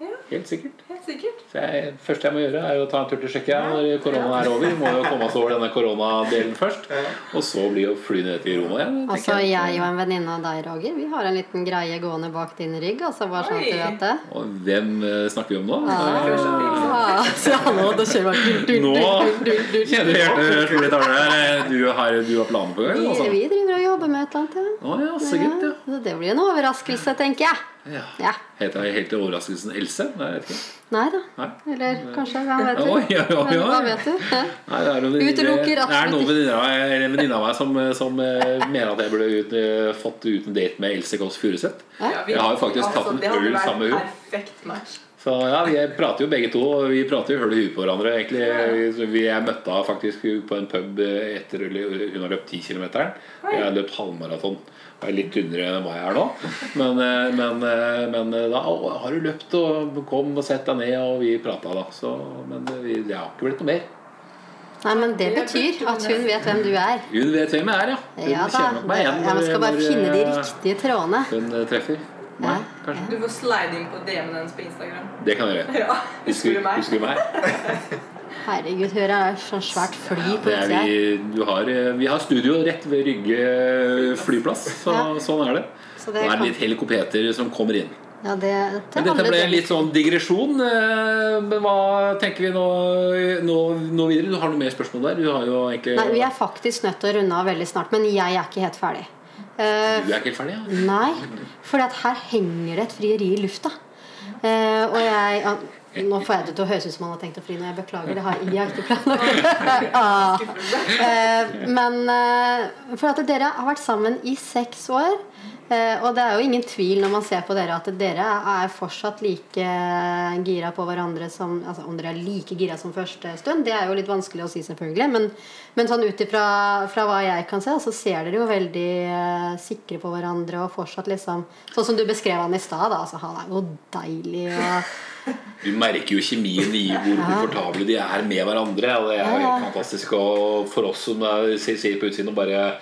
[SPEAKER 3] Ja.
[SPEAKER 1] Helt sikkert.
[SPEAKER 3] Helt sikkert.
[SPEAKER 1] Så jeg, første jeg må gjøre, er å ta en tur til Tsjekkia når koronaen er over. Må jo komme oss over denne koronadelen først. Og så blir jo fly ned til Roma igjen. tenker
[SPEAKER 2] Altså, jeg og en venninne av deg, Roger, vi har en liten greie gående bak din rygg. Altså, bare sånn at du
[SPEAKER 3] Oi.
[SPEAKER 2] vet det.
[SPEAKER 1] Og hvem eh, snakker vi om nå? Eh,
[SPEAKER 2] Ah, så nå, da kjører vi dun,
[SPEAKER 1] Nå
[SPEAKER 2] dun, dun, dun, dun, dun.
[SPEAKER 1] Kjenner du hjertet slå litt av det her? Du har, du har planer på gang?
[SPEAKER 2] Vi,
[SPEAKER 1] altså?
[SPEAKER 2] vi driver og jobber med et eller annet,
[SPEAKER 1] Å ja, så
[SPEAKER 2] ja.
[SPEAKER 1] gitt,
[SPEAKER 2] ja. Så det blir en overraskelse, tenker jeg.
[SPEAKER 1] ja. ja.
[SPEAKER 2] Ja.
[SPEAKER 1] Heter jeg helt til overraskelsen Else? Nei, jeg vet ikke.
[SPEAKER 2] Nei da.
[SPEAKER 1] Nei.
[SPEAKER 2] Eller kanskje, hva vet
[SPEAKER 1] Oi,
[SPEAKER 2] du?
[SPEAKER 1] oi, oi,
[SPEAKER 2] Men hva
[SPEAKER 1] oi.
[SPEAKER 2] vet du? Ja.
[SPEAKER 1] Nei, det er noen venninner-
[SPEAKER 2] Utelukker at-
[SPEAKER 1] Det er noen venninner av meg- eller en venninne av meg som, som eh, mener at jeg burde ut, eh, fått ut en date med Else Kåss Furuseth.
[SPEAKER 3] vi- Altså,
[SPEAKER 1] Jeg har jo faktisk tatt en
[SPEAKER 3] det hadde
[SPEAKER 1] øl
[SPEAKER 3] vært
[SPEAKER 1] sammen med hun.
[SPEAKER 3] Perfekt match.
[SPEAKER 1] Så ja, vi prater jo begge to, og vi prater jo høl i huet på hverandre. egentlig. Vi- Vi jeg møtte henne faktisk på en pub eh, etter eller hun har løpt 10 km. Og jeg har løpt halvmaraton. Jeg er litt tynnere enn hva jeg er nå. Men, eh, men, eh, men eh, da «Å, har du løpt, og kom og sett deg ned, og vi prata da. Så, men eh, vi- det har ikke blitt noe mer.
[SPEAKER 2] Nei, men det betyr at hun vet hvem du er.
[SPEAKER 1] Hun vet hvem jeg er, ja. Hun
[SPEAKER 2] Ja da.
[SPEAKER 1] kjenner nok meg igjen.
[SPEAKER 2] Ja, man skal bare
[SPEAKER 1] når-
[SPEAKER 2] finne de
[SPEAKER 1] når, eh,
[SPEAKER 2] riktige trådene.
[SPEAKER 1] Hun eh, treffer
[SPEAKER 2] Ja.
[SPEAKER 1] meg, kanskje.
[SPEAKER 3] Du får slide inn på DM-en hennes på Instagram. (laughs)
[SPEAKER 1] Det kan jeg gjøre.
[SPEAKER 3] Ja, husker du meg?
[SPEAKER 1] Husker du meg?
[SPEAKER 2] Herregud, hør her, det er sånn svært fly på
[SPEAKER 1] Det er
[SPEAKER 2] utsida. her.
[SPEAKER 1] vi, du har, eh, vi har studio rett ved Rygge eh, flyplass, så
[SPEAKER 2] Ja.
[SPEAKER 1] sånn er det.
[SPEAKER 2] Så
[SPEAKER 1] Nå
[SPEAKER 2] det
[SPEAKER 1] er det
[SPEAKER 2] kan-
[SPEAKER 1] litt helikopter som kommer inn.
[SPEAKER 2] Ja, det, det
[SPEAKER 1] Men dette
[SPEAKER 2] handler
[SPEAKER 1] ble
[SPEAKER 2] om-
[SPEAKER 1] litt sånn digresjon. eh, Men hva tenker vi nå, nå, nå videre? Du har noe mer spørsmål der? Du har jo egentlig
[SPEAKER 2] Nei, vi er faktisk nødt til å runde av veldig snart, men jeg er ikke helt ferdig. Eh,
[SPEAKER 1] Du er ikke helt ferdig? Ja.
[SPEAKER 2] nei, for at her henger det et frieri i lufta. Eh, og jeg ah, Nå får jeg det til å høres ut som han har tenkt å fri når jeg beklager. Det har jeg, jeg har ikke planlagt. (laughs) ah. eh, men eh, for at dere har vært sammen i seks år. Eh, og det er jo ingen tvil når man ser på dere at dere er fortsatt like gira på hverandre som altså Om dere er like gira som første stund, det er jo litt vanskelig å si, selvfølgelig. Men, men sånn ut ifra fra hva jeg kan se, så ser dere jo veldig eh, sikre på hverandre og fortsatt liksom Sånn som du beskrev han i stad, da. Altså, han er jo deilig og
[SPEAKER 1] Du merker jo kjemien i hvor komfortable de er med hverandre. Og det er jo
[SPEAKER 2] Ja, ja.
[SPEAKER 1] helt fantastisk og for oss som er- sitter på utsiden og bare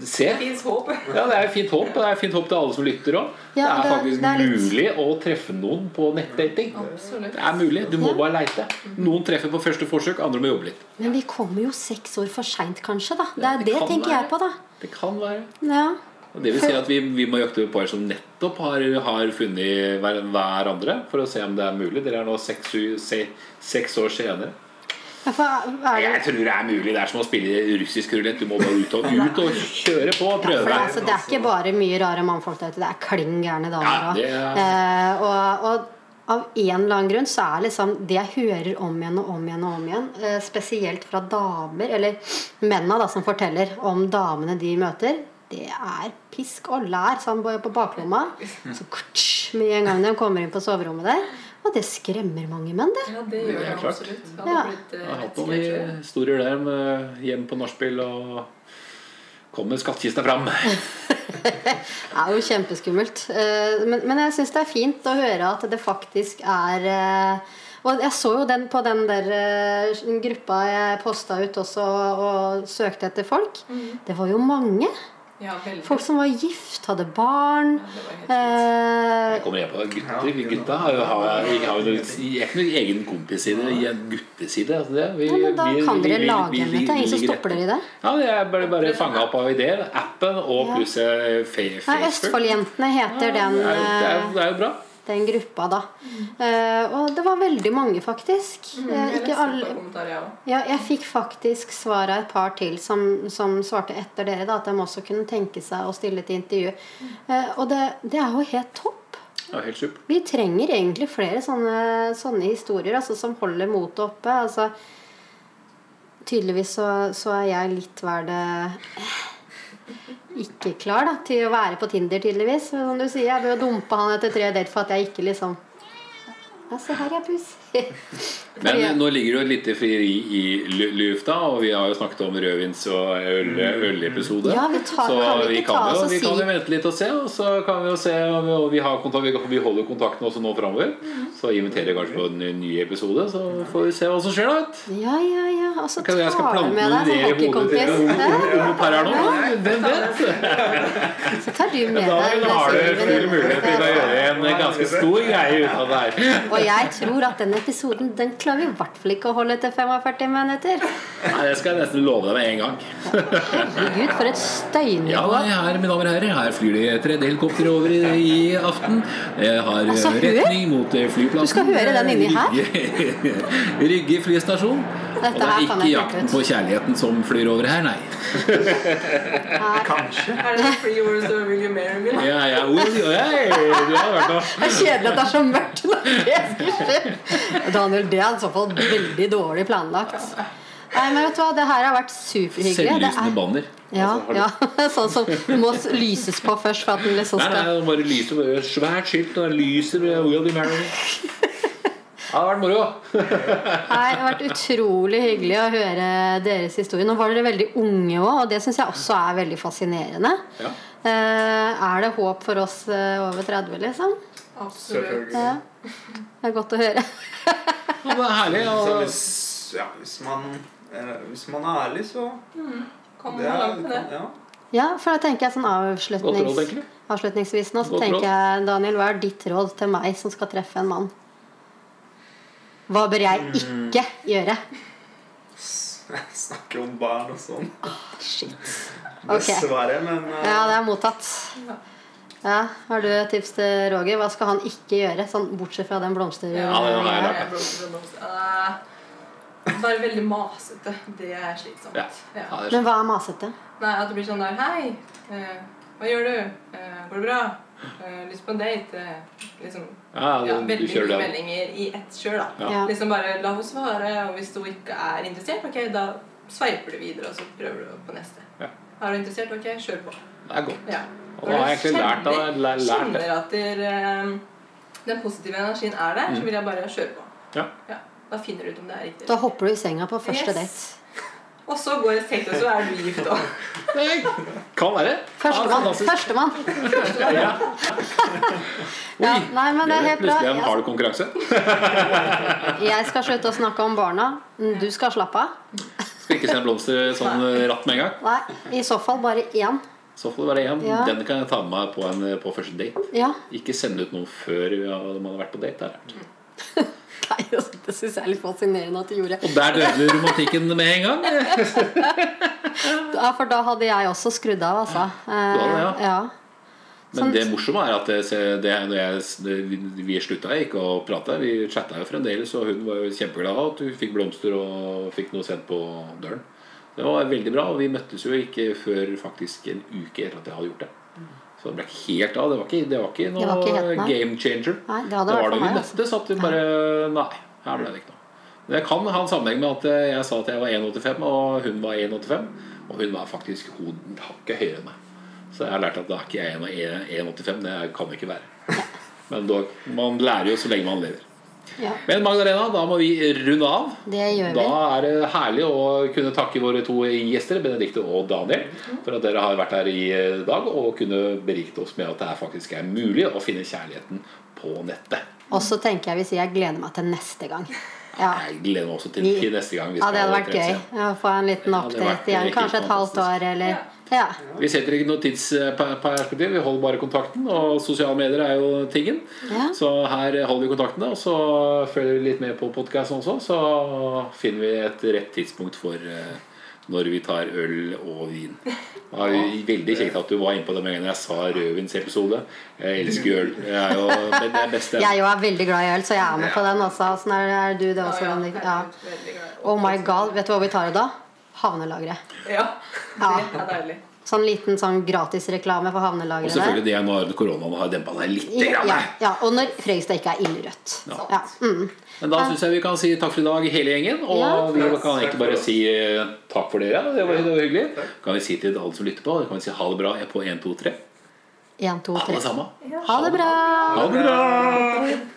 [SPEAKER 1] ser.
[SPEAKER 3] Det fins håp.
[SPEAKER 1] Ja, det er fint håp. og Det er fint håp til alle som lytter òg.
[SPEAKER 2] Ja,
[SPEAKER 1] det er
[SPEAKER 2] det-
[SPEAKER 1] faktisk
[SPEAKER 2] det er litt-
[SPEAKER 1] mulig å treffe noen på nettdating.
[SPEAKER 3] Absolutt.
[SPEAKER 1] Det er mulig. Du må bare leite. Noen treffer på første forsøk, andre må jobbe litt.
[SPEAKER 2] Men vi kommer jo seks år for seint, kanskje, da. Det
[SPEAKER 1] Ja,
[SPEAKER 2] er
[SPEAKER 1] det
[SPEAKER 2] det,
[SPEAKER 1] kan
[SPEAKER 2] tenker jeg
[SPEAKER 1] være.
[SPEAKER 2] på, da.
[SPEAKER 1] Det kan være.
[SPEAKER 2] Ja.
[SPEAKER 1] Og det vil si at vi, vi må jakte på par som nettopp har, har funnet hver- hverandre, for å se om det er mulig. Dere er nå seks, u- se, seks år senere.
[SPEAKER 2] Ja, for er det
[SPEAKER 1] Jeg tror det er mulig. Det er som å spille russisk rulett. Du må bare ut og, ut og kjøre på og
[SPEAKER 2] For det,
[SPEAKER 1] prøve.
[SPEAKER 2] er- altså, det er ikke bare mye rare mannfolk der ute, det er kling gærne damer
[SPEAKER 1] Ja,
[SPEAKER 2] òg.
[SPEAKER 1] det er-
[SPEAKER 2] Eh, og, og av en eller annen grunn så er liksom det jeg hører om igjen og om igjen, og om igjen eh, spesielt fra damer, eller mennene da, som forteller om damene de møter, det er pisk og lær sånn på på baklomma. Så kutsj, med en gang de kommer inn på soverommet der. Og det skremmer mange menn, det.
[SPEAKER 3] Ja, det
[SPEAKER 1] Det
[SPEAKER 3] gjør
[SPEAKER 1] er
[SPEAKER 3] det
[SPEAKER 1] klart.
[SPEAKER 3] absolutt. Det
[SPEAKER 2] Ja.
[SPEAKER 3] hadde blitt eh,
[SPEAKER 1] Jeg har hatt
[SPEAKER 3] litt
[SPEAKER 1] noen
[SPEAKER 3] skrevet.
[SPEAKER 1] historier der med hjem på nachspiel og Kommer skattkista fram.
[SPEAKER 2] Det er jo kjempeskummelt. Eh, Men, men jeg syns det er fint å høre at det faktisk er eh, Og jeg så jo den på den der eh, gruppa jeg posta ut også og søkte etter folk.
[SPEAKER 3] Mm.
[SPEAKER 2] Det var jo mange.
[SPEAKER 3] Ja, veldig.
[SPEAKER 2] Folk som var gift, hadde barn.
[SPEAKER 3] Ja, det var helt sykt.
[SPEAKER 1] Jeg
[SPEAKER 2] Eh,
[SPEAKER 1] kommer jeg på gutter. Vi Gutta har jo har- jeg har jo noe- jeg er ikke noen egen kompisside i en gutteside. Altså det. Vi,
[SPEAKER 2] ja, men da
[SPEAKER 1] vi-
[SPEAKER 2] kan
[SPEAKER 1] vi-
[SPEAKER 2] dere
[SPEAKER 1] vi-
[SPEAKER 2] lage
[SPEAKER 1] vi-
[SPEAKER 2] en,
[SPEAKER 1] vi-
[SPEAKER 2] vet du. Ingen som
[SPEAKER 1] ligger
[SPEAKER 2] stopper dere i det.
[SPEAKER 1] Ja, jeg ble bare fanga opp av ideer. Appen og pluss eh, Fa-
[SPEAKER 2] Nei,
[SPEAKER 1] Facebook.
[SPEAKER 2] Østfoldjentene heter
[SPEAKER 1] Ja,
[SPEAKER 2] den.
[SPEAKER 1] det, er jo, det, er,
[SPEAKER 2] eh,
[SPEAKER 1] jo- det er jo bra.
[SPEAKER 2] den gruppa, da. Eh, og det var veldig mange, faktisk. Eh,
[SPEAKER 3] Mm. Jeg
[SPEAKER 2] ikke
[SPEAKER 3] leste et
[SPEAKER 2] alle
[SPEAKER 3] par kommentarer, jeg også.
[SPEAKER 2] ja, Jeg fikk faktisk svar av et par til som, som svarte etter dere, da, at de også kunne tenke seg å stille til intervju. Eh, og det, det er jo helt topp.
[SPEAKER 1] Ja, helt super.
[SPEAKER 2] Vi trenger egentlig flere sånne, sånne historier altså, som holder motet oppe. Altså, tydeligvis så, så er jeg litt hver det ikke klar da, til å være på Tinder, tydeligvis. Men Som du sier, jeg bør dumpe han etter tre dater for at jeg ikke liksom Ja, se her, ja, pus. (laughs)
[SPEAKER 1] Men
[SPEAKER 2] Fordi-
[SPEAKER 1] nå ligger det jo et lite frieri i lu- lufta, og vi har jo snakket om rødvins- og øl- ølepisode.
[SPEAKER 2] Mm. Ja, vi tar-
[SPEAKER 1] så
[SPEAKER 2] kan vi ikke
[SPEAKER 1] vi
[SPEAKER 2] ta
[SPEAKER 1] kan,
[SPEAKER 2] oss
[SPEAKER 1] jo,
[SPEAKER 2] og
[SPEAKER 1] vi kan
[SPEAKER 2] si-
[SPEAKER 1] jo vente litt og se, og så kan vi jo se om vi, og vi, har kontakt, vi- vi holder kontakten også nå framover.
[SPEAKER 2] Mm.
[SPEAKER 1] Så inviterer jeg kanskje på en ny episode, så får vi se hva som skjer da. vet du.
[SPEAKER 2] Ja, ja, ja. Og så
[SPEAKER 1] Kan jeg- jeg skal
[SPEAKER 2] tar du
[SPEAKER 1] plante
[SPEAKER 2] med deg
[SPEAKER 1] noen
[SPEAKER 2] som
[SPEAKER 1] ideer i hodet til
[SPEAKER 2] hockeykompis. Der,
[SPEAKER 1] om et par her nå. Hvem vet?
[SPEAKER 2] Så tar du med
[SPEAKER 1] Da
[SPEAKER 2] deg
[SPEAKER 1] har du full
[SPEAKER 2] venninne.
[SPEAKER 1] mulighet til å gjøre en ganske stor greie ut av det her.
[SPEAKER 2] Og jeg tror at den episoden den klarer vi i hvert fall ikke å holde til 45 minutter.
[SPEAKER 1] Nei, det skal jeg nesten love deg med en gang.
[SPEAKER 2] Herregud, for et støynivå.
[SPEAKER 1] Ja, nei, her, mine damer og herrer, her flyr det tredje helikopter over i, i aften. Jeg har
[SPEAKER 2] Altså,
[SPEAKER 1] eh, retning mot eh, flyplassen.
[SPEAKER 2] Du skal høre den inni her?
[SPEAKER 1] Rygge, (laughs) Rygge flystasjon. og
[SPEAKER 2] Dette
[SPEAKER 1] det
[SPEAKER 2] her
[SPEAKER 1] er
[SPEAKER 2] kan
[SPEAKER 1] ikke
[SPEAKER 2] jeg
[SPEAKER 1] jakten
[SPEAKER 2] plukke ut.
[SPEAKER 1] på kjærligheten som flyr over her, nei.
[SPEAKER 4] Kanskje.
[SPEAKER 3] Er det Free World Store Will You Marry Me?
[SPEAKER 1] Ja, ja, oi, oi, du har vært noe.
[SPEAKER 2] Det er kjedelig at det er så mørkt når det skal skje. Daniel, det er i så fall veldig dårlig planlagt. Nei, men vet du hva, det her har vært superhyggelig. Det
[SPEAKER 1] Selvlysende
[SPEAKER 2] er,
[SPEAKER 1] banner.
[SPEAKER 2] ja, ja, (laughs) sånn som må lyses på først for at den liksom
[SPEAKER 1] Nei, nei,
[SPEAKER 2] skal
[SPEAKER 1] det bare lyser bare svært skilt, og det lyser eh, Will be
[SPEAKER 2] (laughs)
[SPEAKER 1] married. Ja, det har vært moro.
[SPEAKER 2] Nei, Det har vært utrolig hyggelig å høre deres historie. Nå var dere veldig unge òg, og det syns jeg også er veldig fascinerende.
[SPEAKER 1] Ja.
[SPEAKER 2] Eh, Er det håp for oss eh, over 30, liksom?
[SPEAKER 3] Absolutt.
[SPEAKER 4] Selvfølgelig.
[SPEAKER 2] Ja. Det er godt å høre.
[SPEAKER 1] Ja, Det er herlig.
[SPEAKER 4] Så
[SPEAKER 1] Og...
[SPEAKER 4] hvis, ja, hvis, man, eh, hvis man er ærlig, så
[SPEAKER 3] Kom
[SPEAKER 4] det er-
[SPEAKER 3] langt med det.
[SPEAKER 4] Ja.
[SPEAKER 2] Ja, for da tenker jeg sånn
[SPEAKER 1] Godt råd,
[SPEAKER 2] avslutnings...
[SPEAKER 1] egentlig.
[SPEAKER 2] avslutningsvis nå, så
[SPEAKER 1] Godt
[SPEAKER 2] tenker
[SPEAKER 1] råd.
[SPEAKER 2] jeg, Daniel, hva er ditt råd til meg som skal treffe en mann? Hva bør jeg
[SPEAKER 1] Mm.
[SPEAKER 2] ikke gjøre?
[SPEAKER 4] S- (laughs) Snakke om barn og sånn.
[SPEAKER 2] Shit. Ok.
[SPEAKER 4] Dessverre, men eh,
[SPEAKER 2] Ja, det er mottatt. Ja, Har du et tips til Roger? Hva skal han ikke gjøre? Sånn bortsett fra den blomster...
[SPEAKER 1] Ja, det har jeg lært.
[SPEAKER 3] Jeg blomster og blomster. Eh, Være veldig masete. Det er slitsomt.
[SPEAKER 1] Ja.
[SPEAKER 3] Ja.
[SPEAKER 1] Ja, det er
[SPEAKER 2] Men hva er masete?
[SPEAKER 3] Nei, at det blir sånn der Hei, eh, hva gjør du? Eh, går det bra? Eh, lyst på en date? Eh, liksom
[SPEAKER 1] sånn.
[SPEAKER 3] ja,
[SPEAKER 1] ja, du
[SPEAKER 3] Veldig
[SPEAKER 1] kjører
[SPEAKER 3] mye
[SPEAKER 1] det.
[SPEAKER 3] meldinger i ett kjør, da.
[SPEAKER 1] Ja.
[SPEAKER 2] Ja.
[SPEAKER 3] Liksom bare la henne svare, og hvis hun ikke er interessert, ok, da sveiper du videre, og så prøver du på neste.
[SPEAKER 1] Ja.
[SPEAKER 3] Er du interessert, ok, kjør på.
[SPEAKER 1] Det er godt.
[SPEAKER 3] Ja.
[SPEAKER 1] Og da har jeg egentlig lært av det. læ- Lært det.
[SPEAKER 3] Kjenner at der, eh, den positive energien er der, så vil jeg bare kjøre på.
[SPEAKER 1] Mm. Ja.
[SPEAKER 3] Ja, da finner du ut om det er riktig.
[SPEAKER 2] Da hopper du i senga på første
[SPEAKER 3] Yes.
[SPEAKER 2] date.
[SPEAKER 3] Og så går jeg tenkt, og så er du gift òg.
[SPEAKER 2] (laughs)
[SPEAKER 1] Nei, kan være.
[SPEAKER 2] Førstemann! Førstemann!
[SPEAKER 1] Ja.
[SPEAKER 2] (laughs) Ja, nei, men det er helt bra.
[SPEAKER 1] Plutselig en
[SPEAKER 2] Jeg-
[SPEAKER 1] hard konkurranse.
[SPEAKER 2] Jeg skal slutte å snakke om barna. Du skal slappe av.
[SPEAKER 1] Skal ikke se en blomster sånn eh, ratt med en gang.
[SPEAKER 2] Nei, i så fall bare én.
[SPEAKER 1] Så får det være én.
[SPEAKER 2] Ja.
[SPEAKER 1] Den kan jeg ta med meg på, en, på første date.
[SPEAKER 2] Ja.
[SPEAKER 1] Ikke sende ut noe før vi har- man har vært på date. Der.
[SPEAKER 2] Nei, (laughs) altså, det syns jeg er litt fascinerende at du gjorde.
[SPEAKER 1] Og der døde romantikken med en gang.
[SPEAKER 2] Ja, for da hadde jeg også skrudd av, altså. Eh,
[SPEAKER 1] hadde det,
[SPEAKER 2] ja.
[SPEAKER 1] Men det morsomme er at det, se- det, er når jeg, det, vi slutta ikke å prate. Vi chatta jo fremdeles, og hun var jo kjempeglad at hun fikk blomster og fikk noe sendt på døren. Det var veldig bra, og vi møttes jo ikke før faktisk en uke etter at jeg hadde gjort det. Så det ble ikke helt av. Det var ikke, det var ikke
[SPEAKER 2] Mm. Det var ikke helt,
[SPEAKER 1] noe
[SPEAKER 2] nei.
[SPEAKER 1] game changer.
[SPEAKER 2] Nei, det hadde
[SPEAKER 1] Det
[SPEAKER 2] vært
[SPEAKER 1] var da
[SPEAKER 2] for
[SPEAKER 1] vi
[SPEAKER 2] meg. Altså.
[SPEAKER 1] møttes at vi bare Nei, her ble det ikke noe. Men jeg kan ha en sammenheng med at eh, jeg sa at jeg var 1,85, og hun var 1,85. Og hun var faktisk hodet hakket høyere enn meg. Så jeg har lært at da er ikke jeg 1,85. Det kan jeg ikke være. Men dog, man lærer jo så lenge man lever.
[SPEAKER 2] Ja,
[SPEAKER 1] Men Magdalena, da må vi runde av.
[SPEAKER 2] det gjør
[SPEAKER 1] Da
[SPEAKER 2] vi.
[SPEAKER 1] er det herlig å kunne takke våre to gjester, Benedicte og Daniel,
[SPEAKER 2] Mhm.
[SPEAKER 1] for at dere har vært her i eh, dag og kunne berikt oss med at det her faktisk er mulig å finne kjærligheten på nettet.
[SPEAKER 2] Og så tenker jeg vi sier jeg gleder meg til neste gang. Ja,
[SPEAKER 1] Jeg gleder meg også til
[SPEAKER 2] Vi-
[SPEAKER 1] neste gang. vi
[SPEAKER 2] ja
[SPEAKER 1] skal
[SPEAKER 2] det hadde vært
[SPEAKER 1] treffes
[SPEAKER 2] gøy
[SPEAKER 1] igjen.
[SPEAKER 2] å få en liten
[SPEAKER 1] Ja, det hadde vært
[SPEAKER 2] update igjen.
[SPEAKER 1] helt
[SPEAKER 2] Kanskje et halvt
[SPEAKER 1] fantastisk.
[SPEAKER 2] år eller Ja.
[SPEAKER 1] Vi setter ikke noe tidsperspektiv, vi holder bare kontakten. Og sosiale medier er jo tingen.
[SPEAKER 2] Ja.
[SPEAKER 1] Så her holder vi kontakten, og så følger vi litt med på podkasten også. Så finner vi et rett tidspunkt for eh, når vi tar øl og vin. Det var jo veldig kjekt at du var inne på det med en gang jeg sa rødvinsepisode. Jeg elsker jo øl. Jeg er jo det er beste.
[SPEAKER 2] Jeg òg er veldig glad i øl, så jeg er med på den også. Åssen er det- er du det også?
[SPEAKER 3] Ja,
[SPEAKER 2] Benedikt? Ja.
[SPEAKER 3] herregud, veldig glad.
[SPEAKER 2] Oh my god, vet du hvor vi tar det da? Havnelageret.
[SPEAKER 3] Ja,
[SPEAKER 2] Ja.
[SPEAKER 3] (laughs) det er deilig.
[SPEAKER 2] Sånn liten sånn gratisreklame for
[SPEAKER 1] Og
[SPEAKER 2] havnelageret
[SPEAKER 1] selvfølgelig det nå når koronaen har dempa deg litt.
[SPEAKER 2] Ja,
[SPEAKER 1] Grann.
[SPEAKER 2] ja, ja, og når Fredrikstad ikke er ildrødt.
[SPEAKER 1] Ja.
[SPEAKER 2] Ja. Mm.
[SPEAKER 1] Men da syns jeg vi kan si takk for i dag, hele gjengen. Og
[SPEAKER 2] Ja.
[SPEAKER 1] vi kan egentlig bare si eh, takk for dere. Det var, det var hyggelig. Kan vi si til alle som lytter på, kan vi si ha det bra på 1, 2, 3.
[SPEAKER 2] En, to, tre.
[SPEAKER 1] Alle sammen.
[SPEAKER 2] Ha det bra!
[SPEAKER 1] Ha det bra!